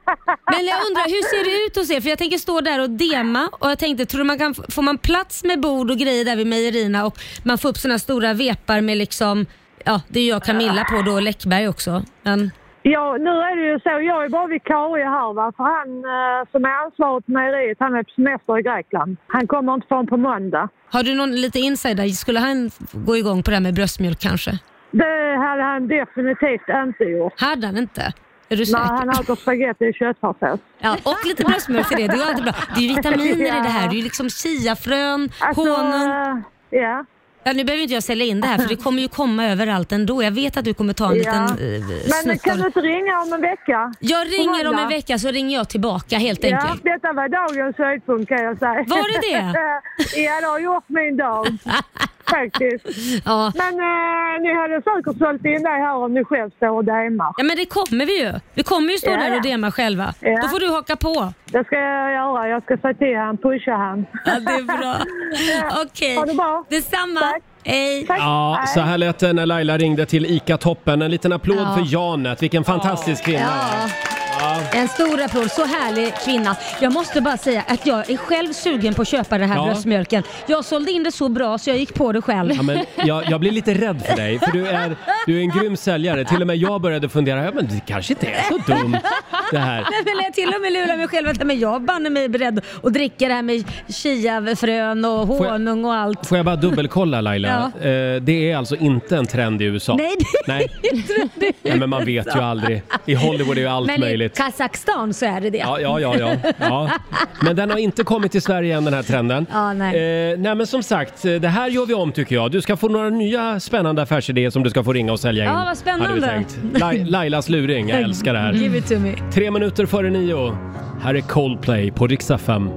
[SPEAKER 2] Men jag undrar, hur ser det ut hos er? För jag tänker stå där och dema och jag tänkte, tror du man kan, får man plats med bord och grejer där vid mejerierna och man får upp såna stora vepar med liksom, ja det är ju jag och Camilla på då och Läckberg också. Men,
[SPEAKER 6] ja, nu är det ju så, jag är bara vikarie här va, för han eh, som är ansvarig på mejeriet, han är på semester i Grekland. Han kommer inte förrän på måndag.
[SPEAKER 2] har du någon lite insider? Skulle han gå igång på det här med bröstmjölk kanske?
[SPEAKER 6] Det hade han definitivt inte gjort.
[SPEAKER 2] Hade han inte? Är du
[SPEAKER 6] Nej,
[SPEAKER 2] säker?
[SPEAKER 6] han äter spagetti och köttfärssås.
[SPEAKER 2] Ja, och lite bröstmjölk till det. Det är ju alltid bra. Det är ju vitaminer i
[SPEAKER 6] [LAUGHS]
[SPEAKER 2] det här. Det är ju liksom chiafrön,
[SPEAKER 6] Alltså-
[SPEAKER 2] honung.
[SPEAKER 6] eh, Ja.
[SPEAKER 2] Ja, nu behöver inte jag sälja in det här för det kommer ju komma överallt ändå. Jag vet att du kommer ta en
[SPEAKER 6] Ja.
[SPEAKER 2] liten eh,
[SPEAKER 6] Men
[SPEAKER 2] snutt
[SPEAKER 6] kan
[SPEAKER 2] av
[SPEAKER 6] du
[SPEAKER 2] det.
[SPEAKER 6] inte ringa om en vecka?
[SPEAKER 2] Jag ringer om en
[SPEAKER 6] Måndag?
[SPEAKER 2] vecka så ringer jag tillbaka helt
[SPEAKER 6] Ja,
[SPEAKER 2] enkelt.
[SPEAKER 6] detta var dagens höjdpunkt kan jag säga.
[SPEAKER 2] Var det det?
[SPEAKER 6] [LAUGHS] ja, det har gjort min
[SPEAKER 2] [LAUGHS]
[SPEAKER 6] dag. Faktiskt.
[SPEAKER 2] Ja.
[SPEAKER 6] Men eh, ni hade säkert sålt in dig här om ni själv står och demar.
[SPEAKER 2] Ja men det kommer vi ju. Vi kommer ju stå
[SPEAKER 6] Ja,
[SPEAKER 2] där
[SPEAKER 6] ja.
[SPEAKER 2] och dema själva.
[SPEAKER 6] Ja.
[SPEAKER 2] Då får du haka på.
[SPEAKER 6] Det ska jag göra. Jag ska säga till han, pusha han.
[SPEAKER 2] Ja, det
[SPEAKER 6] [LAUGHS]
[SPEAKER 2] är bra. Okej.
[SPEAKER 6] Ha det bra.
[SPEAKER 2] Detsamma. Hej.
[SPEAKER 1] Ja, så här lät det när Laila ringde till ICA-toppen. En liten applåd
[SPEAKER 4] Ja.
[SPEAKER 1] för Janet, vilken fantastisk kvinna.
[SPEAKER 4] Ja. En stor applåd, så härlig kvinna. Jag måste bara säga att jag är själv sugen på att köpa den här
[SPEAKER 1] Ja.
[SPEAKER 4] bröstmjölken. Jag sålde in det så bra så jag gick på det själv. [LAUGHS]
[SPEAKER 1] Ja, men jag, jag blir lite rädd för dig, för du är, du är en grym säljare. Till och med jag började fundera, ja, men det kanske inte är så dumt det här.
[SPEAKER 4] Nej, men jag till och med lurar mig själv att nej, men jag banne mig beredd att dricka det här med chiafrön och
[SPEAKER 1] Får jag-
[SPEAKER 4] honung och allt.
[SPEAKER 1] Får jag bara dubbelkolla Laila?
[SPEAKER 4] Ja.
[SPEAKER 1] Eh, det är alltså inte en trend i USA?
[SPEAKER 4] Nej, det
[SPEAKER 1] Nej. Nej, men man vet ju aldrig. I Hollywood är ju allt
[SPEAKER 4] men
[SPEAKER 1] möjligt.
[SPEAKER 4] i Kazakstan så är det det.
[SPEAKER 1] Ja, ja, ja, ja, ja. Men den har inte kommit till Sverige än den här trenden.
[SPEAKER 4] Ja, nej.
[SPEAKER 1] Eh, nej men som sagt, eh, det här gör vi om tycker jag. Du ska få några nya spännande affärsidéer som du ska få ringa och sälja in.
[SPEAKER 4] Ja, vad spännande.
[SPEAKER 1] hade vi tänkt. Lai- Lailas luring,
[SPEAKER 4] [LAUGHS]
[SPEAKER 1] jag älskar det här.
[SPEAKER 4] Give it to me.
[SPEAKER 1] Tre minuter före nio. Här är Coldplay på riksdag 5.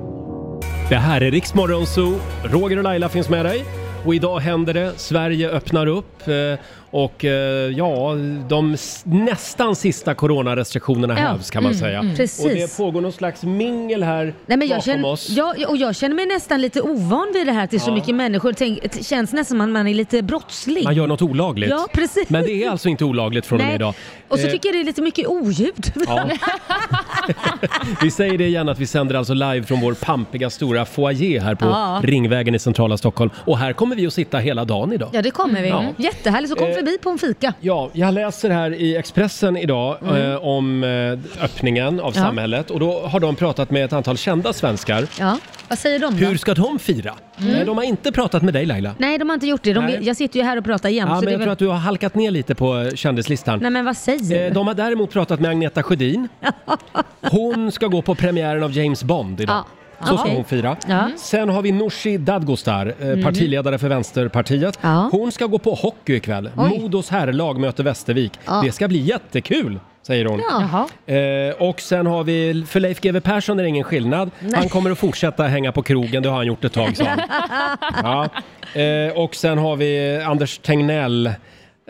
[SPEAKER 1] Det här är Riksmorgon Zoo. Roger och Laila finns med dig. Och idag händer det. Sverige öppnar upp. eh, Och eh, ja, de s- nästan sista coronarestriktionerna
[SPEAKER 4] Ja,
[SPEAKER 1] hävs kan man
[SPEAKER 4] mm,
[SPEAKER 1] säga.
[SPEAKER 4] mm.
[SPEAKER 1] Och
[SPEAKER 4] Precis.
[SPEAKER 1] det pågår någon slags mingel här
[SPEAKER 4] Nej, men jag
[SPEAKER 1] bakom
[SPEAKER 4] känner,
[SPEAKER 1] oss.
[SPEAKER 4] jag, och jag känner mig nästan lite ovan vid det här till så
[SPEAKER 1] Ja.
[SPEAKER 4] mycket människor. Tänk, det känns nästan som att man är lite brottslig.
[SPEAKER 1] Man gör något olagligt.
[SPEAKER 4] Ja, precis.
[SPEAKER 1] Men det är alltså inte olagligt från och med
[SPEAKER 4] Nej.
[SPEAKER 1] idag.
[SPEAKER 4] Och så
[SPEAKER 1] Eh,
[SPEAKER 4] tycker jag det är lite mycket oljud.
[SPEAKER 1] Ja. Vi säger det igen att vi sänder alltså live från vår pampiga stora foyer här på
[SPEAKER 4] Ja.
[SPEAKER 1] Ringvägen i centrala Stockholm. Och här kommer vi att sitta hela dagen idag.
[SPEAKER 4] [LAUGHS] Ja, det kommer vi.
[SPEAKER 1] Ja.
[SPEAKER 4] Jättehärligt, så kom
[SPEAKER 1] Eh,
[SPEAKER 4] förbi på en fika.
[SPEAKER 1] Ja, jag läser här i Expressen idag
[SPEAKER 4] Mm.
[SPEAKER 1] eh, om eh, öppningen av
[SPEAKER 4] Ja.
[SPEAKER 1] samhället och då har de pratat med ett antal kända svenskar.
[SPEAKER 4] Ja. Vad säger de då?
[SPEAKER 1] Hur ska de fira?
[SPEAKER 4] Mm.
[SPEAKER 1] Nej, de har inte pratat med dig Laila.
[SPEAKER 4] Nej, de har inte gjort det. De,
[SPEAKER 1] Nej.
[SPEAKER 4] jag sitter ju här och pratar jämt.
[SPEAKER 1] Ja,
[SPEAKER 4] så
[SPEAKER 1] men
[SPEAKER 4] det är
[SPEAKER 1] jag
[SPEAKER 4] väl...
[SPEAKER 1] tror att du har halkat ner lite på eh, kändislistan.
[SPEAKER 4] Nej, men vad säger
[SPEAKER 1] Eh,
[SPEAKER 4] du?
[SPEAKER 1] De har däremot pratat med Agneta
[SPEAKER 4] [LAUGHS]
[SPEAKER 1] Sjödin. Hon ska gå på premiären av James Bond idag.
[SPEAKER 4] Ja.
[SPEAKER 1] Så ska
[SPEAKER 4] Okej.
[SPEAKER 1] hon fira.
[SPEAKER 4] Ja.
[SPEAKER 1] Sen har vi Nooshi Dadgostar, eh,
[SPEAKER 4] Mm.
[SPEAKER 1] partiledare för Vänsterpartiet. Hon ska gå på hockey ikväll.
[SPEAKER 4] Oj.
[SPEAKER 1] Modos herrlag möter Västervik.
[SPEAKER 4] Ja.
[SPEAKER 1] Det ska bli jättekul! säger hon.
[SPEAKER 3] Jaha.
[SPEAKER 1] Eh, och sen har vi, för Leif GW Persson är det ingen skillnad. Han kommer att fortsätta hänga på krogen, det har han gjort ett tag så.
[SPEAKER 4] [LAUGHS]
[SPEAKER 1] Ja. Eh, och sen har vi Anders Tegnell.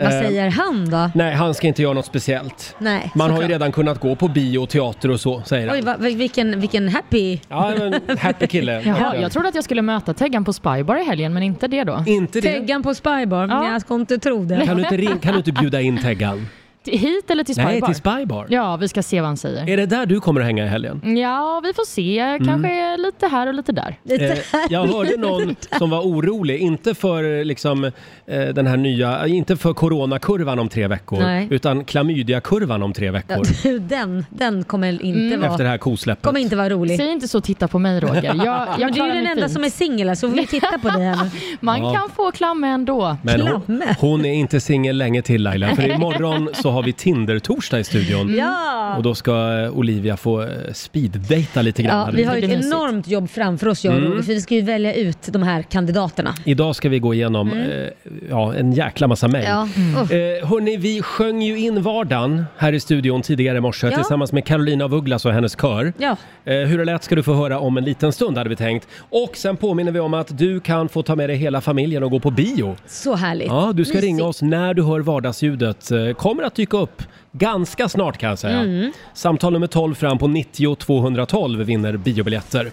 [SPEAKER 2] Vad
[SPEAKER 1] Eh,
[SPEAKER 2] säger han då?
[SPEAKER 1] Nej, han ska inte göra något speciellt.
[SPEAKER 2] Nej,
[SPEAKER 1] Man har ju
[SPEAKER 2] såklart.
[SPEAKER 1] redan kunnat gå på bio och teater och så, säger han.
[SPEAKER 2] Oj, vad, vilken, vilken happy...
[SPEAKER 1] Ja, men happy kille.
[SPEAKER 2] [LAUGHS]
[SPEAKER 3] Jaha,
[SPEAKER 1] verkligen.
[SPEAKER 3] jag trodde att jag skulle möta Teggan på Spybar i helgen, men inte det då.
[SPEAKER 1] Inte det?
[SPEAKER 2] Teggan på Spybar? Nej, jag ska inte tro det.
[SPEAKER 1] Kan du inte, ring, kan du inte bjuda in
[SPEAKER 2] [LAUGHS]
[SPEAKER 1] Teggan?
[SPEAKER 3] Hit eller till Spybar?
[SPEAKER 1] Nej, till Spybar.
[SPEAKER 3] Ja, vi ska se vad han säger.
[SPEAKER 1] Är det där du kommer att hänga i
[SPEAKER 2] [LAUGHS]
[SPEAKER 1] helgen?
[SPEAKER 3] Ja, vi får se. Kanske
[SPEAKER 1] Mm.
[SPEAKER 3] lite här och lite där.
[SPEAKER 1] Eh, jag hörde någon som var orolig, inte för liksom, eh, den här nya, eh, inte för coronakurvan om tre veckor,
[SPEAKER 2] Nej.
[SPEAKER 1] utan klamydiakurvan om tre veckor.
[SPEAKER 2] Ja, [LAUGHS] den, den kommer inte vara...
[SPEAKER 1] Mm. Efter det här kosläppet.
[SPEAKER 2] Kommer inte vara rolig.
[SPEAKER 3] Säg inte så, titta på
[SPEAKER 1] [LAUGHS]
[SPEAKER 3] mig Roger. Jag, jag
[SPEAKER 2] Men du är ju
[SPEAKER 3] klarar
[SPEAKER 2] den
[SPEAKER 3] mig
[SPEAKER 2] enda
[SPEAKER 3] fint.
[SPEAKER 2] som är singel här, så vi tittar på dig här nu.
[SPEAKER 3] Man
[SPEAKER 1] Ja.
[SPEAKER 3] kan få klamma ändå.
[SPEAKER 1] Men hon, hon är inte singel länge till Laila,
[SPEAKER 2] [LAUGHS]
[SPEAKER 1] för imorgon så har vi Tinder-torsdag i studion.
[SPEAKER 2] Ja.
[SPEAKER 1] Och då ska eh, Olivia få eh, speeddejta lite grann.
[SPEAKER 2] Ja,
[SPEAKER 1] här
[SPEAKER 2] vi har ju
[SPEAKER 1] ute.
[SPEAKER 2] ett enormt jobb framför oss jag och
[SPEAKER 1] Mm.
[SPEAKER 2] Roger, för vi ska ju välja ut de här kandidaterna.
[SPEAKER 1] Idag ska vi gå igenom
[SPEAKER 2] Mm.
[SPEAKER 1] eh, ja, en jäkla massa mejl.
[SPEAKER 2] Ja. Mm.
[SPEAKER 1] Eh, hörni, vi sjöng ju in vardagen här i studion tidigare i morse
[SPEAKER 2] Ja.
[SPEAKER 1] tillsammans med Carolina af Ugglas och hennes kör.
[SPEAKER 2] Ja.
[SPEAKER 1] Eh, hur det lät ska du få höra om en liten stund hade vi tänkt. Och sen påminner vi om att du kan få ta med dig hela familjen och gå på bio.
[SPEAKER 2] Så härligt.
[SPEAKER 1] Ja, du ska
[SPEAKER 2] Mysigt.
[SPEAKER 1] ringa oss när du hör vardagsljudet. Eh, Kommer att dyka upp ganska snart kan jag säga.
[SPEAKER 2] Mm.
[SPEAKER 1] Samtal nummer 12 fram på 90 212 vinner biobiljetter.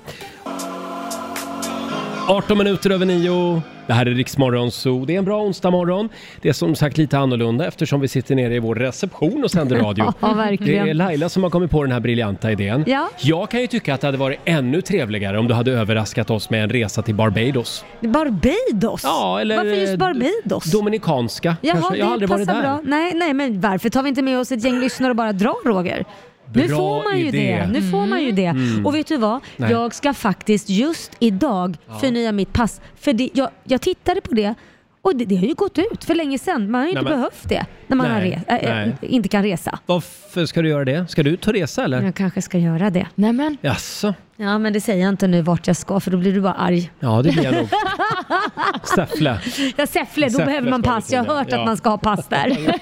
[SPEAKER 1] 18 minuter över 9. Det här är Riksmorgon Zoo. Det är en bra onsdagmorgon. Det är som sagt lite annorlunda eftersom vi sitter nere i vår reception och
[SPEAKER 2] [LAUGHS]
[SPEAKER 1] sänder radio.
[SPEAKER 2] Ja, verkligen.
[SPEAKER 1] Det är Laila som har kommit på den här briljanta idén.
[SPEAKER 2] Ja.
[SPEAKER 1] Jag kan ju tycka att det hade varit ännu trevligare om du hade överraskat oss med en resa till Barbados.
[SPEAKER 2] Barbados?
[SPEAKER 1] Ja, eller
[SPEAKER 2] varför just
[SPEAKER 1] eh,
[SPEAKER 2] Barbados?
[SPEAKER 1] Dominikanska.
[SPEAKER 2] Jaha,
[SPEAKER 1] kanske.
[SPEAKER 2] det
[SPEAKER 1] Jag har aldrig varit där.
[SPEAKER 2] passar Bra. Nej, nej, men varför tar vi inte med oss ett gäng lyssnare och bara drar Roger? nu
[SPEAKER 1] Bra
[SPEAKER 2] får man ju
[SPEAKER 1] idé.
[SPEAKER 2] det. Nu får man ju det.
[SPEAKER 1] Mm.
[SPEAKER 2] Och vet du vad?
[SPEAKER 1] Nej.
[SPEAKER 2] Jag ska faktiskt just idag
[SPEAKER 1] Ja.
[SPEAKER 2] förnya mitt pass. För det, jag, jag tittade på det och det, det har ju gått ut för länge sedan. Man har ju
[SPEAKER 1] Nej,
[SPEAKER 2] inte
[SPEAKER 1] men-
[SPEAKER 2] behövt det när man har
[SPEAKER 1] Nej,
[SPEAKER 2] re, äh, äh,
[SPEAKER 1] nej.
[SPEAKER 2] inte kan resa.
[SPEAKER 1] Varför ska du göra det? Ska du ut och resa eller?
[SPEAKER 2] Jag kanske ska göra det.
[SPEAKER 3] Nej, men.
[SPEAKER 1] Jaså?
[SPEAKER 2] Ja, men det säger jag inte nu vart jag ska för då blir du bara arg.
[SPEAKER 1] Ja, det blir jag
[SPEAKER 2] [LAUGHS]
[SPEAKER 1] nog. Säffle.
[SPEAKER 2] Ja, Säffle, då
[SPEAKER 1] Säffle
[SPEAKER 2] behöver man
[SPEAKER 1] ska vi
[SPEAKER 2] pass.
[SPEAKER 1] till,
[SPEAKER 2] Jag har
[SPEAKER 1] ja.
[SPEAKER 2] hört
[SPEAKER 1] Ja.
[SPEAKER 2] att man ska ha pass där.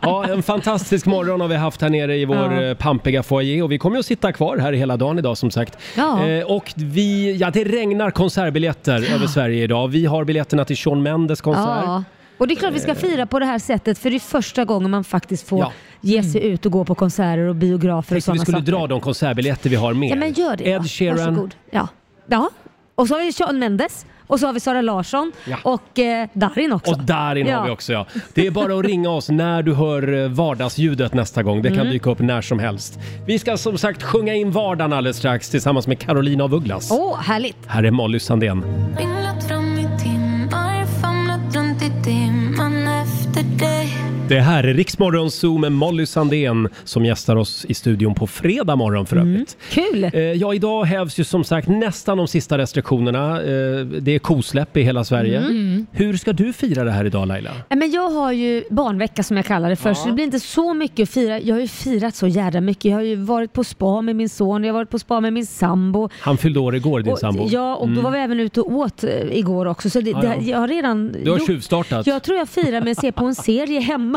[SPEAKER 1] Ja, en fantastisk morgon har vi haft här nere i vår
[SPEAKER 2] Ja.
[SPEAKER 1] eh, pampiga foyer och vi kommer ju att sitta kvar här hela dagen idag som sagt.
[SPEAKER 2] Ja.
[SPEAKER 1] Eh, och vi, ja det regnar konsertbiljetter över Sverige idag. Vi har biljetterna till Sean Mendes konsert.
[SPEAKER 2] Ja. Och det är klart vi ska fira på det här sättet för det är första gången man faktiskt får
[SPEAKER 1] Eh. Ja.
[SPEAKER 2] ge sig ut och gå på konserter och biografer och
[SPEAKER 1] Så vi
[SPEAKER 2] sådana
[SPEAKER 1] skulle
[SPEAKER 2] saker.
[SPEAKER 1] dra de konsertbiljetter vi har med.
[SPEAKER 2] Ja men gör det då.
[SPEAKER 1] Ed Sheeran.
[SPEAKER 2] Varsågod. Ja. ja. Och så har vi Sean Mendes och så har vi Sara Larsson
[SPEAKER 1] Ja.
[SPEAKER 2] och eh, Darin också.
[SPEAKER 1] Och Darin
[SPEAKER 2] Ja.
[SPEAKER 1] har vi också ja. Det är bara att ringa oss när du hör eh, vardagsljudet nästa gång. Det kan
[SPEAKER 2] Mm.
[SPEAKER 1] dyka upp när som helst. Vi ska som sagt sjunga in vardagen alldeles strax tillsammans med Carolina af Ugglas.
[SPEAKER 2] Åh, härligt!
[SPEAKER 1] Här är Molly Sandén.
[SPEAKER 7] Ringlat fram i timmar, famlat runt i dimman efter dig
[SPEAKER 1] Det här är Riksmorgon Zoo med Molly Sandén som gästar oss i studion på fredag morgon
[SPEAKER 2] Mm.
[SPEAKER 1] för övrigt.
[SPEAKER 2] Kul!
[SPEAKER 1] Eh, ja, idag hävs ju som sagt nästan de sista restriktionerna. Eh, det är kosläpp i hela Sverige.
[SPEAKER 2] Mm.
[SPEAKER 1] Hur ska du fira det här idag Laila?
[SPEAKER 2] Nej, Men jag har ju barnvecka som jag kallar det för, så det blir inte så mycket att fira. Jag har ju firat så jädra mycket. Jag har ju varit på spa med min son, jag har varit på spa med min sambo.
[SPEAKER 1] Han fyllde år igår din
[SPEAKER 2] Och-
[SPEAKER 1] sambo.
[SPEAKER 2] Ja, och då
[SPEAKER 1] Mm.
[SPEAKER 2] var vi även ute och åt eh, igår också. Så det,
[SPEAKER 1] Ja, ja.
[SPEAKER 2] det, jag har redan
[SPEAKER 1] Du har
[SPEAKER 2] gjort-
[SPEAKER 1] tjuvstartat.
[SPEAKER 2] Jag tror jag firar med att se på en
[SPEAKER 1] [LAUGHS]
[SPEAKER 2] serie hemma.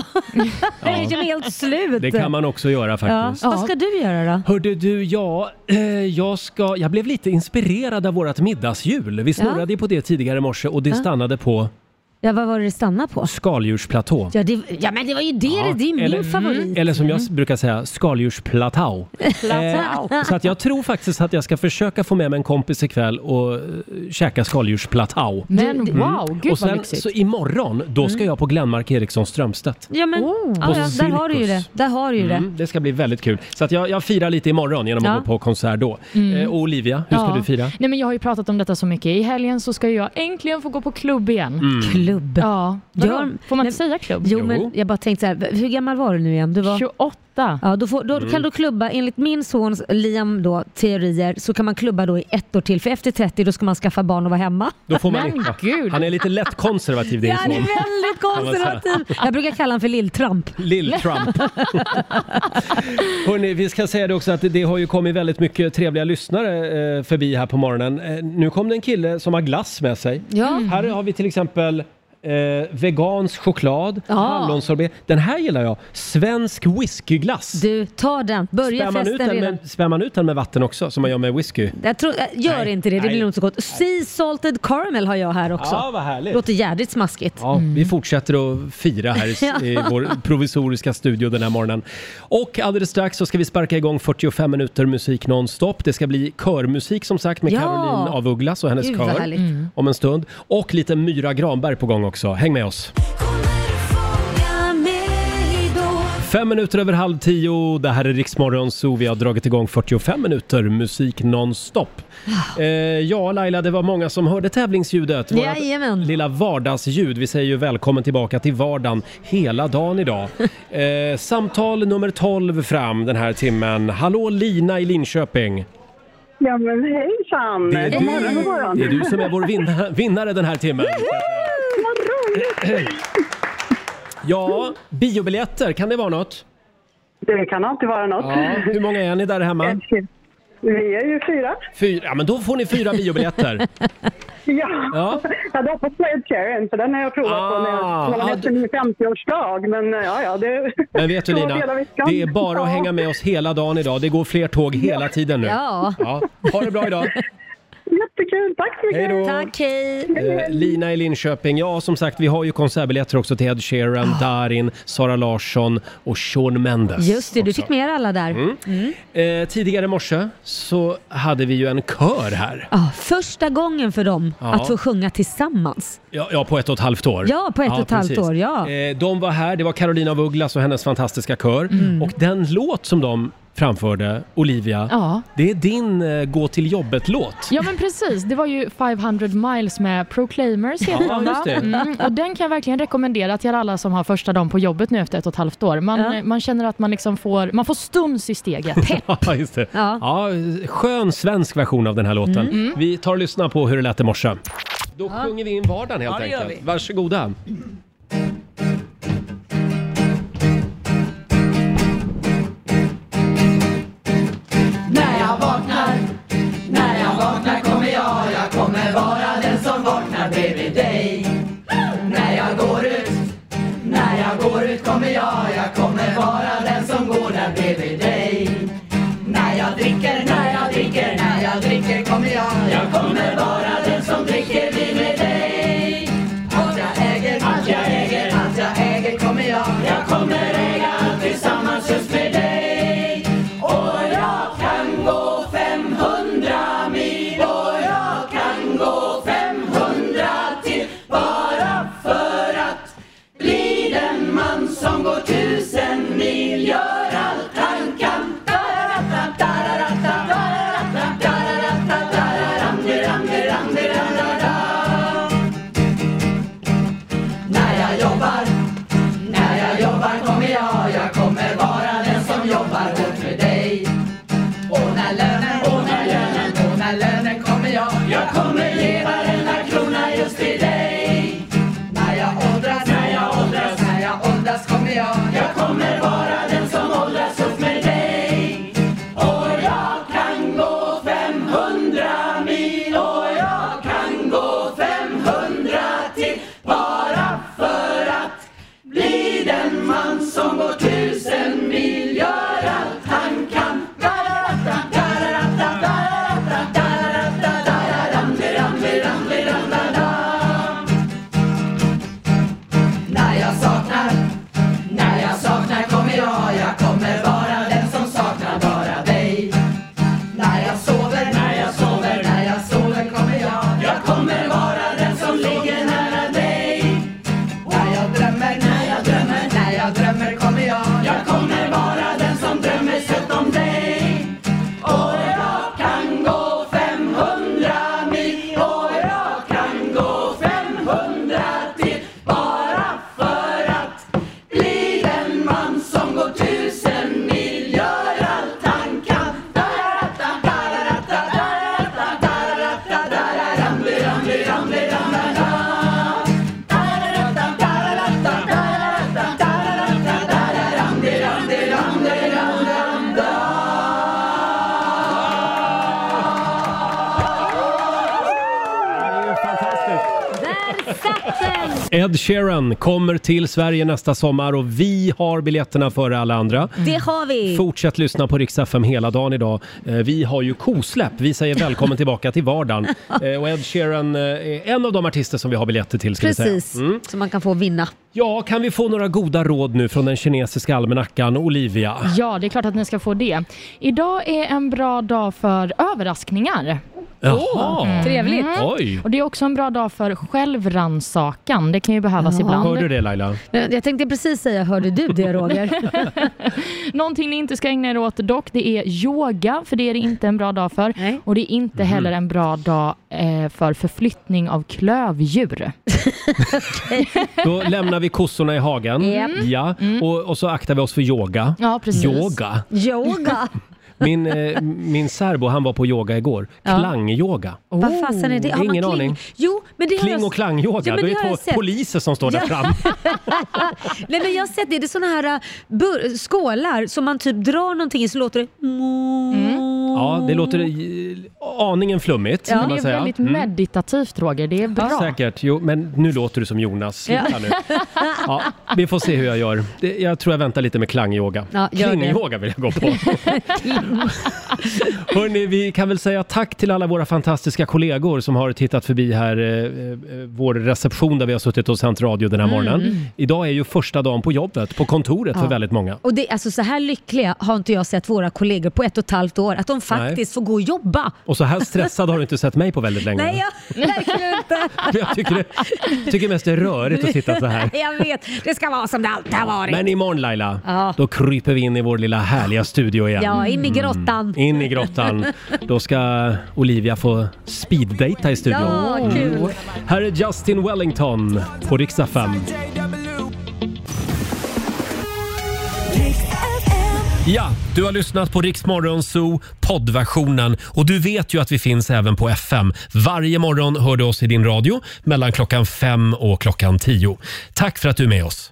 [SPEAKER 2] Jag är ju helt slut.
[SPEAKER 1] Det kan man också göra
[SPEAKER 2] ja.
[SPEAKER 1] faktiskt.
[SPEAKER 2] Vad ska du göra då?
[SPEAKER 1] Hörde du, ja, eh, jag, ska, jag blev lite inspirerad av vårt middagshjul. Vi snurrade ju på det tidigare i morse och det
[SPEAKER 2] Ja.
[SPEAKER 1] stannade på
[SPEAKER 2] Ja, vad var det du stannade på?
[SPEAKER 1] skaldjursplatå.
[SPEAKER 2] Ja, det, ja men det var ju det, det, det är min
[SPEAKER 1] eller,
[SPEAKER 2] favorit.
[SPEAKER 1] Mm, Eller som jag s- brukar säga, skaldjursplatå.
[SPEAKER 2] Platå.
[SPEAKER 1] så att jag tror faktiskt att jag ska försöka få med mig en kompis ikväll och eh, käka skaldjursplatå.
[SPEAKER 3] Men wow, Mm. gud vad
[SPEAKER 1] Mm. Och sen
[SPEAKER 3] lyxigt.
[SPEAKER 1] så imorgon, då ska
[SPEAKER 2] Mm.
[SPEAKER 1] jag på Glenmark Eriksson Strömstedt.
[SPEAKER 2] [LAUGHS] Ja, men
[SPEAKER 1] Oh. På
[SPEAKER 2] ja, ja, där har du ju det.
[SPEAKER 1] cirkus.
[SPEAKER 2] Där har du ju det.
[SPEAKER 1] Mm, det ska bli väldigt kul. Så att jag, jag firar lite imorgon genom att
[SPEAKER 3] Ja.
[SPEAKER 1] gå på konsert då.
[SPEAKER 3] Mm.
[SPEAKER 1] Eh, och Olivia, hur ska
[SPEAKER 3] Ja.
[SPEAKER 1] du fira?
[SPEAKER 3] Nej, men jag har ju pratat om detta så mycket. I helgen så ska jag äntligen få gå på klubb igen.
[SPEAKER 1] Mm.
[SPEAKER 2] Klubb?
[SPEAKER 3] Ja. Vadå?
[SPEAKER 2] Gör-
[SPEAKER 3] Får man inte säga klubb?
[SPEAKER 2] Jo, men jag bara tänkte så här, hur gammal var du nu igen? Du var...
[SPEAKER 3] 28.
[SPEAKER 2] Ja, då, får, då
[SPEAKER 3] Mm.
[SPEAKER 2] kan du klubba, enligt min sons Liam då, teorier, så kan man klubba då i ett år till. För efter 30 då ska man skaffa barn och vara hemma.
[SPEAKER 1] Då får man inte. Han är lite lätt konservativ din
[SPEAKER 2] Ja, det
[SPEAKER 1] son.
[SPEAKER 2] är väldigt
[SPEAKER 1] Kan man säga.
[SPEAKER 2] konservativ. Jag brukar kalla honom för Lill-Trump. [LAUGHS]
[SPEAKER 1] Lill-Trump. Hörrni, vi ska säga det också att det- det har ju kommit väldigt mycket trevliga lyssnare eh, förbi här på morgonen. Eh, Nu kom det en kille som har glass med sig.
[SPEAKER 2] Ja.
[SPEAKER 1] Här har vi till exempel eh, vegansk choklad,
[SPEAKER 2] Ja.
[SPEAKER 1] hallonsorbet. Den här gillar jag. Svensk whiskyglass.
[SPEAKER 2] Du, ta den. Börja
[SPEAKER 1] Spär man, ut
[SPEAKER 2] festen
[SPEAKER 1] den
[SPEAKER 2] redan.
[SPEAKER 1] med, spär man ut den med vatten också som man gör med whisky?
[SPEAKER 2] Jag tror, äh, gör inte det, det
[SPEAKER 1] nej.
[SPEAKER 2] blir nog inte så gott. Sea salted caramel har jag här också.
[SPEAKER 1] Ja, vad härligt.
[SPEAKER 2] Låter jädrigt smaskigt.
[SPEAKER 1] Ja, Vi fortsätter att fira här i- i
[SPEAKER 2] Mm. [LAUGHS] Ja.
[SPEAKER 1] vår provisoriska studio den här morgonen. Och alldeles strax så ska vi sparka igång 45 minuter musik nonstop. Det ska bli körmusik som sagt med
[SPEAKER 2] Ja.
[SPEAKER 1] Caroline av Ugglas och hennes
[SPEAKER 2] Gud, vad
[SPEAKER 1] kör
[SPEAKER 2] härligt. Mm.
[SPEAKER 1] om en stund. Och lite Myra Granberg på gång också. Häng med oss! Fem minuter över halv tio. Det här är Riksmorgon Zoo. Vi har dragit igång 45 minuter musik nonstop. Eh, ja, Laila, det var många som hörde tävlingsljudet. Vårat
[SPEAKER 2] Jajamän.
[SPEAKER 1] lilla vardagsljud. Vi säger ju välkommen tillbaka till vardagen hela dagen idag. Eh, samtal nummer 12 fram den här timmen. Hallå Lina i Linköping.
[SPEAKER 12] Ja men hejsan!
[SPEAKER 1] Det är,
[SPEAKER 12] God morgon, god morgon.
[SPEAKER 1] du, det är du som är vår vinna, vinnare den här timmen.
[SPEAKER 12] Vad roligt!
[SPEAKER 1] Ja, biobiljetter, kan det vara något?
[SPEAKER 12] Det kan alltid vara något.
[SPEAKER 1] Ja, hur många är ni där
[SPEAKER 12] Eh.
[SPEAKER 1] hemma?
[SPEAKER 12] Vi är ju fyra.
[SPEAKER 1] Fyra, ja, men då får ni fyra biobiljetter.
[SPEAKER 12] Ja, [LAUGHS]
[SPEAKER 1] Ja.
[SPEAKER 12] jag hade hoppats på Ed Sheeran för den har jag provat på när jag,
[SPEAKER 1] Ah,
[SPEAKER 12] när jag
[SPEAKER 1] ah,
[SPEAKER 12] efter min 50-årsdag. Men eh, ja, ja, det...
[SPEAKER 1] Men
[SPEAKER 12] [LAUGHS]
[SPEAKER 1] vet du
[SPEAKER 12] så
[SPEAKER 1] Lina,
[SPEAKER 12] hela veckan.
[SPEAKER 1] det är bara
[SPEAKER 12] Ja.
[SPEAKER 1] att hänga med oss hela dagen idag. Det går fler tåg hela tiden nu.
[SPEAKER 12] Ja.
[SPEAKER 1] Ha det bra idag.
[SPEAKER 12] Jättekul, tack så mycket!
[SPEAKER 1] Hej då.
[SPEAKER 2] Tack, hej!
[SPEAKER 1] Eh, Lina i Linköping. Ja, som sagt, vi har ju konsertbiljetter också till Ed Sheeran, Darin, Sara Larsson och Shawn Mendes.
[SPEAKER 2] Just det, du
[SPEAKER 1] också.
[SPEAKER 2] fick med er alla där.
[SPEAKER 1] Mm.
[SPEAKER 2] Mm.
[SPEAKER 1] Eh, tidigare i morse så hade vi ju en kör här.
[SPEAKER 2] Ja, första gången för dem
[SPEAKER 1] Ja.
[SPEAKER 2] att få sjunga tillsammans.
[SPEAKER 1] Ja, ja, på ett och ett halvt år.
[SPEAKER 2] Ja, på ett och ett halvt år, ja.
[SPEAKER 1] Eh, de var här, det var Carolina af Ugglas och hennes fantastiska kör.
[SPEAKER 2] Mm.
[SPEAKER 1] Och den låt som de framförde, Olivia,
[SPEAKER 3] Ja.
[SPEAKER 1] det är din eh, gå till jobbet-låt.
[SPEAKER 3] Ja men precis, det var ju 500 miles med Proclaimers heter
[SPEAKER 1] Ja,
[SPEAKER 3] de va?
[SPEAKER 1] just det.
[SPEAKER 3] Mm, och den kan jag verkligen rekommendera till alla som har första dagen på jobbet nu efter ett och ett halvt år. Man,
[SPEAKER 1] Ja.
[SPEAKER 3] eh, man känner att man liksom får, man får stuns
[SPEAKER 1] [LAUGHS]
[SPEAKER 3] i steget.
[SPEAKER 1] Ja, just det.
[SPEAKER 3] Ja.
[SPEAKER 1] Ja. skön svensk version av den här låten.
[SPEAKER 3] Mm.
[SPEAKER 1] Vi tar och lyssnar på hur det lät i morse. Då sjunger vi in vardagen helt
[SPEAKER 7] Ja, det gör
[SPEAKER 1] enkelt. Varsågoda.
[SPEAKER 7] När jag vaknar, när jag vaknar kommer jag Jag kommer vara den som vaknar bredvid dig När jag går ut, när jag går ut kommer jag Jag kommer vara den som går där bredvid dig När jag dricker, när jag dricker, när jag dricker kommer jag Jag kommer vara den som dricker vid med dig Att jag äger, att jag
[SPEAKER 1] Ed Sheeran kommer till Sverige nästa sommar och vi har biljetterna före alla andra.
[SPEAKER 2] Det har vi.
[SPEAKER 1] Fortsätt lyssna på Rix FM hela dagen idag. Eh, Vi har ju kosläpp. Vi säger välkommen tillbaka till vardagen. Eh, Och Ed Sheeran eh, är en av de artister som vi har biljetter till. Ska Vi
[SPEAKER 2] Precis,
[SPEAKER 1] säga. Mm.
[SPEAKER 2] så man kan få vinna.
[SPEAKER 1] Ja, kan vi få några goda råd nu från den kinesiska almanackan Olivia?
[SPEAKER 3] Ja, det är klart att ni ska få det. Idag är en bra dag för överraskningar.
[SPEAKER 1] Jaha. Åh, trevligt.
[SPEAKER 3] Mm.
[SPEAKER 1] Oj.
[SPEAKER 3] Och det är också en bra dag för självrannsakan. Det kan ju behövas ibland.
[SPEAKER 1] Hör du det Laila?
[SPEAKER 2] Mm. Jag tänkte precis säga, hörde du det Roger?
[SPEAKER 3] Någonting ni inte ska ägna er åt dock, det är yoga, för det är det inte en bra dag för. Och det är inte
[SPEAKER 1] Mhm.
[SPEAKER 3] heller en bra dag eh, för förflyttning av klövdjur.
[SPEAKER 1] Då lämnar vi kossorna i hagen.
[SPEAKER 3] Japp.
[SPEAKER 1] Ja.
[SPEAKER 2] Mm.
[SPEAKER 1] Och, och så aktar vi oss för yoga.
[SPEAKER 3] Ja, precis.
[SPEAKER 1] Yoga.
[SPEAKER 2] Yoga?
[SPEAKER 1] [LAUGHS] Min, eh, min särbo han var på yoga igår.
[SPEAKER 2] Ja. Oh,
[SPEAKER 1] Klangyoga.
[SPEAKER 2] Vad fasen är det? Har man
[SPEAKER 1] Oh, Ingen
[SPEAKER 2] kling?
[SPEAKER 1] aning.
[SPEAKER 2] Jo, men det har
[SPEAKER 1] Kling
[SPEAKER 2] jag-
[SPEAKER 1] och klangyoga.
[SPEAKER 2] Ja, men
[SPEAKER 1] Då
[SPEAKER 2] det har
[SPEAKER 1] är det
[SPEAKER 2] jag
[SPEAKER 1] två
[SPEAKER 2] sett.
[SPEAKER 1] poliser som står där
[SPEAKER 2] Ja.
[SPEAKER 1] fram.
[SPEAKER 2] [LAUGHS] Nej men jag har sett det, det är såna här äh, bur- skålar som man typ drar någonting i så låter det...
[SPEAKER 1] Ja,
[SPEAKER 2] Oh.
[SPEAKER 1] det låter eh, aningen flummigt.
[SPEAKER 3] Ja.
[SPEAKER 1] kan
[SPEAKER 3] Det
[SPEAKER 1] man
[SPEAKER 3] är
[SPEAKER 1] säga.
[SPEAKER 3] väldigt
[SPEAKER 1] Mm.
[SPEAKER 3] meditativt Roger, det är bra.
[SPEAKER 1] Säkert. Jo, men nu låter du som Jonas. Sluta
[SPEAKER 3] Ja.
[SPEAKER 1] nu. Ja, vi får se hur jag gör. Det- Jag tror jag väntar lite med klangyoga.
[SPEAKER 2] Ja, gör det.
[SPEAKER 1] Klingyoga vill jag gå på. Hörrni, vi kan väl säga tack till alla våra fantastiska kollegor som har tittat förbi här, eh, eh, vår reception där vi har suttit och sänt radio den här
[SPEAKER 2] Mm.
[SPEAKER 1] morgonen. Idag är ju första dagen på jobbet, på kontoret
[SPEAKER 2] Ja.
[SPEAKER 1] för väldigt många.
[SPEAKER 2] [LAUGHS] Och det, alltså, så här lyckliga har inte jag sett våra kollegor på ett och ett halvt år, att de faktiskt får gå och jobba.
[SPEAKER 1] Och så här stressad har du inte sett mig på väldigt länge.
[SPEAKER 2] Nej, jag, [LAUGHS] verkligen inte.
[SPEAKER 1] Jag tycker, det, tycker mest det är rörigt att sitta så här.
[SPEAKER 2] jag vet, det ska vara som det alltid har varit.
[SPEAKER 1] Men imorgon Laila,
[SPEAKER 2] Ja.
[SPEAKER 1] då kryper vi in i vår lilla härliga studio igen.
[SPEAKER 2] Ja, in i grottan.
[SPEAKER 1] Mm, in i grottan. Då ska Olivia få speeddata i studion.
[SPEAKER 2] Ja, kul.
[SPEAKER 1] Här är Justin Wellington på riksdag 5. Ja, du har lyssnat på Riksmorgon Zoo poddversionen och du vet ju att vi finns även på FM. Varje morgon hör du oss i din radio mellan klockan fem och klockan tio. Tack för att du är med oss.